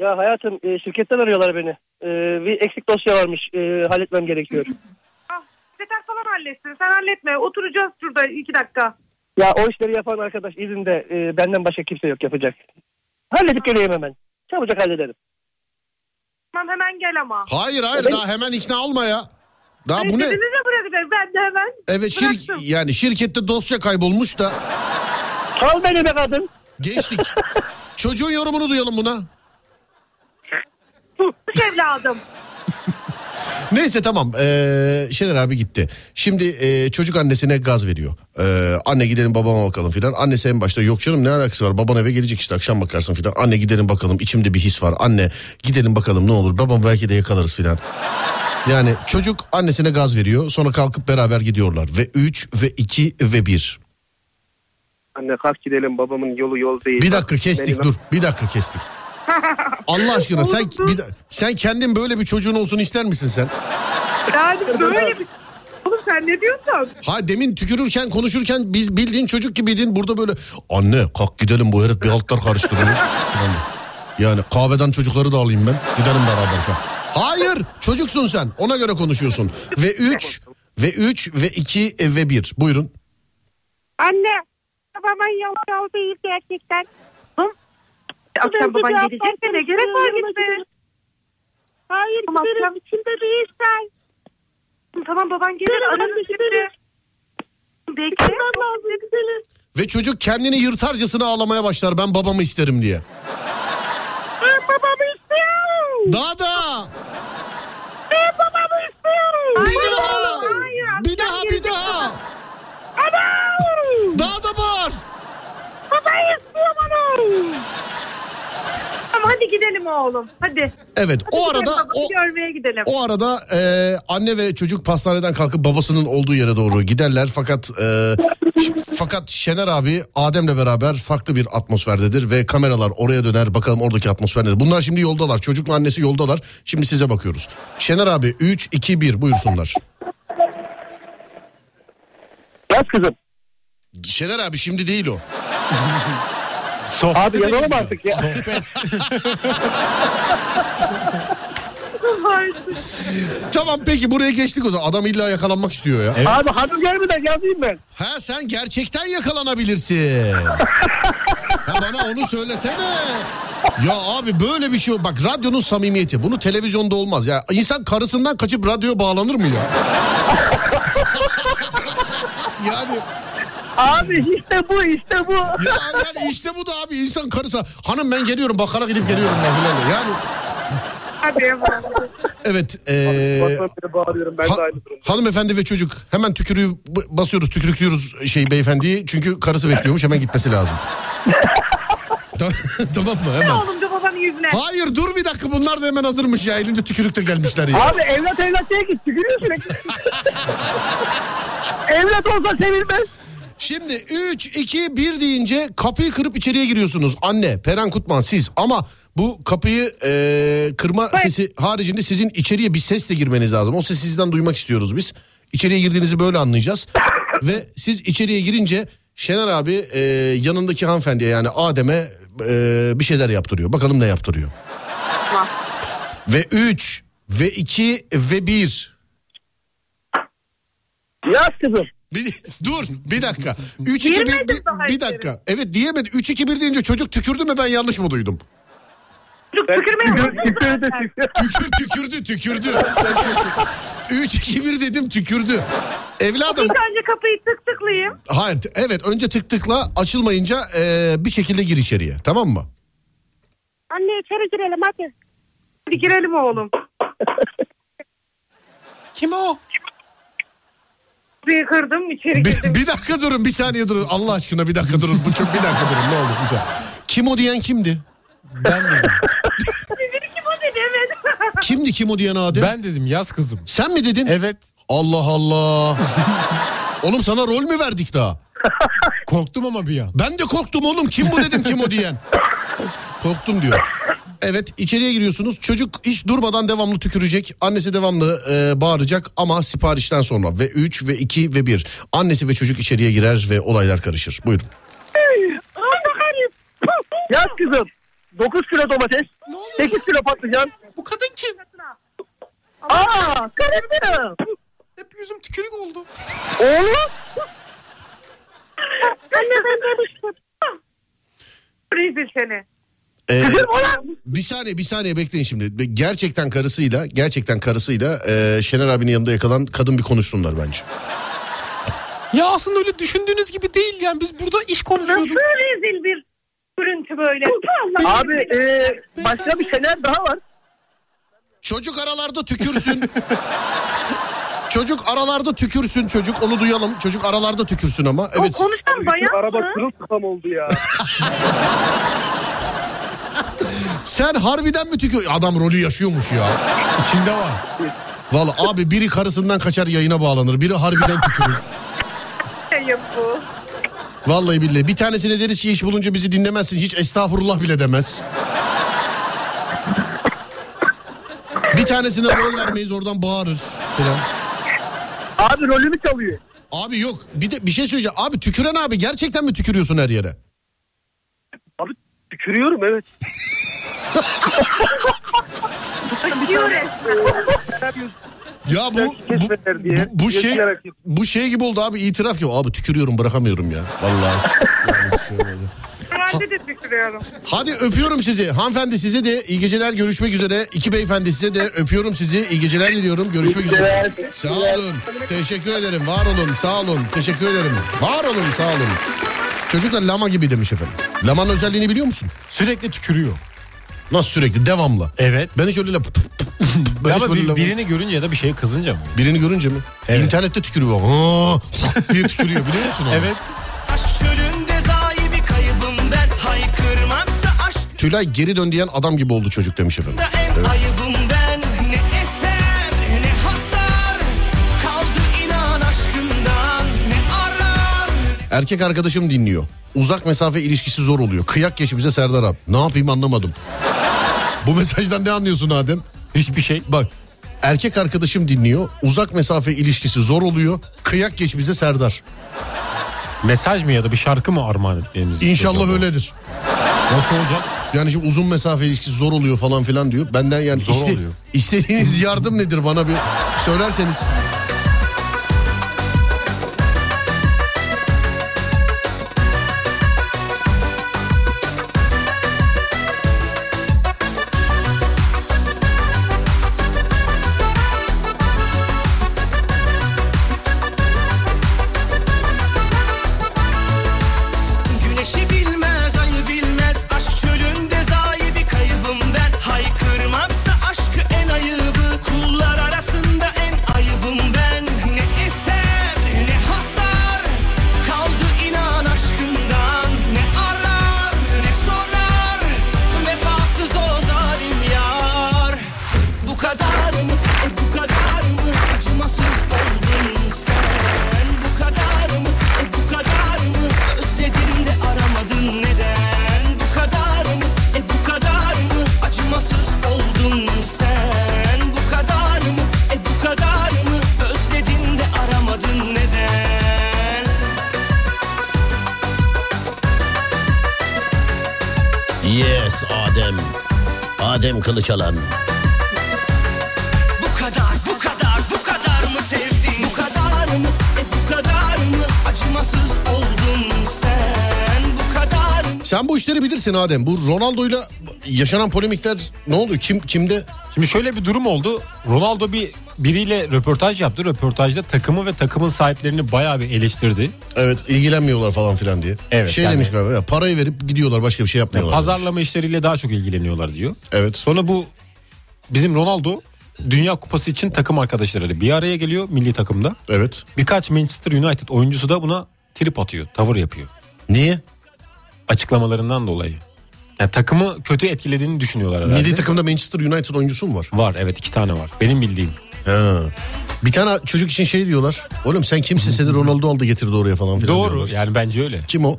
[SPEAKER 15] Ya hayatım e, şirketten arıyorlar beni. E, bir eksik dosya varmış. E, halletmem gerekiyor.
[SPEAKER 10] Sekreter Ah, falan halletsin. Sen halletme. Oturacağız şurada iki dakika.
[SPEAKER 15] ya o işleri yapan arkadaş izinde e, benden başka kimse yok yapacak. Halledip geleyim hemen. Çabucak hallederim.
[SPEAKER 10] Tamam hemen gel ama.
[SPEAKER 2] Hayır hayır daha hemen ikna olma ya. Daha
[SPEAKER 10] Siz
[SPEAKER 2] bu ne?
[SPEAKER 10] dediniz ya bırakacak. Ben de hemen
[SPEAKER 2] Evet şir
[SPEAKER 10] bıraktım.
[SPEAKER 2] yani şirkette dosya kaybolmuş da.
[SPEAKER 15] Kal beni be kadın.
[SPEAKER 2] Geçtik. Çocuğun yorumunu duyalım buna.
[SPEAKER 10] Tutmuş evladım.
[SPEAKER 2] Neyse tamam. Ee, Şener abi gitti. Şimdi ee, çocuk annesine gaz veriyor. Ee, anne gidelim babama bakalım filan. Annesi en başta yok canım ne alakası var. Baban eve gelecek işte akşam bakarsın filan. Anne gidelim bakalım içimde bir his var. Anne gidelim bakalım ne olur. Babam belki de yakalarız filan. Yani çocuk annesine gaz veriyor. Sonra kalkıp beraber gidiyorlar. Ve 3 ve 2 ve 1.
[SPEAKER 16] Anne kalk gidelim babamın yolu yol değil.
[SPEAKER 2] Bir dakika kestik
[SPEAKER 16] Benim-
[SPEAKER 2] dur. Bir dakika kestik. Allah aşkına sen bir, da- sen kendin böyle bir çocuğun olsun ister misin sen?
[SPEAKER 10] Yani böyle bir... Oğlum sen ne diyorsun?
[SPEAKER 2] Ha demin tükürürken konuşurken biz bildiğin çocuk gibiydin burada böyle anne kalk gidelim bu herif bir altlar karıştırıyor. Yani- yani kahveden çocukları da alayım ben gidelim beraber. falan. Hayır çocuksun sen ona göre konuşuyorsun. Ve 3 ve 3 ve 2 ve 1 buyurun.
[SPEAKER 17] Anne babamın yolu yol değil gerçekten.
[SPEAKER 10] Akşam baban gelecek de ne gerek var gitmeye?
[SPEAKER 17] Hayır
[SPEAKER 10] Tamam,
[SPEAKER 17] giderim
[SPEAKER 10] tamam.
[SPEAKER 17] içimde bir iş var.
[SPEAKER 10] Tamam baban gelir.
[SPEAKER 17] Giderim,
[SPEAKER 10] Ararım
[SPEAKER 17] hadi
[SPEAKER 10] şimdi. Bekle.
[SPEAKER 2] Ve çocuk kendini yırtarcasına ağlamaya başlar ben babamı isterim diye.
[SPEAKER 17] Ben babamı istiyorum.
[SPEAKER 2] Daha da.
[SPEAKER 17] Ben babamı istiyorum.
[SPEAKER 2] Bir daha. Bir daha bir daha. Daha da var.
[SPEAKER 10] Baba istiyorum onu. Tamam hadi gidelim oğlum. Hadi.
[SPEAKER 2] Evet
[SPEAKER 10] Hadi
[SPEAKER 2] o
[SPEAKER 10] gidelim,
[SPEAKER 2] arada
[SPEAKER 10] babanı görmeye gidelim.
[SPEAKER 2] O arada e, anne ve çocuk pastaneden kalkıp babasının olduğu yere doğru giderler. Fakat e, ş- fakat Şener abi Adem'le beraber farklı bir atmosferdedir ve kameralar oraya döner. Bakalım oradaki atmosfer nedir? Bunlar şimdi yoldalar. Çocukla annesi yoldalar. Şimdi size bakıyoruz. Şener abi 3 2 1 buyursunlar.
[SPEAKER 15] Yaz kızım.
[SPEAKER 2] Şener abi şimdi değil o.
[SPEAKER 15] Abi yanalım artık ya.
[SPEAKER 2] tamam peki buraya geçtik o zaman. Adam illa yakalanmak istiyor ya.
[SPEAKER 15] Abi hanım gelmeden yazayım ben.
[SPEAKER 2] Ha sen gerçekten yakalanabilirsin. ha bana onu söylesene. Ya abi böyle bir şey yok. Bak radyonun samimiyeti. Bunu televizyonda olmaz. Ya insan karısından kaçıp radyoya bağlanır mı ya? yani
[SPEAKER 15] Abi işte bu işte bu.
[SPEAKER 2] ya yani işte bu da abi insan karısı. Hanım ben geliyorum bakara gidip geliyorum ya filan. Yani
[SPEAKER 10] Hadi.
[SPEAKER 2] evet. eee Ee, ha- hanımefendi ve çocuk hemen tükürüğü b- basıyoruz tükürüklüyoruz şey beyefendiyi. Çünkü karısı bekliyormuş hemen gitmesi lazım. Tamam- tamam mı
[SPEAKER 10] Ne
[SPEAKER 2] hemen?
[SPEAKER 10] oğlum da babanın yüzüne.
[SPEAKER 2] Hayır dur bir dakika bunlar da hemen hazırmış ya elinde tükürükle gelmişler ya.
[SPEAKER 15] Abi evlat evlat diye git tükürüyor sürekli. evlat olsa sevilmez.
[SPEAKER 2] Şimdi 3, 2, 1 deyince kapıyı kırıp içeriye giriyorsunuz. Anne, Peren Kutman siz ama bu kapıyı e, kırma sesi haricinde sizin içeriye bir sesle girmeniz lazım. O sesi sizden duymak istiyoruz biz. İçeriye girdiğinizi böyle anlayacağız. Ve siz içeriye girince Şener abi e, yanındaki hanımefendiye yani Adem'e e, bir şeyler yaptırıyor. Bakalım ne yaptırıyor. Ve 3 ve 2 ve 1.
[SPEAKER 15] Yaz kızım.
[SPEAKER 2] Bir, dur bir dakika. 3 2 1 bir, bir dakika. Evet diyemedi. 3 2 1 deyince çocuk tükürdü mü ben yanlış mı duydum?
[SPEAKER 15] Tükürdü.
[SPEAKER 2] Tükür, tükürdü tükürdü. 3 2 1 dedim tükürdü. Evladım.
[SPEAKER 10] İlk önce kapıyı tık tıklayayım.
[SPEAKER 2] Hayır t- evet önce tık tıkla açılmayınca e, bir şekilde gir içeriye tamam mı?
[SPEAKER 17] Anne içeri girelim hadi.
[SPEAKER 10] Hadi girelim oğlum. Kim o? Kapıyı kırdım içeri
[SPEAKER 2] Bir, bir dakika durun bir saniye durun Allah aşkına bir dakika durun. Bu çok bir dakika durun ne olur güzel. Kim o diyen kimdi? Ben dedim.
[SPEAKER 10] Biri kim o dedi evet.
[SPEAKER 2] Kimdi kim o diyen Adem? Ben dedim yaz kızım. Sen mi dedin? Evet. Allah Allah. oğlum sana rol mü verdik daha? korktum ama bir an. Ben de korktum oğlum kim bu dedim kim o diyen. korktum diyor. Evet içeriye giriyorsunuz çocuk hiç durmadan devamlı tükürecek annesi devamlı e, bağıracak ama siparişten sonra ve 3 ve 2 ve 1 annesi ve çocuk içeriye girer ve olaylar karışır buyurun.
[SPEAKER 15] Yaz kızım.
[SPEAKER 7] 9 kilo domates, 8 kilo patlıcan.
[SPEAKER 18] Bu kadın kim?
[SPEAKER 7] Aa, karım benim.
[SPEAKER 18] Hep yüzüm tükürük oldu.
[SPEAKER 7] Oğlum.
[SPEAKER 10] Anne ben demiştim. Rezil seni.
[SPEAKER 2] Ee, bir saniye bir saniye bekleyin şimdi. Be- Gerçekten karısıyla gerçekten karısıyla e, Şener abinin yanında yakalan kadın bir konuşsunlar bence.
[SPEAKER 18] Ya aslında öyle düşündüğünüz gibi değil yani biz burada iş konuşuyorduk. Nasıl
[SPEAKER 10] rezil bir görüntü böyle?
[SPEAKER 7] Abi e, başka bir şeyler daha var.
[SPEAKER 2] Çocuk aralarda tükürsün. çocuk aralarda tükürsün çocuk onu duyalım. Çocuk aralarda tükürsün ama. Evet.
[SPEAKER 10] konuşan bayan
[SPEAKER 7] Araba
[SPEAKER 10] mı?
[SPEAKER 7] kırılsıklam oldu ya.
[SPEAKER 2] Sen harbiden mi tükür? Adam rolü yaşıyormuş ya. İçinde var. Valla abi biri karısından kaçar yayına bağlanır. Biri harbiden tükürür.
[SPEAKER 10] Şeyim bu.
[SPEAKER 2] Vallahi billahi. Bir tanesine deriz ki iş bulunca bizi dinlemezsin. Hiç estağfurullah bile demez. Bir tanesine rol vermeyiz oradan bağırır. Falan.
[SPEAKER 7] Abi rolümü çalıyor.
[SPEAKER 2] Abi yok. Bir de bir şey söyleyeceğim. Abi tüküren abi gerçekten mi tükürüyorsun her yere?
[SPEAKER 7] Tükürüyorum evet.
[SPEAKER 10] Tükürüyor
[SPEAKER 2] Ya bu bu, bu, bu şey bu şey gibi oldu abi itiraf gibi. Abi tükürüyorum bırakamıyorum ya. Vallahi. şey
[SPEAKER 10] Herhalde de tükürüyorum.
[SPEAKER 2] Hadi öpüyorum sizi. Hanımefendi size de iyi geceler görüşmek üzere. İki beyefendi size de öpüyorum sizi. İyi geceler diliyorum. Görüşmek
[SPEAKER 7] İyi
[SPEAKER 2] üzere.
[SPEAKER 7] geceler.
[SPEAKER 2] Sağ olun. Teşekkür ederim. Var olun. Sağ olun. Teşekkür ederim. Var olun. Sağ olun. Çocuklar lama gibi demiş efendim. Lamanın özelliğini biliyor musun?
[SPEAKER 3] Sürekli tükürüyor.
[SPEAKER 2] Nasıl sürekli? Devamlı.
[SPEAKER 3] Evet.
[SPEAKER 2] Ben hiç öyle la- Ben hiç
[SPEAKER 3] ama
[SPEAKER 2] böyle
[SPEAKER 3] bir-
[SPEAKER 2] lama-
[SPEAKER 3] birini görünce ya da bir şeye kızınca mı?
[SPEAKER 2] Birini görünce mi? İnternette tükürüyor. Aa, diye tükürüyor biliyor musun? onu?
[SPEAKER 3] Evet.
[SPEAKER 14] Aşk çölünde zayi bir kaybım ben Haykırmaksa aşk
[SPEAKER 2] Tülay geri dön diyen adam gibi oldu çocuk demiş efendim.
[SPEAKER 14] da en
[SPEAKER 2] Evet.
[SPEAKER 14] ayıbım ben Ne eser ne hasar Kaldı inan aşkından Ne arar
[SPEAKER 2] Erkek arkadaşım dinliyor. Uzak mesafe ilişkisi zor oluyor. Kıyak geçimize Serdar abi. Ne yapayım anlamadım. Bu mesajdan ne anlıyorsun Adem?
[SPEAKER 3] Hiçbir şey.
[SPEAKER 2] Bak erkek arkadaşım dinliyor. Uzak mesafe ilişkisi zor oluyor. Kıyak geçimize Serdar.
[SPEAKER 3] Mesaj mı ya da bir şarkı mı armağan etmeniz?
[SPEAKER 2] İnşallah öyledir.
[SPEAKER 3] Nasıl olacak?
[SPEAKER 2] Yani şimdi uzun mesafe ilişkisi zor oluyor falan filan diyor. Benden yani
[SPEAKER 3] Zor
[SPEAKER 2] iste-
[SPEAKER 3] oluyor.
[SPEAKER 2] istediğiniz yardım nedir bana bir söylerseniz.
[SPEAKER 14] Güneşi bilmez ayı bilmez Aşk çölünde zayi bir kaybım ben Haykırmaksa aşkı en ayıbı Kullar arasında en ayıbım ben Ne eser ne hasar Kaldı inan aşkımdan Ne arar ne sorar Vefasız o zalim yar Bu kadar mı e, bu kadar mı Acımasız oldun sen Bu kadar mı e, bu kadar mı Özledin de aramadın neden Bu kadar mı e, bu kadar mı Acımasız oldun sen Bu kadar mı e, bu kadar mı Özledin de aramadın neden
[SPEAKER 2] Yes Adem. Adem Kılıçalan.
[SPEAKER 14] Bu kadar, bu kadar, bu kadar mı sevdin? Bu kadar mı, e bu kadar mı acımasız oldun sen? Bu kadar
[SPEAKER 2] Sen bu işleri bilirsin Adem. Bu Ronaldo'yla yaşanan polemikler ne oldu? Kim kimde?
[SPEAKER 3] Şimdi şöyle bir durum oldu. Ronaldo bir biriyle röportaj yaptı. Röportajda takımı ve takımın sahiplerini bayağı bir eleştirdi.
[SPEAKER 2] Evet ilgilenmiyorlar falan filan diye.
[SPEAKER 3] Evet,
[SPEAKER 2] şey
[SPEAKER 3] yani-
[SPEAKER 2] demiş galiba ya, parayı verip gidiyorlar başka bir şey yapmıyorlar.
[SPEAKER 3] Pazarlama işleriyle daha çok ilgileniyorlar diyor.
[SPEAKER 2] Evet.
[SPEAKER 3] Sonra bu bizim Ronaldo Dünya Kupası için takım arkadaşları bir araya geliyor milli takımda.
[SPEAKER 2] Evet.
[SPEAKER 3] Birkaç Manchester United oyuncusu da buna trip atıyor, tavır yapıyor.
[SPEAKER 2] Niye?
[SPEAKER 3] Açıklamalarından dolayı. Yani takımı kötü etkilediğini düşünüyorlar herhalde.
[SPEAKER 2] Milli takımda Manchester United oyuncusu mu var?
[SPEAKER 3] Var evet iki tane var. Benim bildiğim.
[SPEAKER 2] Ha. Bir tane çocuk için şey diyorlar. Oğlum sen kimsin seni Ronaldo aldı getirdi oraya falan filan.
[SPEAKER 3] Doğru
[SPEAKER 2] diyorlar.
[SPEAKER 3] yani bence öyle.
[SPEAKER 2] Kim o?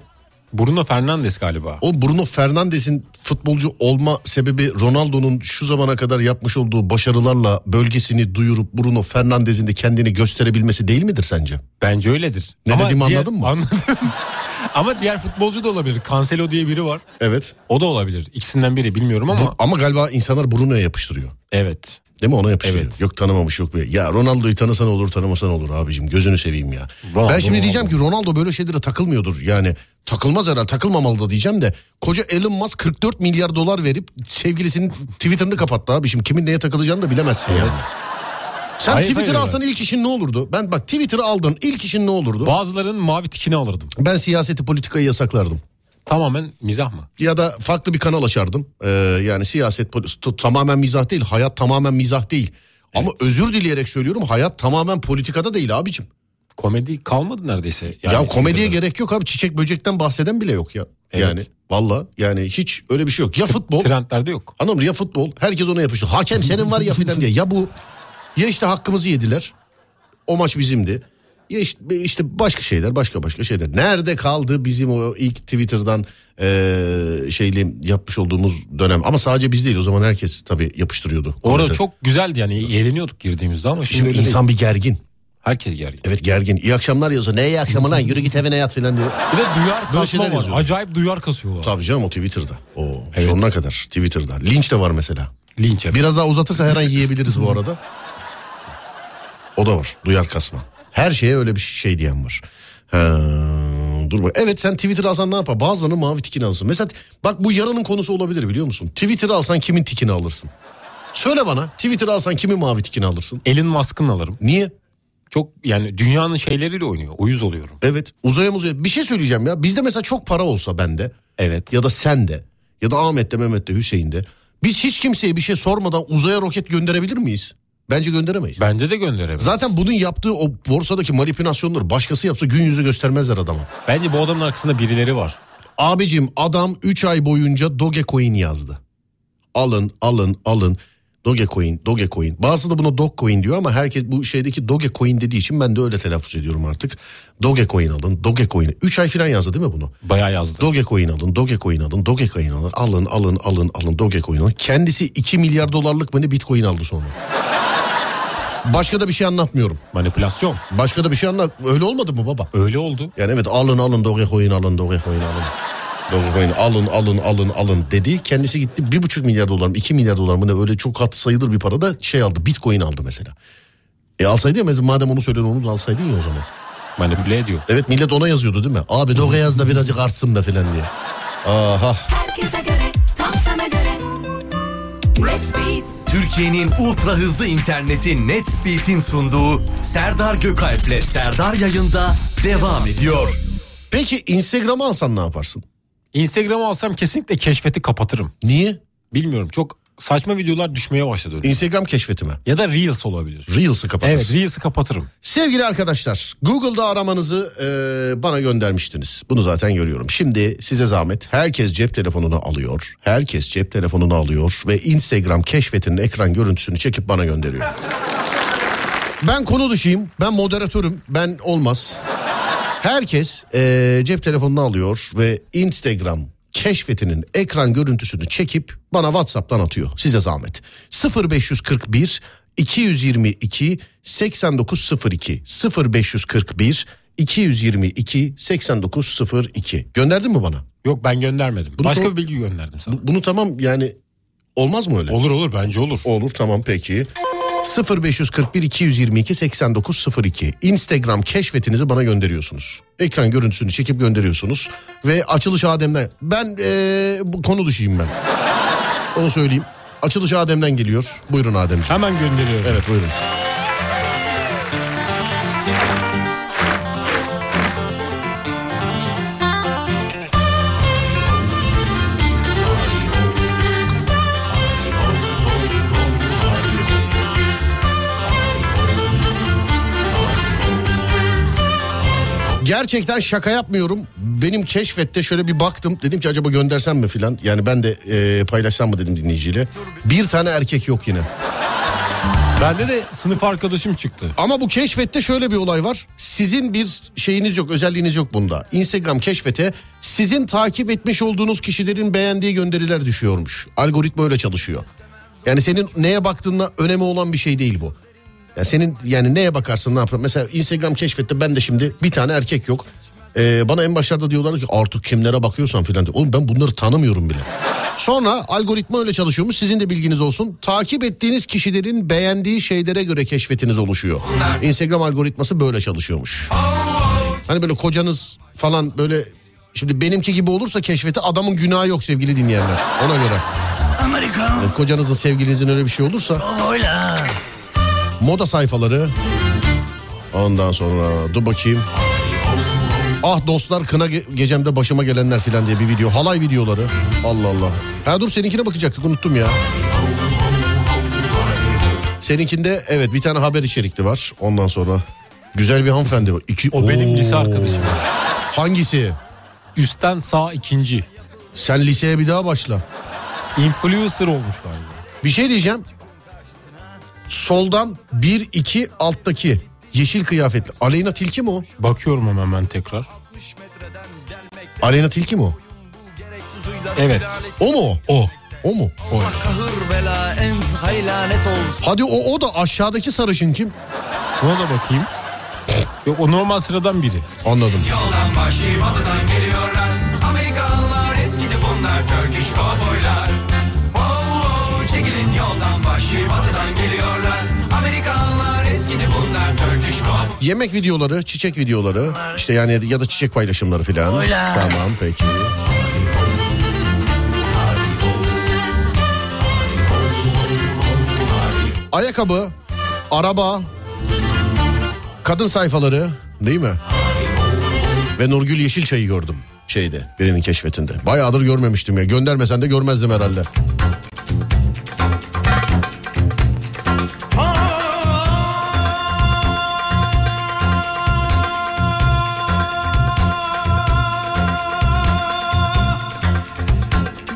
[SPEAKER 3] Bruno Fernandes galiba.
[SPEAKER 2] O Bruno Fernandes'in futbolcu olma sebebi Ronaldo'nun şu zamana kadar yapmış olduğu başarılarla bölgesini duyurup Bruno Fernandes'in de kendini gösterebilmesi değil midir sence?
[SPEAKER 3] Bence öyledir.
[SPEAKER 2] Ne
[SPEAKER 3] Ama
[SPEAKER 2] dediğimi
[SPEAKER 3] diğer-
[SPEAKER 2] anladın mı?
[SPEAKER 3] Anladım. Ama diğer futbolcu da olabilir. Cancelo diye biri var.
[SPEAKER 2] Evet.
[SPEAKER 3] O da olabilir. İkisinden biri bilmiyorum ama.
[SPEAKER 2] ama galiba insanlar Bruno'ya yapıştırıyor.
[SPEAKER 3] Evet.
[SPEAKER 2] Değil mi ona yapıştırıyor. Yok tanımamış yok. böyle. Ya Ronaldo'yu tanısan olur tanımasan olur abicim gözünü seveyim ya.
[SPEAKER 3] Ronaldo,
[SPEAKER 2] ben şimdi
[SPEAKER 3] Ronaldo.
[SPEAKER 2] diyeceğim ki Ronaldo böyle şeylere takılmıyordur. Yani takılmaz herhalde takılmamalı da diyeceğim de. Koca Elon Musk 44 milyar dolar verip sevgilisinin Twitter'ını kapattı abi. Şimdi kimin neye takılacağını da bilemezsin yani. Sen
[SPEAKER 3] Hayır,
[SPEAKER 2] Twitter'ı
[SPEAKER 3] hayır.
[SPEAKER 2] alsan ilk işin ne olurdu? Ben bak Twitter'ı aldın ilk işin ne olurdu?
[SPEAKER 3] Bazılarının mavi tikini alırdım.
[SPEAKER 2] Ben siyaseti politikayı yasaklardım.
[SPEAKER 3] Tamamen mizah mı?
[SPEAKER 2] Ya da farklı bir kanal açardım. Ee, yani siyaset poli- t- tamamen mizah değil. Hayat tamamen mizah değil. Ama özür dileyerek söylüyorum hayat tamamen politikada değil abicim.
[SPEAKER 3] Komedi kalmadı neredeyse.
[SPEAKER 2] ya komediye gerek yok abi. Çiçek böcekten bahseden bile yok ya. Yani valla yani hiç öyle bir şey yok. Ya futbol.
[SPEAKER 3] Trendlerde yok.
[SPEAKER 2] Anladın mı? ya futbol. Herkes ona yapıştı. Hakem senin var ya filan diye. Ya bu ya işte hakkımızı yediler. O maç bizimdi. Ya işte, işte başka şeyler başka başka şeyler. Nerede kaldı bizim o ilk Twitter'dan eee şeyle yapmış olduğumuz dönem. Ama sadece biz değil o zaman herkes tabii yapıştırıyordu.
[SPEAKER 3] Orada
[SPEAKER 2] Komedi.
[SPEAKER 3] çok güzeldi yani eğleniyorduk girdiğimizde ama şimdi,
[SPEAKER 2] Şimdi
[SPEAKER 3] öyle
[SPEAKER 2] insan
[SPEAKER 3] değil.
[SPEAKER 2] bir gergin.
[SPEAKER 3] Herkes gergin.
[SPEAKER 2] Evet gergin. İyi akşamlar yazıyor. Ne iyi akşamı lan yürü git evine yat filan diyor.
[SPEAKER 3] Bir de duyar
[SPEAKER 2] Böyle
[SPEAKER 3] kasma
[SPEAKER 2] şeyler
[SPEAKER 3] var.
[SPEAKER 2] yazıyordu.
[SPEAKER 3] Acayip duyar kasıyor var.
[SPEAKER 2] Tabii canım o Twitter'da. O sonuna kadar Twitter'da. Linç de var mesela.
[SPEAKER 3] Linç evet.
[SPEAKER 2] Biraz daha uzatırsa her an yiyebiliriz bu arada. O da var. Duyar kasma. Her şeye öyle bir şey diyen var. Ha, dur bak. Evet sen Twitter alsan ne yapar? Bazılarının mavi tikini alırsın. Mesela bak bu yarının konusu olabilir biliyor musun? Twitter alsan kimin tikini alırsın? Söyle bana Twitter alsan kimin mavi tikini alırsın?
[SPEAKER 3] Elin maskını alırım.
[SPEAKER 2] Niye?
[SPEAKER 3] Çok yani dünyanın şeyleriyle oynuyor. Uyuz oluyorum.
[SPEAKER 2] Evet uzaya muzaya. Bir şey söyleyeceğim ya. Bizde mesela çok para olsa bende.
[SPEAKER 3] Evet.
[SPEAKER 2] Ya da sende. Ya da Ahmet'te, Mehmet'te, Hüseyin'de. Biz hiç kimseye bir şey sormadan uzaya roket gönderebilir miyiz? Bence gönderemeyiz.
[SPEAKER 3] Bence de gönderemeyiz.
[SPEAKER 2] Zaten bunun yaptığı o borsadaki manipülasyonları başkası yapsa gün yüzü göstermezler adama.
[SPEAKER 3] Bence bu adamın arkasında birileri var.
[SPEAKER 2] Abicim adam 3 ay boyunca Dogecoin yazdı. Alın alın alın. Dogecoin, Dogecoin. Bazısı da buna Dogecoin diyor ama herkes bu şeydeki Dogecoin dediği için ben de öyle telaffuz ediyorum artık. Dogecoin alın, Dogecoin. 3 ay falan yazdı değil mi bunu?
[SPEAKER 3] Bayağı yazdı.
[SPEAKER 2] Dogecoin alın, Dogecoin alın, Dogecoin alın. Alın, alın, alın, alın, Dogecoin alın. Kendisi 2 milyar dolarlık mı ne Bitcoin aldı sonra. Başka da bir şey anlatmıyorum.
[SPEAKER 3] Manipülasyon.
[SPEAKER 2] Başka da bir şey anlat. Öyle olmadı mı baba?
[SPEAKER 3] Öyle oldu.
[SPEAKER 2] Yani evet alın alın Dogecoin alın Dogecoin alın. Dogecoin alın alın alın alın dedi. Kendisi gitti bir buçuk milyar dolar mı 2 milyar dolar mı ne öyle çok hat sayılır bir parada şey aldı. Bitcoin aldı mesela. E alsaydı ya mesela madem onu söyler onu da alsaydın ya o zaman.
[SPEAKER 3] Manipüle ediyor.
[SPEAKER 2] Evet millet ona yazıyordu değil mi? Abi Doge yaz da birazcık artsın be falan diye. Aha.
[SPEAKER 19] Herkese göre, tam sana göre.
[SPEAKER 20] Türkiye'nin ultra hızlı interneti NetSpeed'in sunduğu Serdar Gökalp'le Serdar yayında devam ediyor.
[SPEAKER 2] Peki Instagram'ı alsan ne yaparsın?
[SPEAKER 3] Instagram'ı alsam kesinlikle keşfeti kapatırım.
[SPEAKER 2] Niye?
[SPEAKER 3] Bilmiyorum. Çok saçma videolar düşmeye başladı. önüme.
[SPEAKER 2] Instagram keşfeti mi?
[SPEAKER 3] Ya da Reels olabilir.
[SPEAKER 2] Reels'ı kapatırsın.
[SPEAKER 3] Evet Reels'ı kapatırım.
[SPEAKER 2] Sevgili arkadaşlar Google'da aramanızı e, bana göndermiştiniz. Bunu zaten görüyorum. Şimdi size zahmet herkes cep telefonunu alıyor. Herkes cep telefonunu alıyor ve Instagram keşfetinin ekran görüntüsünü çekip bana gönderiyor. Ben konu dışıyım. Ben moderatörüm. Ben olmaz. Herkes e, cep telefonunu alıyor ve Instagram keşfetinin ekran görüntüsünü çekip bana WhatsApp'tan atıyor. Size zahmet. 0541 222 8902 0541 222 8902 gönderdin mi bana?
[SPEAKER 3] Yok ben göndermedim.
[SPEAKER 2] Bunu
[SPEAKER 3] Başka
[SPEAKER 2] sor-
[SPEAKER 3] bir bilgi gönderdim sana.
[SPEAKER 2] Bu- Bunu tamam yani olmaz mı öyle?
[SPEAKER 3] Olur olur bence olur.
[SPEAKER 2] Olur tamam peki. 0541 222 8902 Instagram keşfetinizi bana gönderiyorsunuz. Ekran görüntüsünü çekip gönderiyorsunuz. Ve açılış Adem'den. Ben ee, bu konu dışıyım ben. Onu söyleyeyim. Açılış Adem'den geliyor. Buyurun Ademciğim.
[SPEAKER 3] Hemen gönderiyorum.
[SPEAKER 2] Evet buyurun. Gerçekten şaka yapmıyorum. Benim keşfette şöyle bir baktım. Dedim ki acaba göndersem mi filan. Yani ben de ee, paylaşsam mı dedim dinleyiciyle. Bir tane erkek yok yine.
[SPEAKER 3] Bende de sınıf arkadaşım çıktı.
[SPEAKER 2] Ama bu keşfette şöyle bir olay var. Sizin bir şeyiniz yok, özelliğiniz yok bunda. Instagram keşfete sizin takip etmiş olduğunuz kişilerin beğendiği gönderiler düşüyormuş. Algoritma öyle çalışıyor. Yani senin neye baktığına önemi olan bir şey değil bu. Ya senin yani neye bakarsın ne yapar? Mesela Instagram keşfette ben de şimdi bir tane erkek yok. Ee, bana en başlarda diyorlardı ki artık kimlere bakıyorsan filan. diye. Oğlum ben bunları tanımıyorum bile. Sonra algoritma öyle çalışıyormuş sizin de bilginiz olsun. Takip ettiğiniz kişilerin beğendiği şeylere göre keşfetiniz oluşuyor. Instagram algoritması böyle çalışıyormuş. Hani böyle kocanız falan böyle şimdi benimki gibi olursa keşfete adamın günahı yok sevgili dinleyenler ona göre.
[SPEAKER 1] Amerika.
[SPEAKER 2] Yani kocanızın sevgilinizin öyle bir şey olursa. Moda sayfaları. Ondan sonra dur bakayım. Ah dostlar kına ge- gecemde başıma gelenler filan diye bir video. Halay videoları. Allah Allah. Ha dur seninkine bakacaktık unuttum ya. Seninkinde evet bir tane haber içerikli var. Ondan sonra güzel bir hanımefendi var. İki, o benim lise arkadaşım. Hangisi? Üstten sağ ikinci. Sen liseye bir daha başla. Influencer olmuş galiba. Bir şey diyeceğim. Soldan 1 2 alttaki yeşil kıyafetli. Aleyna Tilki mi o? Bakıyorum hemen ben tekrar. Aleyna Tilki mi o? Evet. O mu? O. O mu? O.
[SPEAKER 1] Kahır bela en haylanet olsun.
[SPEAKER 2] Hadi o o da aşağıdaki sarışın kim? Ona da bakayım. Yok o normal sıradan biri. Anladım.
[SPEAKER 1] Yoldan başı batıdan geliyorlar. Amerikalılar eskidi bunlar Turkish cowboylar. Oh, oh, çekilin yoldan başı batıdan geliyorlar. Amerikalılar eskidi bunlar Turkish cowboy.
[SPEAKER 2] Yemek videoları, çiçek videoları, işte yani ya da çiçek paylaşımları filan.
[SPEAKER 1] Oylar.
[SPEAKER 2] Tamam peki. Ayakkabı, araba, kadın sayfaları değil mi? Ve Nurgül Yeşilçay'ı gördüm şeyde birinin keşfetinde. Bayağıdır görmemiştim ya. Göndermesen de görmezdim herhalde.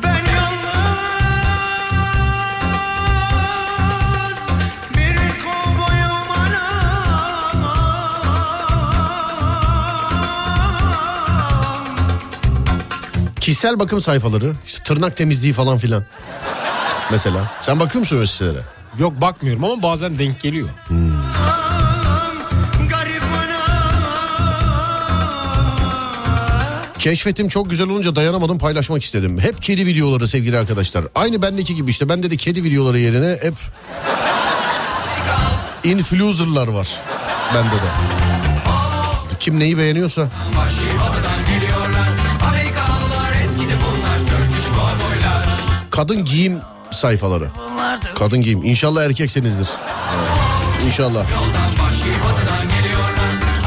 [SPEAKER 1] Ben yalnız bir kovboyum anam.
[SPEAKER 2] Kişisel bakım sayfaları, işte tırnak temizliği falan filan. Mesela. Sen bakıyor musun öyle sitelere?
[SPEAKER 3] Yok bakmıyorum ama bazen denk geliyor.
[SPEAKER 2] Keşfetim çok güzel olunca dayanamadım paylaşmak istedim. Hep kedi videoları sevgili arkadaşlar. Aynı bendeki gibi işte. Bende de kedi videoları yerine hep influencer'lar var. Bende de. Kim neyi beğeniyorsa.
[SPEAKER 1] Başı batıdan geliyorlar. Amerikalılar eskidi bunlar Turkish cowboylar.
[SPEAKER 2] Kadın giyim sayfaları. Kadın giyim. İnşallah erkeksinizdir. Evet. İnşallah.
[SPEAKER 1] Yoldan başı batıdan geliyorlar.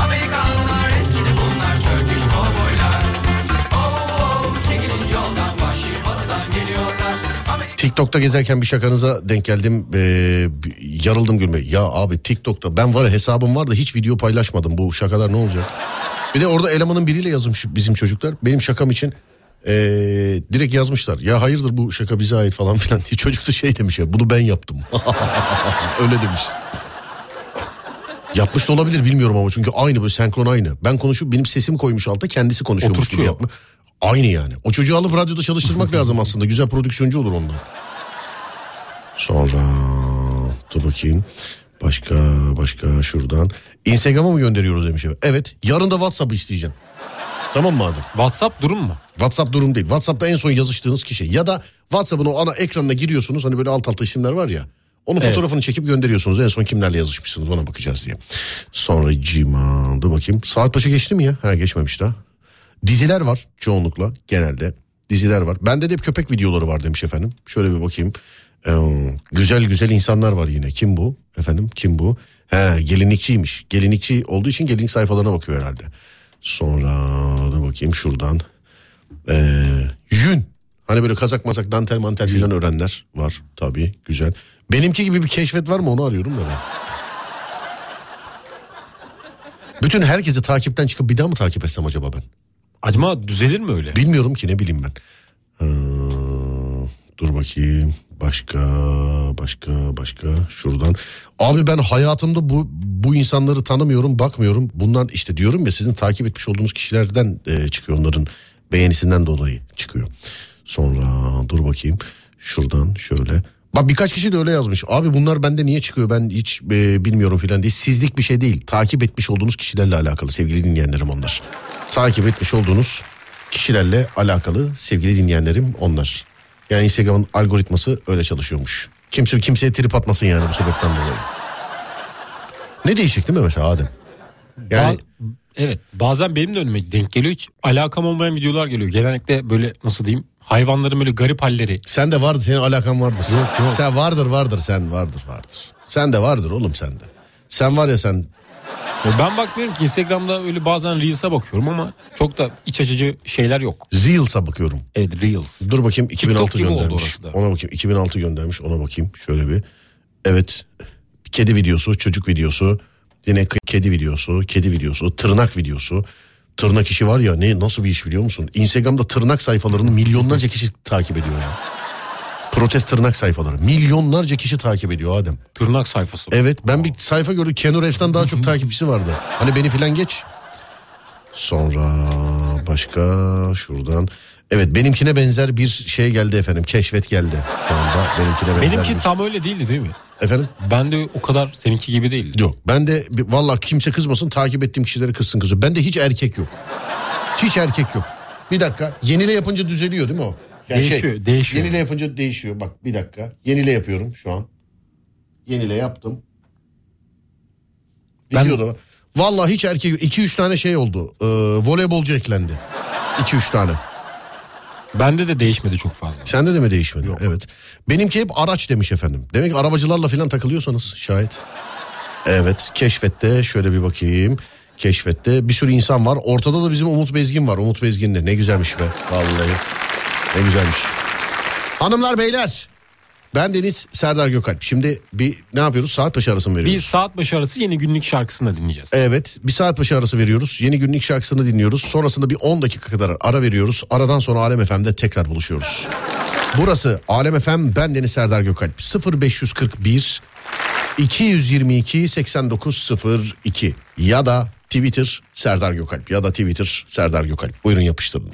[SPEAKER 1] Amerikalılar eskidi bunlar Turkish cowboylar. Oh, oh, çekilin yoldan başı batıdan geliyorlar.
[SPEAKER 2] TikTok'ta gezerken bir şakanıza denk geldim. Ee, bir- yarıldım gülmeye. Ya abi TikTok'ta ben var ya hesabım var da hiç video paylaşmadım. Bu şakalar ne olacak? Bir de orada elemanın biriyle yazmış bizim çocuklar. Benim şakam için ee, direkt yazmışlar. Ya hayırdır bu şaka bize ait falan filan diye. Çocuk da şey demiş ya bunu ben yaptım. Öyle demiş. Yapmış da olabilir bilmiyorum ama çünkü aynı böyle senkron aynı. Ben konuşup benim sesimi koymuş alta kendisi konuşuyormuş gibi yapmış. Aynı yani. O çocuğu alıp radyoda çalıştırmak lazım aslında. Güzel prodüksiyoncu olur ondan. Sonra dur bakayım. Başka başka şuradan. Instagram'a mı gönderiyoruz demiş. efendim? Evet. Yarın da WhatsApp'ı isteyeceğim. Tamam mı adam? WhatsApp durum mu? WhatsApp durum değil. WhatsApp'ta en son yazıştığınız kişi. Ya da WhatsApp'ın o ana ekranına giriyorsunuz. Hani böyle alt alta isimler var ya. Onun
[SPEAKER 3] Evet.
[SPEAKER 2] fotoğrafını çekip gönderiyorsunuz. En son kimlerle yazışmışsınız ona bakacağız diye. Sonra cima dur bakayım. Saat başı geçti mi ya? Ha geçmemiş daha. Diziler var çoğunlukla genelde. Diziler var. Bende de hep köpek videoları var demiş efendim. Şöyle bir bakayım. Ee, güzel güzel insanlar var yine. Kim bu? Efendim kim bu? He gelinlikçiymiş. Gelinlikçi olduğu için gelinlik sayfalarına bakıyor herhalde. Sonra da bakayım şuradan. Ee, yün. Hani böyle kazak mazak dantel mantel filan öğrenler var. Tabii güzel. Benimki gibi bir keşfet var mı onu arıyorum da ben. Bütün herkesi takipten çıkıp bir daha mı takip etsem acaba ben? Acaba düzelir mi öyle? Bilmiyorum ki ne bileyim ben. Ee, dur bakayım. Başka, başka, başka. Şuradan. Abi ben hayatımda bu bu insanları tanımıyorum, bakmıyorum. Bunlar işte diyorum ya sizin takip etmiş olduğunuz kişilerden e, çıkıyor onların beğenisinden dolayı çıkıyor. Sonra dur bakayım. Şuradan şöyle. Bak birkaç kişi de öyle yazmış. Abi bunlar bende niye çıkıyor ben hiç e, bilmiyorum filan diye. Sizlik bir şey değil. Takip etmiş olduğunuz kişilerle alakalı sevgili dinleyenlerim onlar. takip etmiş olduğunuz kişilerle alakalı sevgili dinleyenlerim onlar. Yani Instagram'ın algoritması öyle çalışıyormuş. Kimse kimseye trip atmasın yani bu sebepten dolayı. Ne değişik değil mi mesela Adem? Yani
[SPEAKER 3] Evet bazen benim de önüme denk geliyor hiç alakam olmayan videolar geliyor. Genellikle böyle nasıl diyeyim hayvanların böyle garip halleri.
[SPEAKER 2] Sen de vardı senin alakan vardır. Sen vardır vardır sen vardır vardır. Sen de vardır oğlum sende. Sen var ya sen
[SPEAKER 3] Ben bakmıyorum ki Instagram'da öyle bazen Reels'a bakıyorum ama çok da iç açıcı şeyler yok.
[SPEAKER 2] Reels'a bakıyorum.
[SPEAKER 3] Evet Reels.
[SPEAKER 2] Dur bakayım 2006
[SPEAKER 3] gibi oldu
[SPEAKER 2] göndermiş.
[SPEAKER 3] orası da.
[SPEAKER 2] Ona bakayım 2006 göndermiş ona bakayım şöyle bir. Evet bir kedi videosu çocuk videosu yine k- kedi videosu kedi videosu tırnak videosu. Tırnak işi var ya ne nasıl bir iş biliyor musun? Instagram'da tırnak sayfalarını milyonlarca kişi takip ediyor ya. Protest tırnak sayfaları. Milyonlarca kişi takip ediyor Adem.
[SPEAKER 3] Tırnak sayfası.
[SPEAKER 2] Evet ben bir sayfa gördüm. Keanu Reeves'ten daha çok takipçisi vardı. Hani beni filan geç. Sonra başka şuradan. Evet benimkine benzer bir şey geldi efendim. Keşfet geldi. Şu anda benimkine benzer
[SPEAKER 3] Benimki
[SPEAKER 2] bir-
[SPEAKER 3] tam öyle değildi değil mi?
[SPEAKER 2] Efendim?
[SPEAKER 3] Ben de o kadar seninki gibi değildi.
[SPEAKER 2] Yok ben de bir- vallahi kimse kızmasın takip ettiğim kişilere kızsın kızı. Ben de hiç erkek yok. Hiç erkek yok. Bir dakika yenile yapınca düzeliyor değil mi o? şey,
[SPEAKER 3] Değişiyor, değişiyor.
[SPEAKER 2] Yenile yapınca değişiyor bak bir dakika. Yenile yapıyorum şu an. Yenile yaptım. Video da var. Vallahi hiç erkek yok. 2-3 tane şey oldu. Ee, voleybolcu eklendi. 2-3 tane.
[SPEAKER 3] Bende de değişmedi çok fazla.
[SPEAKER 2] Sende de mi değişmedi? Evet. Benimki hep araç demiş efendim. Demek ki arabacılarla falan takılıyorsanız şayet. Evet keşfette şöyle bir bakayım. Keşfette bir sürü insan var. Ortada da bizim Umut Bezgin var. Umut Bezgin de ne güzelmiş be. Vallahi ne güzelmiş. Hanımlar beyler. Ben Deniz Serdar Gökalp. Şimdi bir ne yapıyoruz? Saat başı arası mı veriyoruz?
[SPEAKER 3] Bir saat başı arası yeni günlük şarkısını da dinleyeceğiz.
[SPEAKER 2] Evet bir saat başı arası veriyoruz. Yeni günlük şarkısını dinliyoruz. Sonrasında bir 10 dakika kadar ara veriyoruz. Aradan sonra Alem FM'de tekrar buluşuyoruz. Burası Alem FM ben Deniz Serdar Gökalp 0541 222 8902 ya da Twitter Serdar Gökalp ya da Twitter Serdar Gökalp. Buyurun yapıştırın.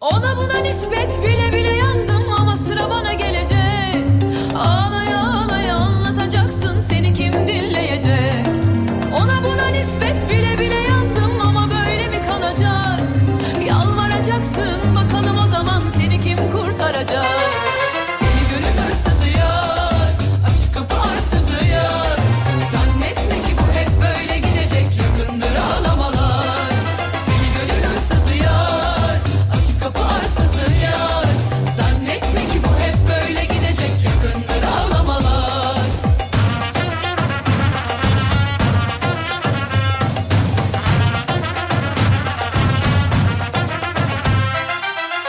[SPEAKER 4] Ona buna nispet bile bile yandım ama sıra bana gelecek Ağlaya ağlaya anlatacaksın seni kim dinleyecek Ona buna nispet bile bile yandım ama böyle mi kalacak Yalvaracaksın bakalım o zaman seni kim kurtaracak Seni gönül hırsızı yar, açık kapı arsızı yar Zannetme ki bu hep böyle gidecek yakındır ağlamalar Seni gönül hırsızı yar, açık kapı arsızı yar Zannetme ki bu hep böyle gidecek yakındır ağlamalar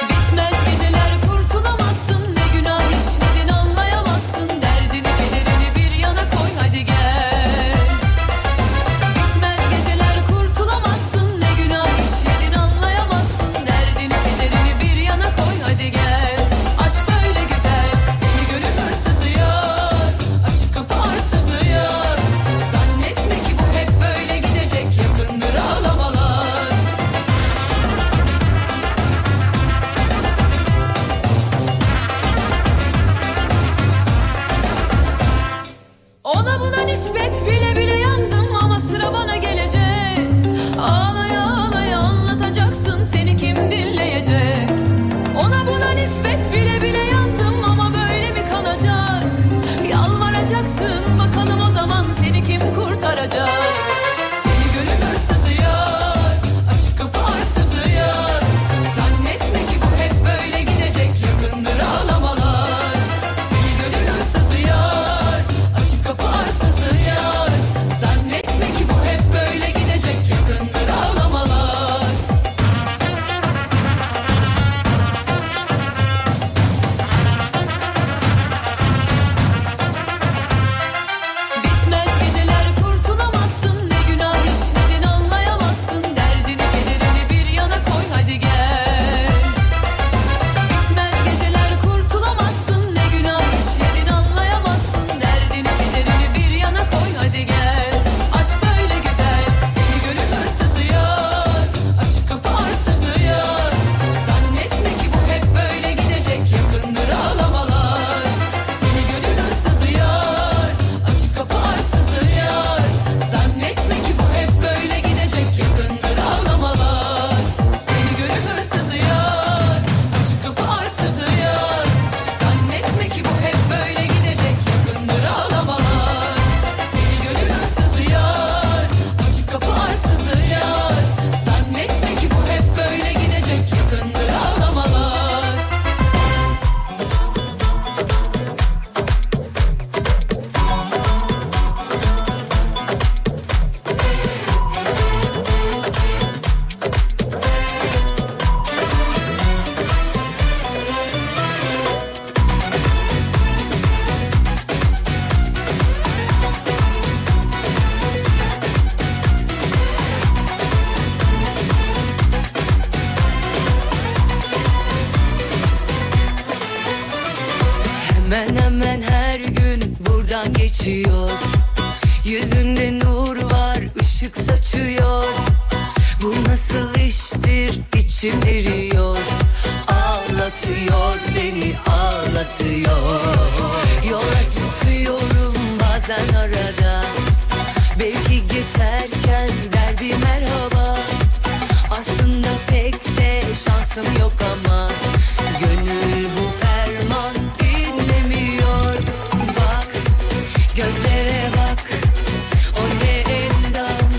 [SPEAKER 4] Bitmez geceler kurtulamazsın ne günah işledin anlayamazsın derdini kederini bir yana koy hadi gel. Bitmez geceler kurtulamazsın ne günah işledin anlayamazsın derdini kederini bir yana koy hadi gel. Aşk böyle güzel seni gönül hırsızı yar açık kapı arsızı yar zannetme ki bu hep böyle gidecek yakındır ağlamalar. Ona buna nispet bile bile yandım ama sıra bana gelecek Ağlaya ağlaya anlatacaksın seni kim dinleyecek Ona buna nispet bile bile yandım ama böyle mi kalacak Yalvaracaksın bakalım o zaman seni kim kurtaracak Seni gönül hırsızı yar, açık kapı arsızı yar Zannetme ki bu hep böyle gidecek yakındır ağlamalar Seni gönül hırsızı yar Açık kapı arsa
[SPEAKER 21] Gelen her gün buradan geçiyor Yüzünde nur var ışık saçıyor Bu nasıl iştir içim eriyor Ağlatıyor beni ağlatıyor Yola çıkıyorum bazen arada Belki geçerken der bir merhaba Aslında pek de şansım yok ama Gönül bu ferman dinlemiyor Bak gözlere bak O ne endam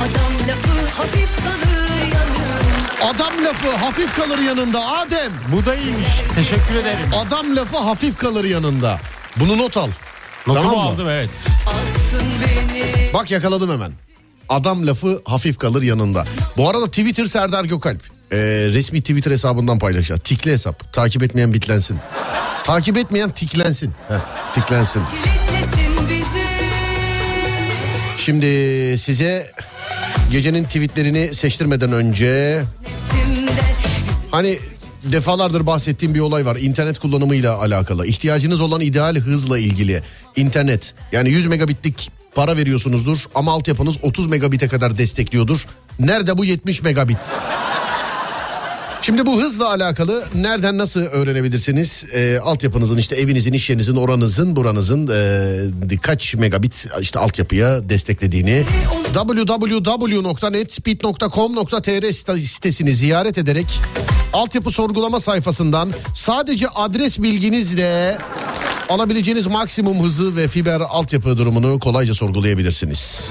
[SPEAKER 21] Adam lafı hafif kalır yanım
[SPEAKER 2] Adam lafı hafif kalır yanında Adem. Bu da iyiymiş. Teşekkür ederim. Adam lafı hafif kalır yanında. Bunu not al.
[SPEAKER 3] Notumu
[SPEAKER 2] mı?
[SPEAKER 3] aldım evet.
[SPEAKER 21] Alsın beni
[SPEAKER 2] Bak yakaladım hemen. Adam lafı hafif kalır yanında. Bu arada Twitter Serdar Gökalp. Ee, resmi Twitter hesabından paylaşacağız. Tikli hesap. Takip etmeyen bitlensin. Takip etmeyen tiklensin. Heh, tiklensin.
[SPEAKER 21] Kilitlesin bizi
[SPEAKER 2] Şimdi size gecenin tweetlerini seçtirmeden önce... Hani defalardır bahsettiğim bir olay var. İnternet kullanımıyla alakalı. İhtiyacınız olan ideal hızla ilgili. İnternet. Yani 100 megabitlik para veriyorsunuzdur ama altyapınız 30 megabite kadar destekliyordur. Nerede bu 70 megabit? Şimdi bu hızla alakalı nereden nasıl öğrenebilirsiniz? Ee, altyapınızın işte evinizin, iş yerinizin, oranızın, buranızın ee, kaç megabit işte altyapıya desteklediğini www.netspeed.com.tr site- sitesini ziyaret ederek altyapı sorgulama sayfasından sadece adres bilginizle alabileceğiniz maksimum hızı ve fiber altyapı durumunu kolayca sorgulayabilirsiniz.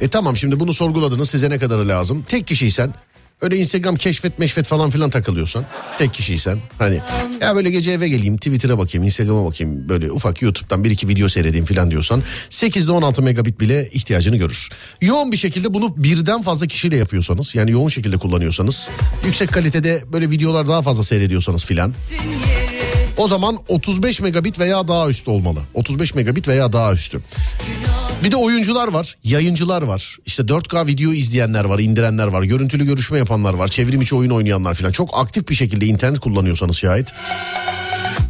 [SPEAKER 2] E tamam şimdi bunu sorguladınız size ne kadar lazım? Tek kişiysen öyle Instagram keşfet meşfet falan filan takılıyorsan tek kişiysen hani ya böyle gece eve geleyim Twitter'a bakayım Instagram'a bakayım böyle ufak YouTube'dan bir iki video seyredeyim filan diyorsan 8'de 16 megabit bile ihtiyacını görür. Yoğun bir şekilde bunu birden fazla kişiyle yapıyorsanız yani yoğun şekilde kullanıyorsanız yüksek kalitede böyle videolar daha fazla seyrediyorsanız filan o zaman 35 megabit veya daha üstü olmalı. 35 megabit veya daha üstü. Bir de oyuncular var, yayıncılar var. İşte 4K video izleyenler var, indirenler var, görüntülü görüşme yapanlar var, çevrim içi oyun oynayanlar falan. Çok aktif bir şekilde internet kullanıyorsanız şayet.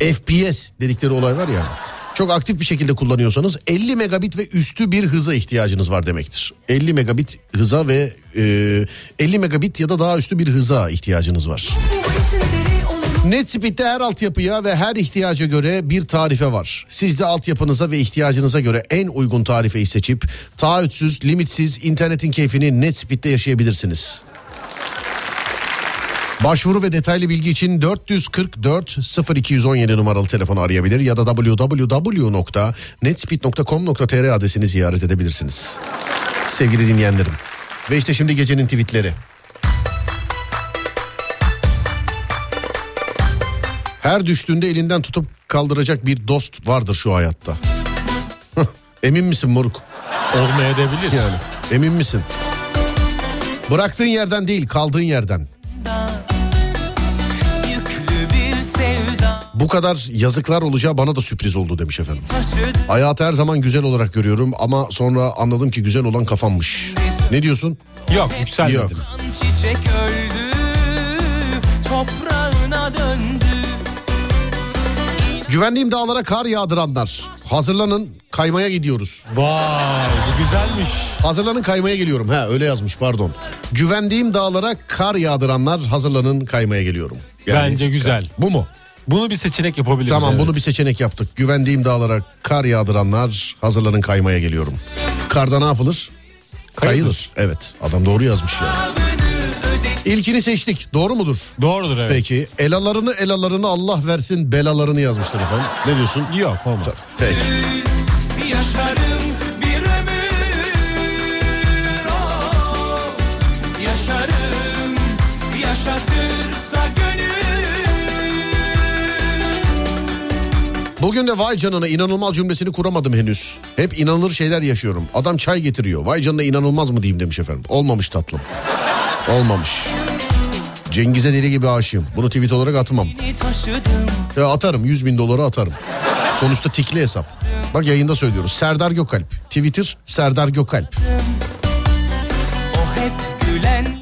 [SPEAKER 2] FPS dedikleri olay var ya. Çok aktif bir şekilde kullanıyorsanız 50 megabit ve üstü bir hıza ihtiyacınız var demektir. 50 megabit hıza ve e, 50 megabit ya da daha üstü bir hıza ihtiyacınız var. NetSpeed'de her altyapıya ve her ihtiyaca göre bir tarife var. Siz de altyapınıza ve ihtiyacınıza göre en uygun tarifeyi seçip taahhütsüz, limitsiz internetin keyfini NetSpeed'de yaşayabilirsiniz. Başvuru ve detaylı bilgi için 444 0217 numaralı telefonu arayabilir ya da www.netspeed.com.tr adresini ziyaret edebilirsiniz. Sevgili dinleyenlerim. Ve işte şimdi gecenin tweetleri. Her düştüğünde elinden tutup kaldıracak bir dost vardır şu hayatta. Emin misin moruk? Olmayabilir. Yani emin misin? Bıraktığın yerden değil kaldığın yerden.
[SPEAKER 1] Yüklü bir sevda
[SPEAKER 2] Bu kadar yazıklar olacağı bana da sürpriz oldu demiş efendim. Hayatı her zaman güzel olarak görüyorum ama sonra anladım ki güzel olan kafanmış. Ne diyorsun? Yok yükselmedim. Yok.
[SPEAKER 1] Çiçek öldü Toprağına döndü
[SPEAKER 2] Güvenliğim dağlara kar yağdıranlar. Hazırlanın kaymaya gidiyoruz. Vay güzelmiş. Hazırlanın kaymaya geliyorum. Ha öyle yazmış pardon. Güvendiğim dağlara kar yağdıranlar hazırlanın kaymaya geliyorum.
[SPEAKER 3] Bence güzel.
[SPEAKER 2] Bu mu?
[SPEAKER 3] Bunu bir seçenek yapabiliriz.
[SPEAKER 2] Tamam
[SPEAKER 3] evet.
[SPEAKER 2] bunu bir seçenek yaptık. Güvendiğim dağlara kar yağdıranlar hazırlanın kaymaya geliyorum. Karda ne yapılır? Kayılır. Evet adam doğru yazmış ya. İlkini seçtik. Doğru mudur? Doğrudur evet. Peki. Elalarını elalarını Allah versin belalarını yazmışlar efendim. Ne diyorsun? Yok olmaz. Peki.
[SPEAKER 1] Yaşarım bir ömür oh. Yaşarım yaşatırsa gönül
[SPEAKER 2] Bugün de vay canına inanılmaz cümlesini kuramadım henüz. Hep inanılır şeyler yaşıyorum. Adam çay getiriyor. Vay canına inanılmaz mı diyeyim demiş efendim. Olmamış tatlım. Olmamış. Cengiz'e deli gibi aşığım. Bunu tweet olarak atmam.
[SPEAKER 1] taşıdım
[SPEAKER 2] Ya atarım 100 bin dolara atarım. Sonuçta tikli hesap. Bak yayında söylüyoruz. Serdar Gökalp. Twitter Serdar Gökalp.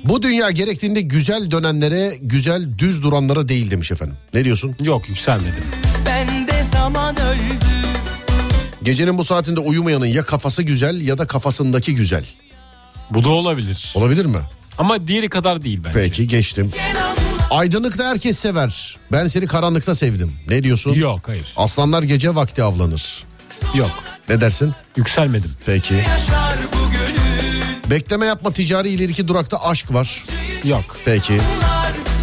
[SPEAKER 2] Bu dünya gerektiğinde güzel dönenlere, güzel düz duranlara değil demiş efendim. Ne diyorsun? Yok yükselmedim.
[SPEAKER 1] ben de zaman aman öldü
[SPEAKER 2] Gecenin bu saatinde uyumayanın ya kafası güzel ya da kafasındaki güzel.
[SPEAKER 3] Bu da olabilir.
[SPEAKER 2] Olabilir mi?
[SPEAKER 3] Ama diğeri kadar değil bence.
[SPEAKER 2] Peki geçtim. Aydınlıkta herkes sever. Ben seni karanlıkta sevdim. Ne diyorsun?
[SPEAKER 3] Yok, hayır.
[SPEAKER 2] Aslanlar gece vakti avlanır.
[SPEAKER 3] Yok.
[SPEAKER 2] Ne dersin?
[SPEAKER 3] Yükselmedim.
[SPEAKER 2] Peki. Bekleme yapma ticari ileriki durakta aşk var.
[SPEAKER 3] Yok.
[SPEAKER 2] Peki.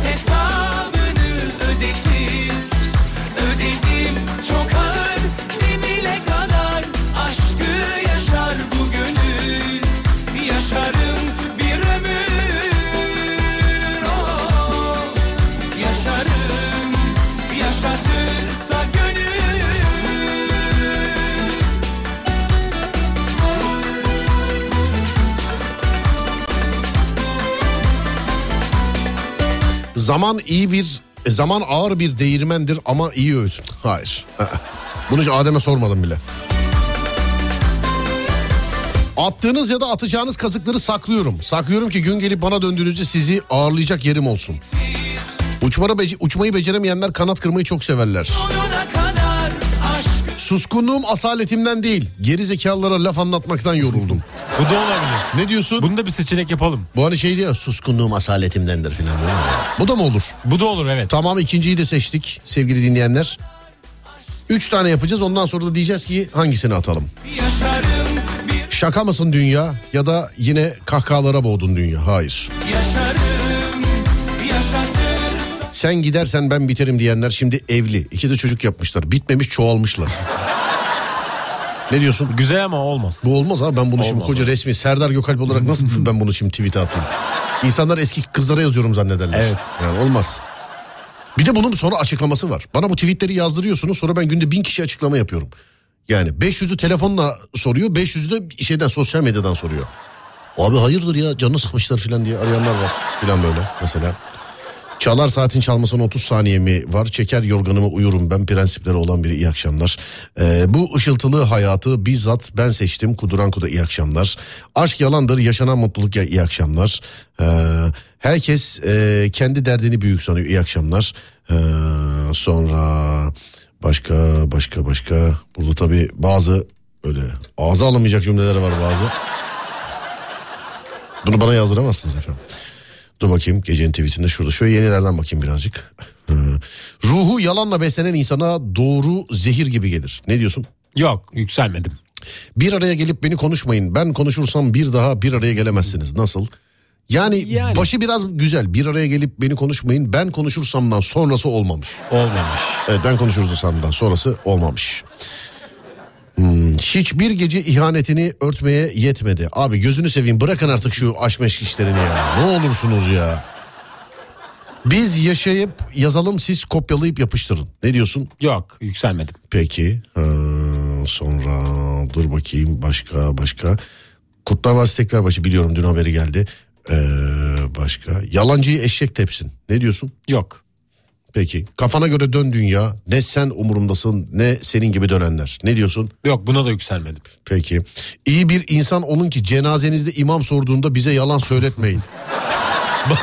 [SPEAKER 1] Hesabını ödetir Ödedim çok ağır Demire kadar Aşkı yaşar bu gönül Yaşarım bir ömür Oh, Yaşarım Yaşatırsa gönül
[SPEAKER 2] Zaman iyi bir e, zaman ağır bir değirmendir ama iyi öğüt. Hayır. Bunu hiç Adem'e sormadım bile. Attığınız ya da atacağınız kazıkları saklıyorum. Saklıyorum ki gün gelip bana döndüğünüzde sizi ağırlayacak yerim olsun. Uçmara bece- uçmayı beceremeyenler kanat kırmayı çok severler. Suskunluğum asaletimden değil, geri zekalılara laf anlatmaktan yoruldum.
[SPEAKER 3] Bu da olabilir.
[SPEAKER 2] Ne diyorsun?
[SPEAKER 3] Bunda bir seçenek yapalım.
[SPEAKER 2] Bu hani şey diyor, suskunluğum asaletimdendir filan. değil mi? Bu da mı olur?
[SPEAKER 3] Bu da olur evet.
[SPEAKER 2] Tamam ikinciyi de seçtik sevgili dinleyenler. Üç tane yapacağız ondan sonra da diyeceğiz ki hangisini atalım? Şaka mısın dünya ya da yine kahkahalara boğdun dünya? Hayır.
[SPEAKER 1] Yaşarım Yaşatırsa
[SPEAKER 2] Sen gidersen ben biterim diyenler şimdi evli. İki de çocuk yapmışlar. Bitmemiş çoğalmışlar. ne diyorsun?
[SPEAKER 3] Güzel ama olmaz.
[SPEAKER 2] Bu olmaz abi ben bunu şimdi
[SPEAKER 3] Olmaz.
[SPEAKER 2] koca resmi Serdar Gökalp olarak nasıl ben bunu şimdi tweet'e atayım? İnsanlar eski kızlara yazıyorum zannederler. Evet. Yani olmaz. Bir de bunun sonra açıklaması var. Bana bu tweetleri yazdırıyorsunuz sonra ben günde bin kişi açıklama yapıyorum. Yani 500'ü telefonla soruyor 500'ü de şeyden sosyal medyadan soruyor. Abi hayırdır ya canını sıkmışlar filan diye arayanlar var filan böyle mesela. Çalar saatin çalmasına 30 saniye mi var? Çeker yorganımı uyurum ben prensipleri olan biri iyi akşamlar. Ee, bu ışıltılı hayatı bizzat ben seçtim. Kuduranku'da iyi akşamlar. Aşk yalandır yaşanan mutluluk ya iyi akşamlar. Ee, herkes e, kendi derdini büyük sanıyor iyi akşamlar. Ee, sonra başka başka başka. Burada tabii bazı öyle ağza alamayacak cümleler var bazı. Bunu bana yazdıramazsınız efendim. Dur bakayım gecenin tweetinde şurada. Şöyle yenilerden bakayım birazcık. Hı. Ruhu yalanla beslenen insana doğru zehir gibi gelir. Ne diyorsun?
[SPEAKER 3] Yok yükselmedim.
[SPEAKER 2] Bir araya gelip beni konuşmayın. Ben konuşursam bir daha bir araya gelemezsiniz. Nasıl? Yani, başı biraz güzel. Bir araya gelip beni konuşmayın. Ben konuşursamdan sonrası olmamış.
[SPEAKER 3] Olmamış.
[SPEAKER 2] Evet ben konuşursamdan sonrası olmamış. Hmm, hiçbir gece ihanetini örtmeye yetmedi. Abi gözünü seveyim bırakın artık şu aşk meşk işlerini ya. Ne olursunuz ya. Biz yaşayıp yazalım siz kopyalayıp yapıştırın. Ne diyorsun?
[SPEAKER 3] Yok yükselmedim.
[SPEAKER 2] Peki. ee, sonra dur bakayım başka başka. Kurtlar Vadisi tekrar başı biliyorum dün haberi geldi. Ee, başka. Yalancıyı eşek tepsin. Ne diyorsun?
[SPEAKER 3] Yok.
[SPEAKER 2] Peki. Kafana göre dön dünya. Ne sen umurumdasın ne senin gibi dönenler. Ne diyorsun?
[SPEAKER 3] Yok buna da yükselmedim.
[SPEAKER 2] Peki. İyi bir insan olun ki cenazenizde imam sorduğunda bize yalan söyletmeyin.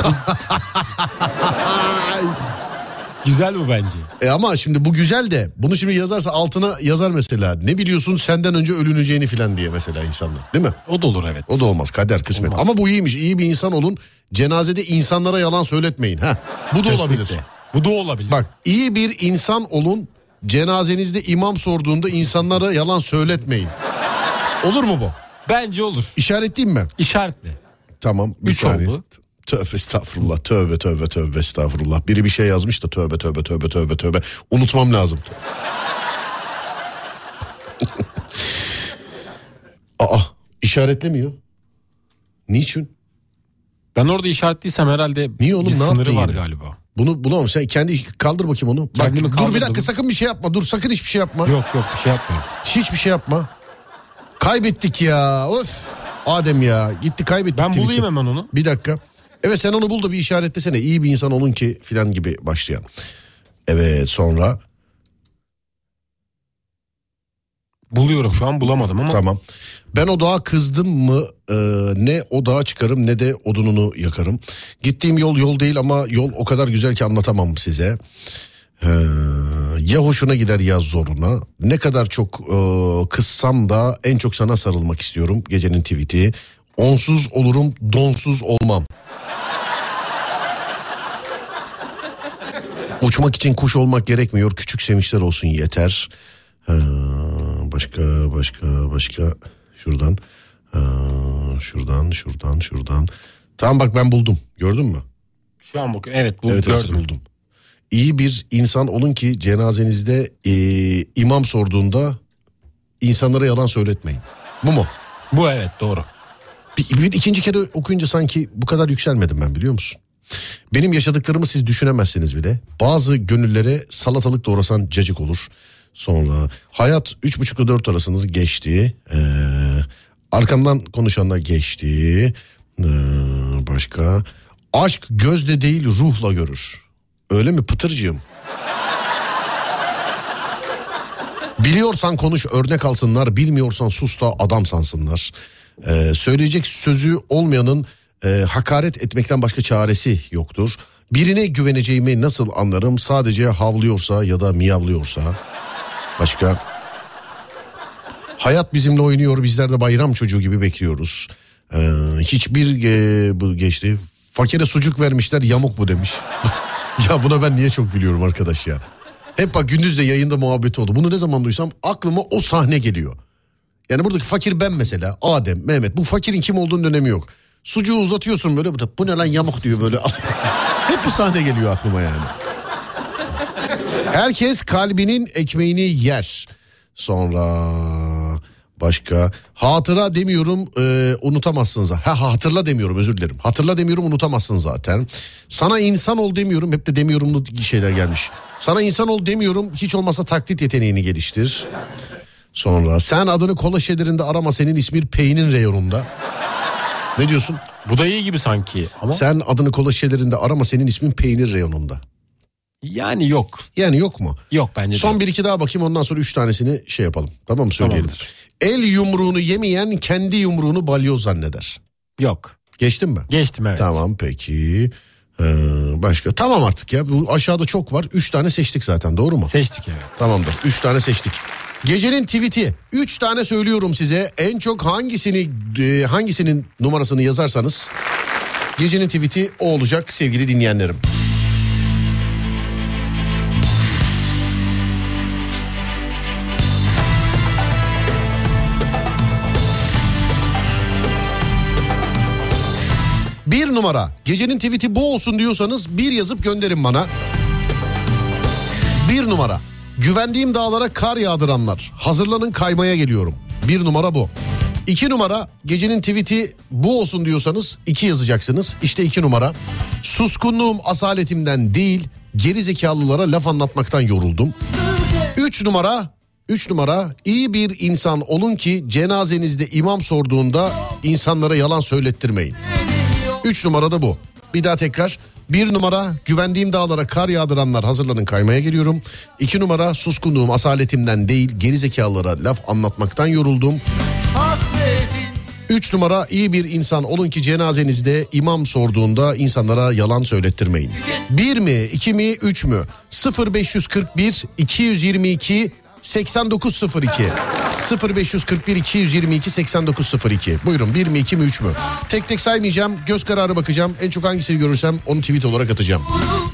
[SPEAKER 3] Güzel bu bence.
[SPEAKER 2] E ama şimdi bu güzel de bunu şimdi yazarsa altına yazar mesela. Ne biliyorsun senden önce ölüneceğini filan diye mesela insanlar değil mi?
[SPEAKER 3] O da olur evet.
[SPEAKER 2] O da olmaz kader kısmet. Ama bu iyiymiş iyi bir insan olun cenazede insanlara yalan söyletmeyin. Ha, bu da
[SPEAKER 3] Kesinlikle.
[SPEAKER 2] olabilir.
[SPEAKER 3] Bu da olabilir.
[SPEAKER 2] Bak iyi bir insan olun cenazenizde imam sorduğunda insanlara yalan söyletmeyin. Olur mu bu?
[SPEAKER 3] Bence olur.
[SPEAKER 2] İşaretleyeyim mi?
[SPEAKER 3] İşaretle.
[SPEAKER 2] Tamam bir
[SPEAKER 3] Üç
[SPEAKER 2] saniye.
[SPEAKER 3] oldu.
[SPEAKER 2] Tövbe estağfurullah tövbe tövbe tövbe estağfurullah. Biri bir şey yazmış da tövbe tövbe tövbe tövbe tövbe. Unutmam lazım. Aa işaretlemiyor. Niçin?
[SPEAKER 3] Ben orada işaretliysem herhalde
[SPEAKER 2] Niye oğlum,
[SPEAKER 3] bir
[SPEAKER 2] ne yaptın
[SPEAKER 3] sınırı var
[SPEAKER 2] yine?
[SPEAKER 3] galiba.
[SPEAKER 2] Bunu bulamam sen kendi kaldır bakayım onu. Bak,
[SPEAKER 3] Kendimi
[SPEAKER 2] dur bir
[SPEAKER 3] kaldırdım.
[SPEAKER 2] dakika sakın bir şey yapma dur sakın hiçbir şey yapma.
[SPEAKER 3] Yok yok bir şey yapmıyorum.
[SPEAKER 2] Hiçbir şey yapma. Kaybettik ya. Of. Adem ya. Gitti kaybettik.
[SPEAKER 3] Ben bulayım
[SPEAKER 2] tweet'i.
[SPEAKER 3] hemen onu.
[SPEAKER 2] Bir dakika. Evet sen onu bul da bir işaretlesene. İyi bir insan olun ki filan gibi başlayan. Evet sonra.
[SPEAKER 3] Buluyorum şu an bulamadım ama.
[SPEAKER 2] Tamam. Ben o dağa kızdım mı e, ne o dağa çıkarım ne de odununu yakarım. Gittiğim yol yol değil ama yol o kadar güzel ki anlatamam size. Ee, Ya hoşuna gider ya zoruna. Ne kadar çok e, kızsam da en çok sana sarılmak istiyorum. Gecenin tweet'i. Onsuz olurum, donsuz olmam. Uçmak için kuş olmak gerekmiyor. Küçük sevinçler olsun yeter. Ee, başka başka başka şuradan. Ee, şuradan şuradan şuradan. Tamam bak ben buldum. Gördün mü?
[SPEAKER 3] Şu an bakıyorum. Evet bu
[SPEAKER 2] evet,
[SPEAKER 3] gördüm.
[SPEAKER 2] buldum. İyi bir insan olun ki cenazenizde eee, imam sorduğunda insanlara yalan söyletmeyin. Bu mu?
[SPEAKER 3] Bu evet doğru.
[SPEAKER 2] Bir, bir ikinci kere okuyunca sanki bu kadar yükselmedim ben biliyor musun? Benim yaşadıklarımı siz düşünemezsiniz bile. Bazı gönüllere salatalık doğrasan cacık olur. Sonra hayat üç buçukla dört arasınız geçti. Ee, arkamdan konuşanlar geçti. Ee, başka. Aşk gözle değil ruhla görür. Öyle mi pıtırcığım? Biliyorsan konuş örnek alsınlar. Bilmiyorsan sus da adam sansınlar. Ee, söyleyecek sözü olmayanın e, hakaret etmekten başka çaresi yoktur. Birine güveneceğimi nasıl anlarım? Sadece havlıyorsa ya da miyavlıyorsa. Başka. Hayat bizimle oynuyor. Bizler de bayram çocuğu gibi bekliyoruz. Ee, hiçbir e, bu geçti. Fakire sucuk vermişler yamuk bu demiş. ya buna ben niye çok gülüyorum arkadaş ya. Hep bak gündüz de yayında muhabbeti oldu. Bunu ne zaman duysam aklıma o sahne geliyor. Yani buradaki fakir ben mesela. Adem, Mehmet. Bu fakirin kim olduğunun önemi yok. Sucuğu uzatıyorsun böyle. Bu, da, bu ne lan yamuk diyor böyle. Hep bu sahne geliyor aklıma yani. Herkes kalbinin ekmeğini yer. Sonra başka hatıra demiyorum e, unutamazsın zaten. Ha hatırla demiyorum özür dilerim. Hatırla demiyorum unutamazsın zaten. Sana insan ol demiyorum hep de demiyorumlu şeyler gelmiş. Sana insan ol demiyorum hiç olmazsa taklit yeteneğini geliştir. Sonra sen adını kola şişelerinde arama senin ismin peynin reyonunda. Ne diyorsun?
[SPEAKER 3] Bu da iyi gibi sanki ama.
[SPEAKER 2] Sen adını kola şişelerinde arama senin ismin peynir reyonunda.
[SPEAKER 3] Yani yok.
[SPEAKER 2] Yani yok mu?
[SPEAKER 3] Yok bence
[SPEAKER 2] Son
[SPEAKER 3] de.
[SPEAKER 2] bir iki daha bakayım ondan sonra üç tanesini şey yapalım. Tamam mı söyleyelim.
[SPEAKER 3] Tamamdır.
[SPEAKER 2] El yumruğunu yemeyen kendi yumruğunu balyoz zanneder.
[SPEAKER 3] Yok.
[SPEAKER 2] Geçtin mi?
[SPEAKER 3] Geçtim evet.
[SPEAKER 2] Tamam peki. Ee, başka tamam artık ya bu aşağıda çok var. Üç tane seçtik zaten doğru mu?
[SPEAKER 3] Seçtik evet.
[SPEAKER 2] Tamamdır. Üç tane seçtik. Gecenin tweet'i. Üç tane söylüyorum size. En çok hangisini e, hangisinin numarasını yazarsanız gecenin tweet'i o olacak sevgili dinleyenlerim. Bir numara. Gecenin tweet'i bu olsun diyorsanız bir yazıp gönderin bana. Bir numara. Güvendiğim dağlara kar yağdıranlar. Hazırlanın kaymaya geliyorum. Bir numara bu. İki numara gecenin tweet'i bu olsun diyorsanız iki yazacaksınız. İşte iki numara. Suskunluğum asaletimden değil geri zekalılara laf anlatmaktan yoruldum. Üç numara Üç numara iyi bir insan olun ki cenazenizde imam sorduğunda insanlara yalan söylettirmeyin. 3 numara da bu. Bir daha tekrar. 1 numara güvendiğim dağlara kar yağdıranlar hazırlanın kaymaya geliyorum. 2 numara suskunluğum asaletimden değil gerizekalılara laf anlatmaktan yoruldum. 3 numara iyi bir insan olun ki cenazenizde imam sorduğunda insanlara yalan söylettirmeyin. 1 mi 2 mi 3 mü 0541 222 8902 0541 222 8902 Buyurun 1 mi 2 mi 3 mü? Tek tek saymayacağım göz kararı bakacağım en çok hangisini görürsem onu tweet olarak atacağım.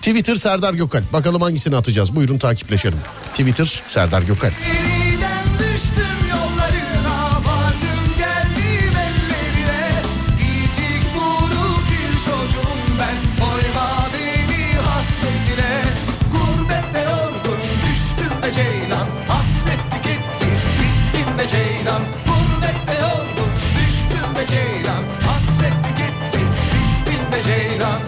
[SPEAKER 2] Twitter Serdar Gökalp bakalım hangisini atacağız buyurun takipleşelim. Twitter Serdar Gökalp.
[SPEAKER 1] Yeniden düştüm yollarına vardım geldim ellerine İydik bunu bir çocuğum ben koyma beni hasretine Gurbette yorgun düştüm be Ceylan hasret tüketti bittim be Ceylan Gurbette yorgun düştüm be Ceylan hasret tüketti bittim be Ceylan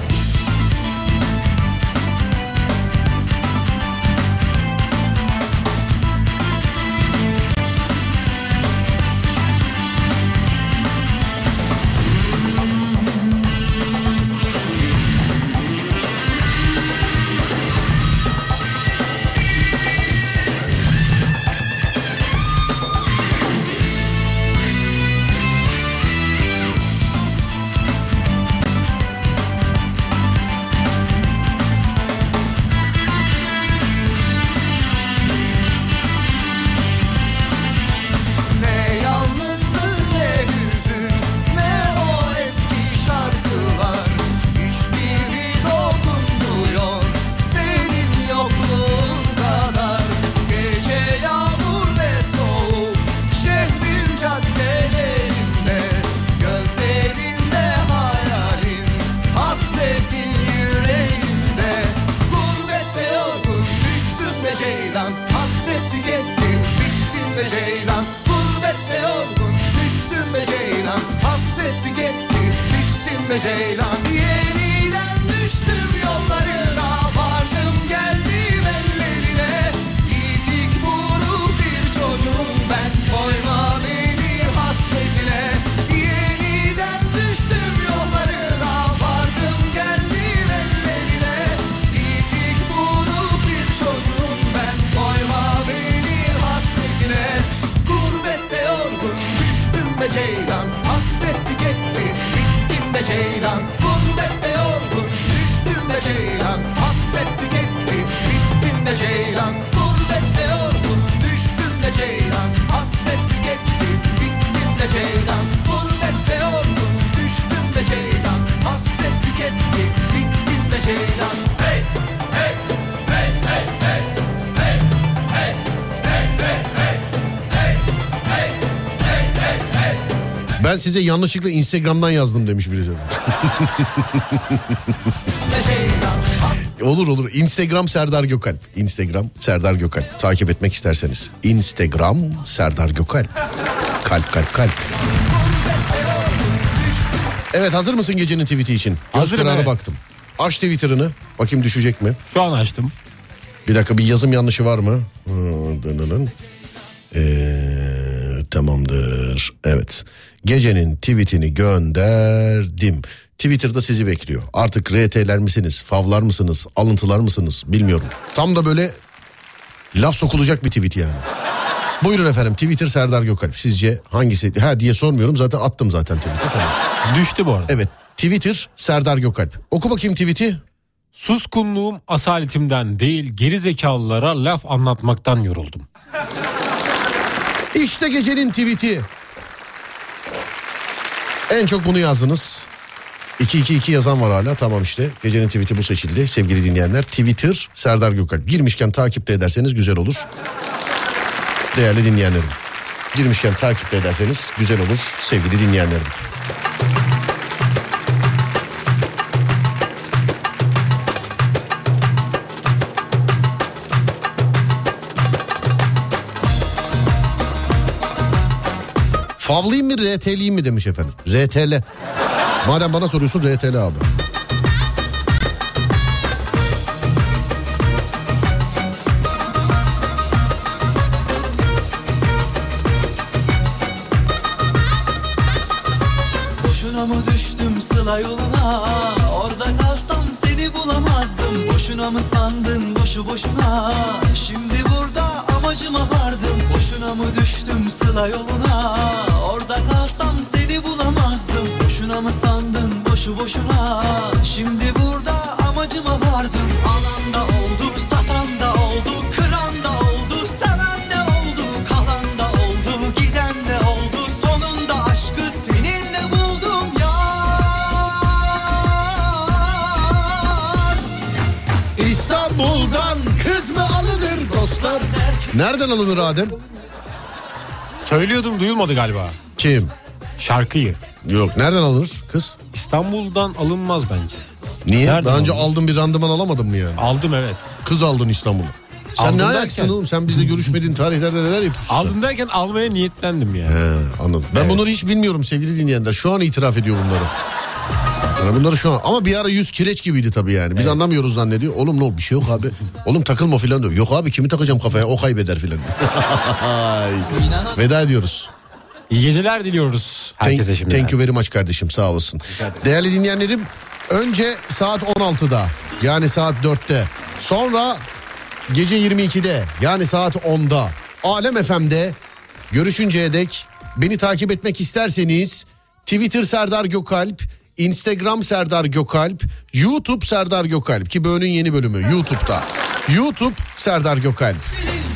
[SPEAKER 1] ceylan Gurbette yorgun düştüm be ceylan Hasretti gitti bittim be ceylan Yeniden düştüm yollarına Vardım geldim ellerine Yiğitlik bunu bir çocuğum ben Koyma beni hasretine Yeniden düştüm yollarına Vardım geldim ellerine Yiğitlik bunu bir çocuğum ben Koyma beni hasretine Gurbette yorgun düştüm be ceylan Hasretti gitti bittim be ceylan Gurbette yorgun düştüm be ceylan Hasretti gitti bittim be ceylan Gurbette yorgun düştüm be ceylan Hasretti gitti bittim be ceylan Gurbette yorgun düştüm be ceylan Hasret tüketti bittim be ceylan Hey hey hey hey hey Hey hey hey hey hey Hey hey hey hey hey
[SPEAKER 2] Ben size yanlışlıkla Instagram'dan yazdım demiş birisi. olur olur. Instagram Serdar Gökalp. Instagram Serdar Gökalp. Takip etmek isterseniz. Instagram Serdar Gökalp. Kalp kalp kalp. Evet hazır mısın gecenin tweet'i için? Göz
[SPEAKER 3] Hazırım,
[SPEAKER 2] kararı
[SPEAKER 3] evet.
[SPEAKER 2] baktım. Aç Twitter'ını. Bakayım düşecek mi?
[SPEAKER 3] Şu an açtım.
[SPEAKER 2] Bir dakika bir yazım yanlışı var mı? Hı, dın dın dın. Ee, tamamdır. Evet. Gecenin tweetini gönderdim. Twitter'da sizi bekliyor. Artık RT'ler misiniz? Favlar mısınız? Alıntılar mısınız? Bilmiyorum. Tam da böyle laf sokulacak bir tweet yani. Buyurun efendim Twitter Serdar Gökalp. Sizce hangisi? Ha diye sormuyorum zaten attım zaten tweet'e.
[SPEAKER 3] Düştü bu arada.
[SPEAKER 2] Evet Twitter Serdar Gökalp. Oku bakayım tweet'i.
[SPEAKER 3] Suskunluğum asaletimden değil geri zekalılara laf anlatmaktan yoruldum.
[SPEAKER 2] İşte gecenin tweet'i. En çok bunu yazdınız. 222 yazan var hala. Tamam işte. Gecenin tweet'i bu seçildi. Sevgili dinleyenler Twitter Serdar Gökalp. Girmişken takipte ederseniz güzel olur. Değerli dinleyenlerim. Girmişken takipte ederseniz güzel olur sevgili dinleyenlerim. Favlayayım mı RT'liyim mi demiş efendim. RTL. Madem bana soruyorsun RTL abi.
[SPEAKER 1] Boşuna mı düştüm sıla yoluna Orada kalsam seni bulamazdım Boşuna mı sandın boşu boşuna Şimdi burada amacıma vardım Boşuna mı düştüm sıla yoluna Orada kalsam seni bulamazdım Boşuna mı sandın boşu boşuna Şimdi burada amacıma vardım Alan da oldu satan da oldu Kıran da oldu seven de oldu Kalan da oldu giden de oldu Sonunda aşkı seninle buldum yar İstanbul'dan kız mı alınır dostlar
[SPEAKER 2] Nereden alınır Adem?
[SPEAKER 3] Söylüyordum duyulmadı galiba.
[SPEAKER 2] Kim?
[SPEAKER 3] Şarkıyı.
[SPEAKER 2] Yok nereden alınır kız?
[SPEAKER 3] İstanbul'dan alınmaz bence.
[SPEAKER 2] Niye?
[SPEAKER 3] Nereden
[SPEAKER 2] Daha önce
[SPEAKER 3] alınır?
[SPEAKER 2] aldın bir randıman alamadın mı yani?
[SPEAKER 3] Aldım evet.
[SPEAKER 2] Kız aldın İstanbul'u. Sen
[SPEAKER 3] Aldım
[SPEAKER 2] ne
[SPEAKER 3] derken-
[SPEAKER 2] ayaksın oğlum? Sen bizle görüşmediğin tarihlerde neler yapıyorsun? sen?
[SPEAKER 3] Aldım derken almaya niyetlendim yani.
[SPEAKER 2] He, anladım. Ben bunları hiç bilmiyorum sevgili dinleyenler. Şu an itiraf ediyor bunları. Yani bunları şu an. Ama bir ara yüz kireç gibiydi tabii yani. Biz anlamıyoruz zannediyor. Oğlum ne oldu? Bir şey yok abi. Oğlum takılma filan diyor. Yok abi kimi takacağım kafaya? O kaybeder filan. Ay. Veda ediyoruz.
[SPEAKER 3] İyi geceler diliyoruz herkese
[SPEAKER 2] thank,
[SPEAKER 3] şimdi.
[SPEAKER 2] Thank you very much kardeşim sağ olasın. Değerli dinleyenlerim önce saat 16'da yani saat 4'te sonra gece 22'de yani saat 10'da Alem FM'de görüşünceye dek beni takip etmek isterseniz Twitter Serdar Gökalp, Instagram Serdar Gökalp, YouTube Serdar Gökalp ki bölümün yeni bölümü YouTube'da. YouTube Serdar Gökalp.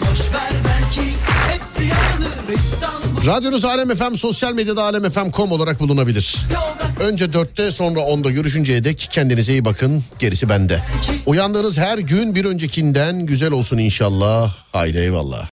[SPEAKER 1] Boşver belki hepsi yanır İstanbul
[SPEAKER 2] Radyonuz Alem FM sosyal medyada alemfm.com olarak bulunabilir. Önce 4'te sonra 10'da görüşünceye dek kendinize iyi bakın. Gerisi bende. Uyandığınız her gün bir öncekinden güzel olsun inşallah. Haydi eyvallah.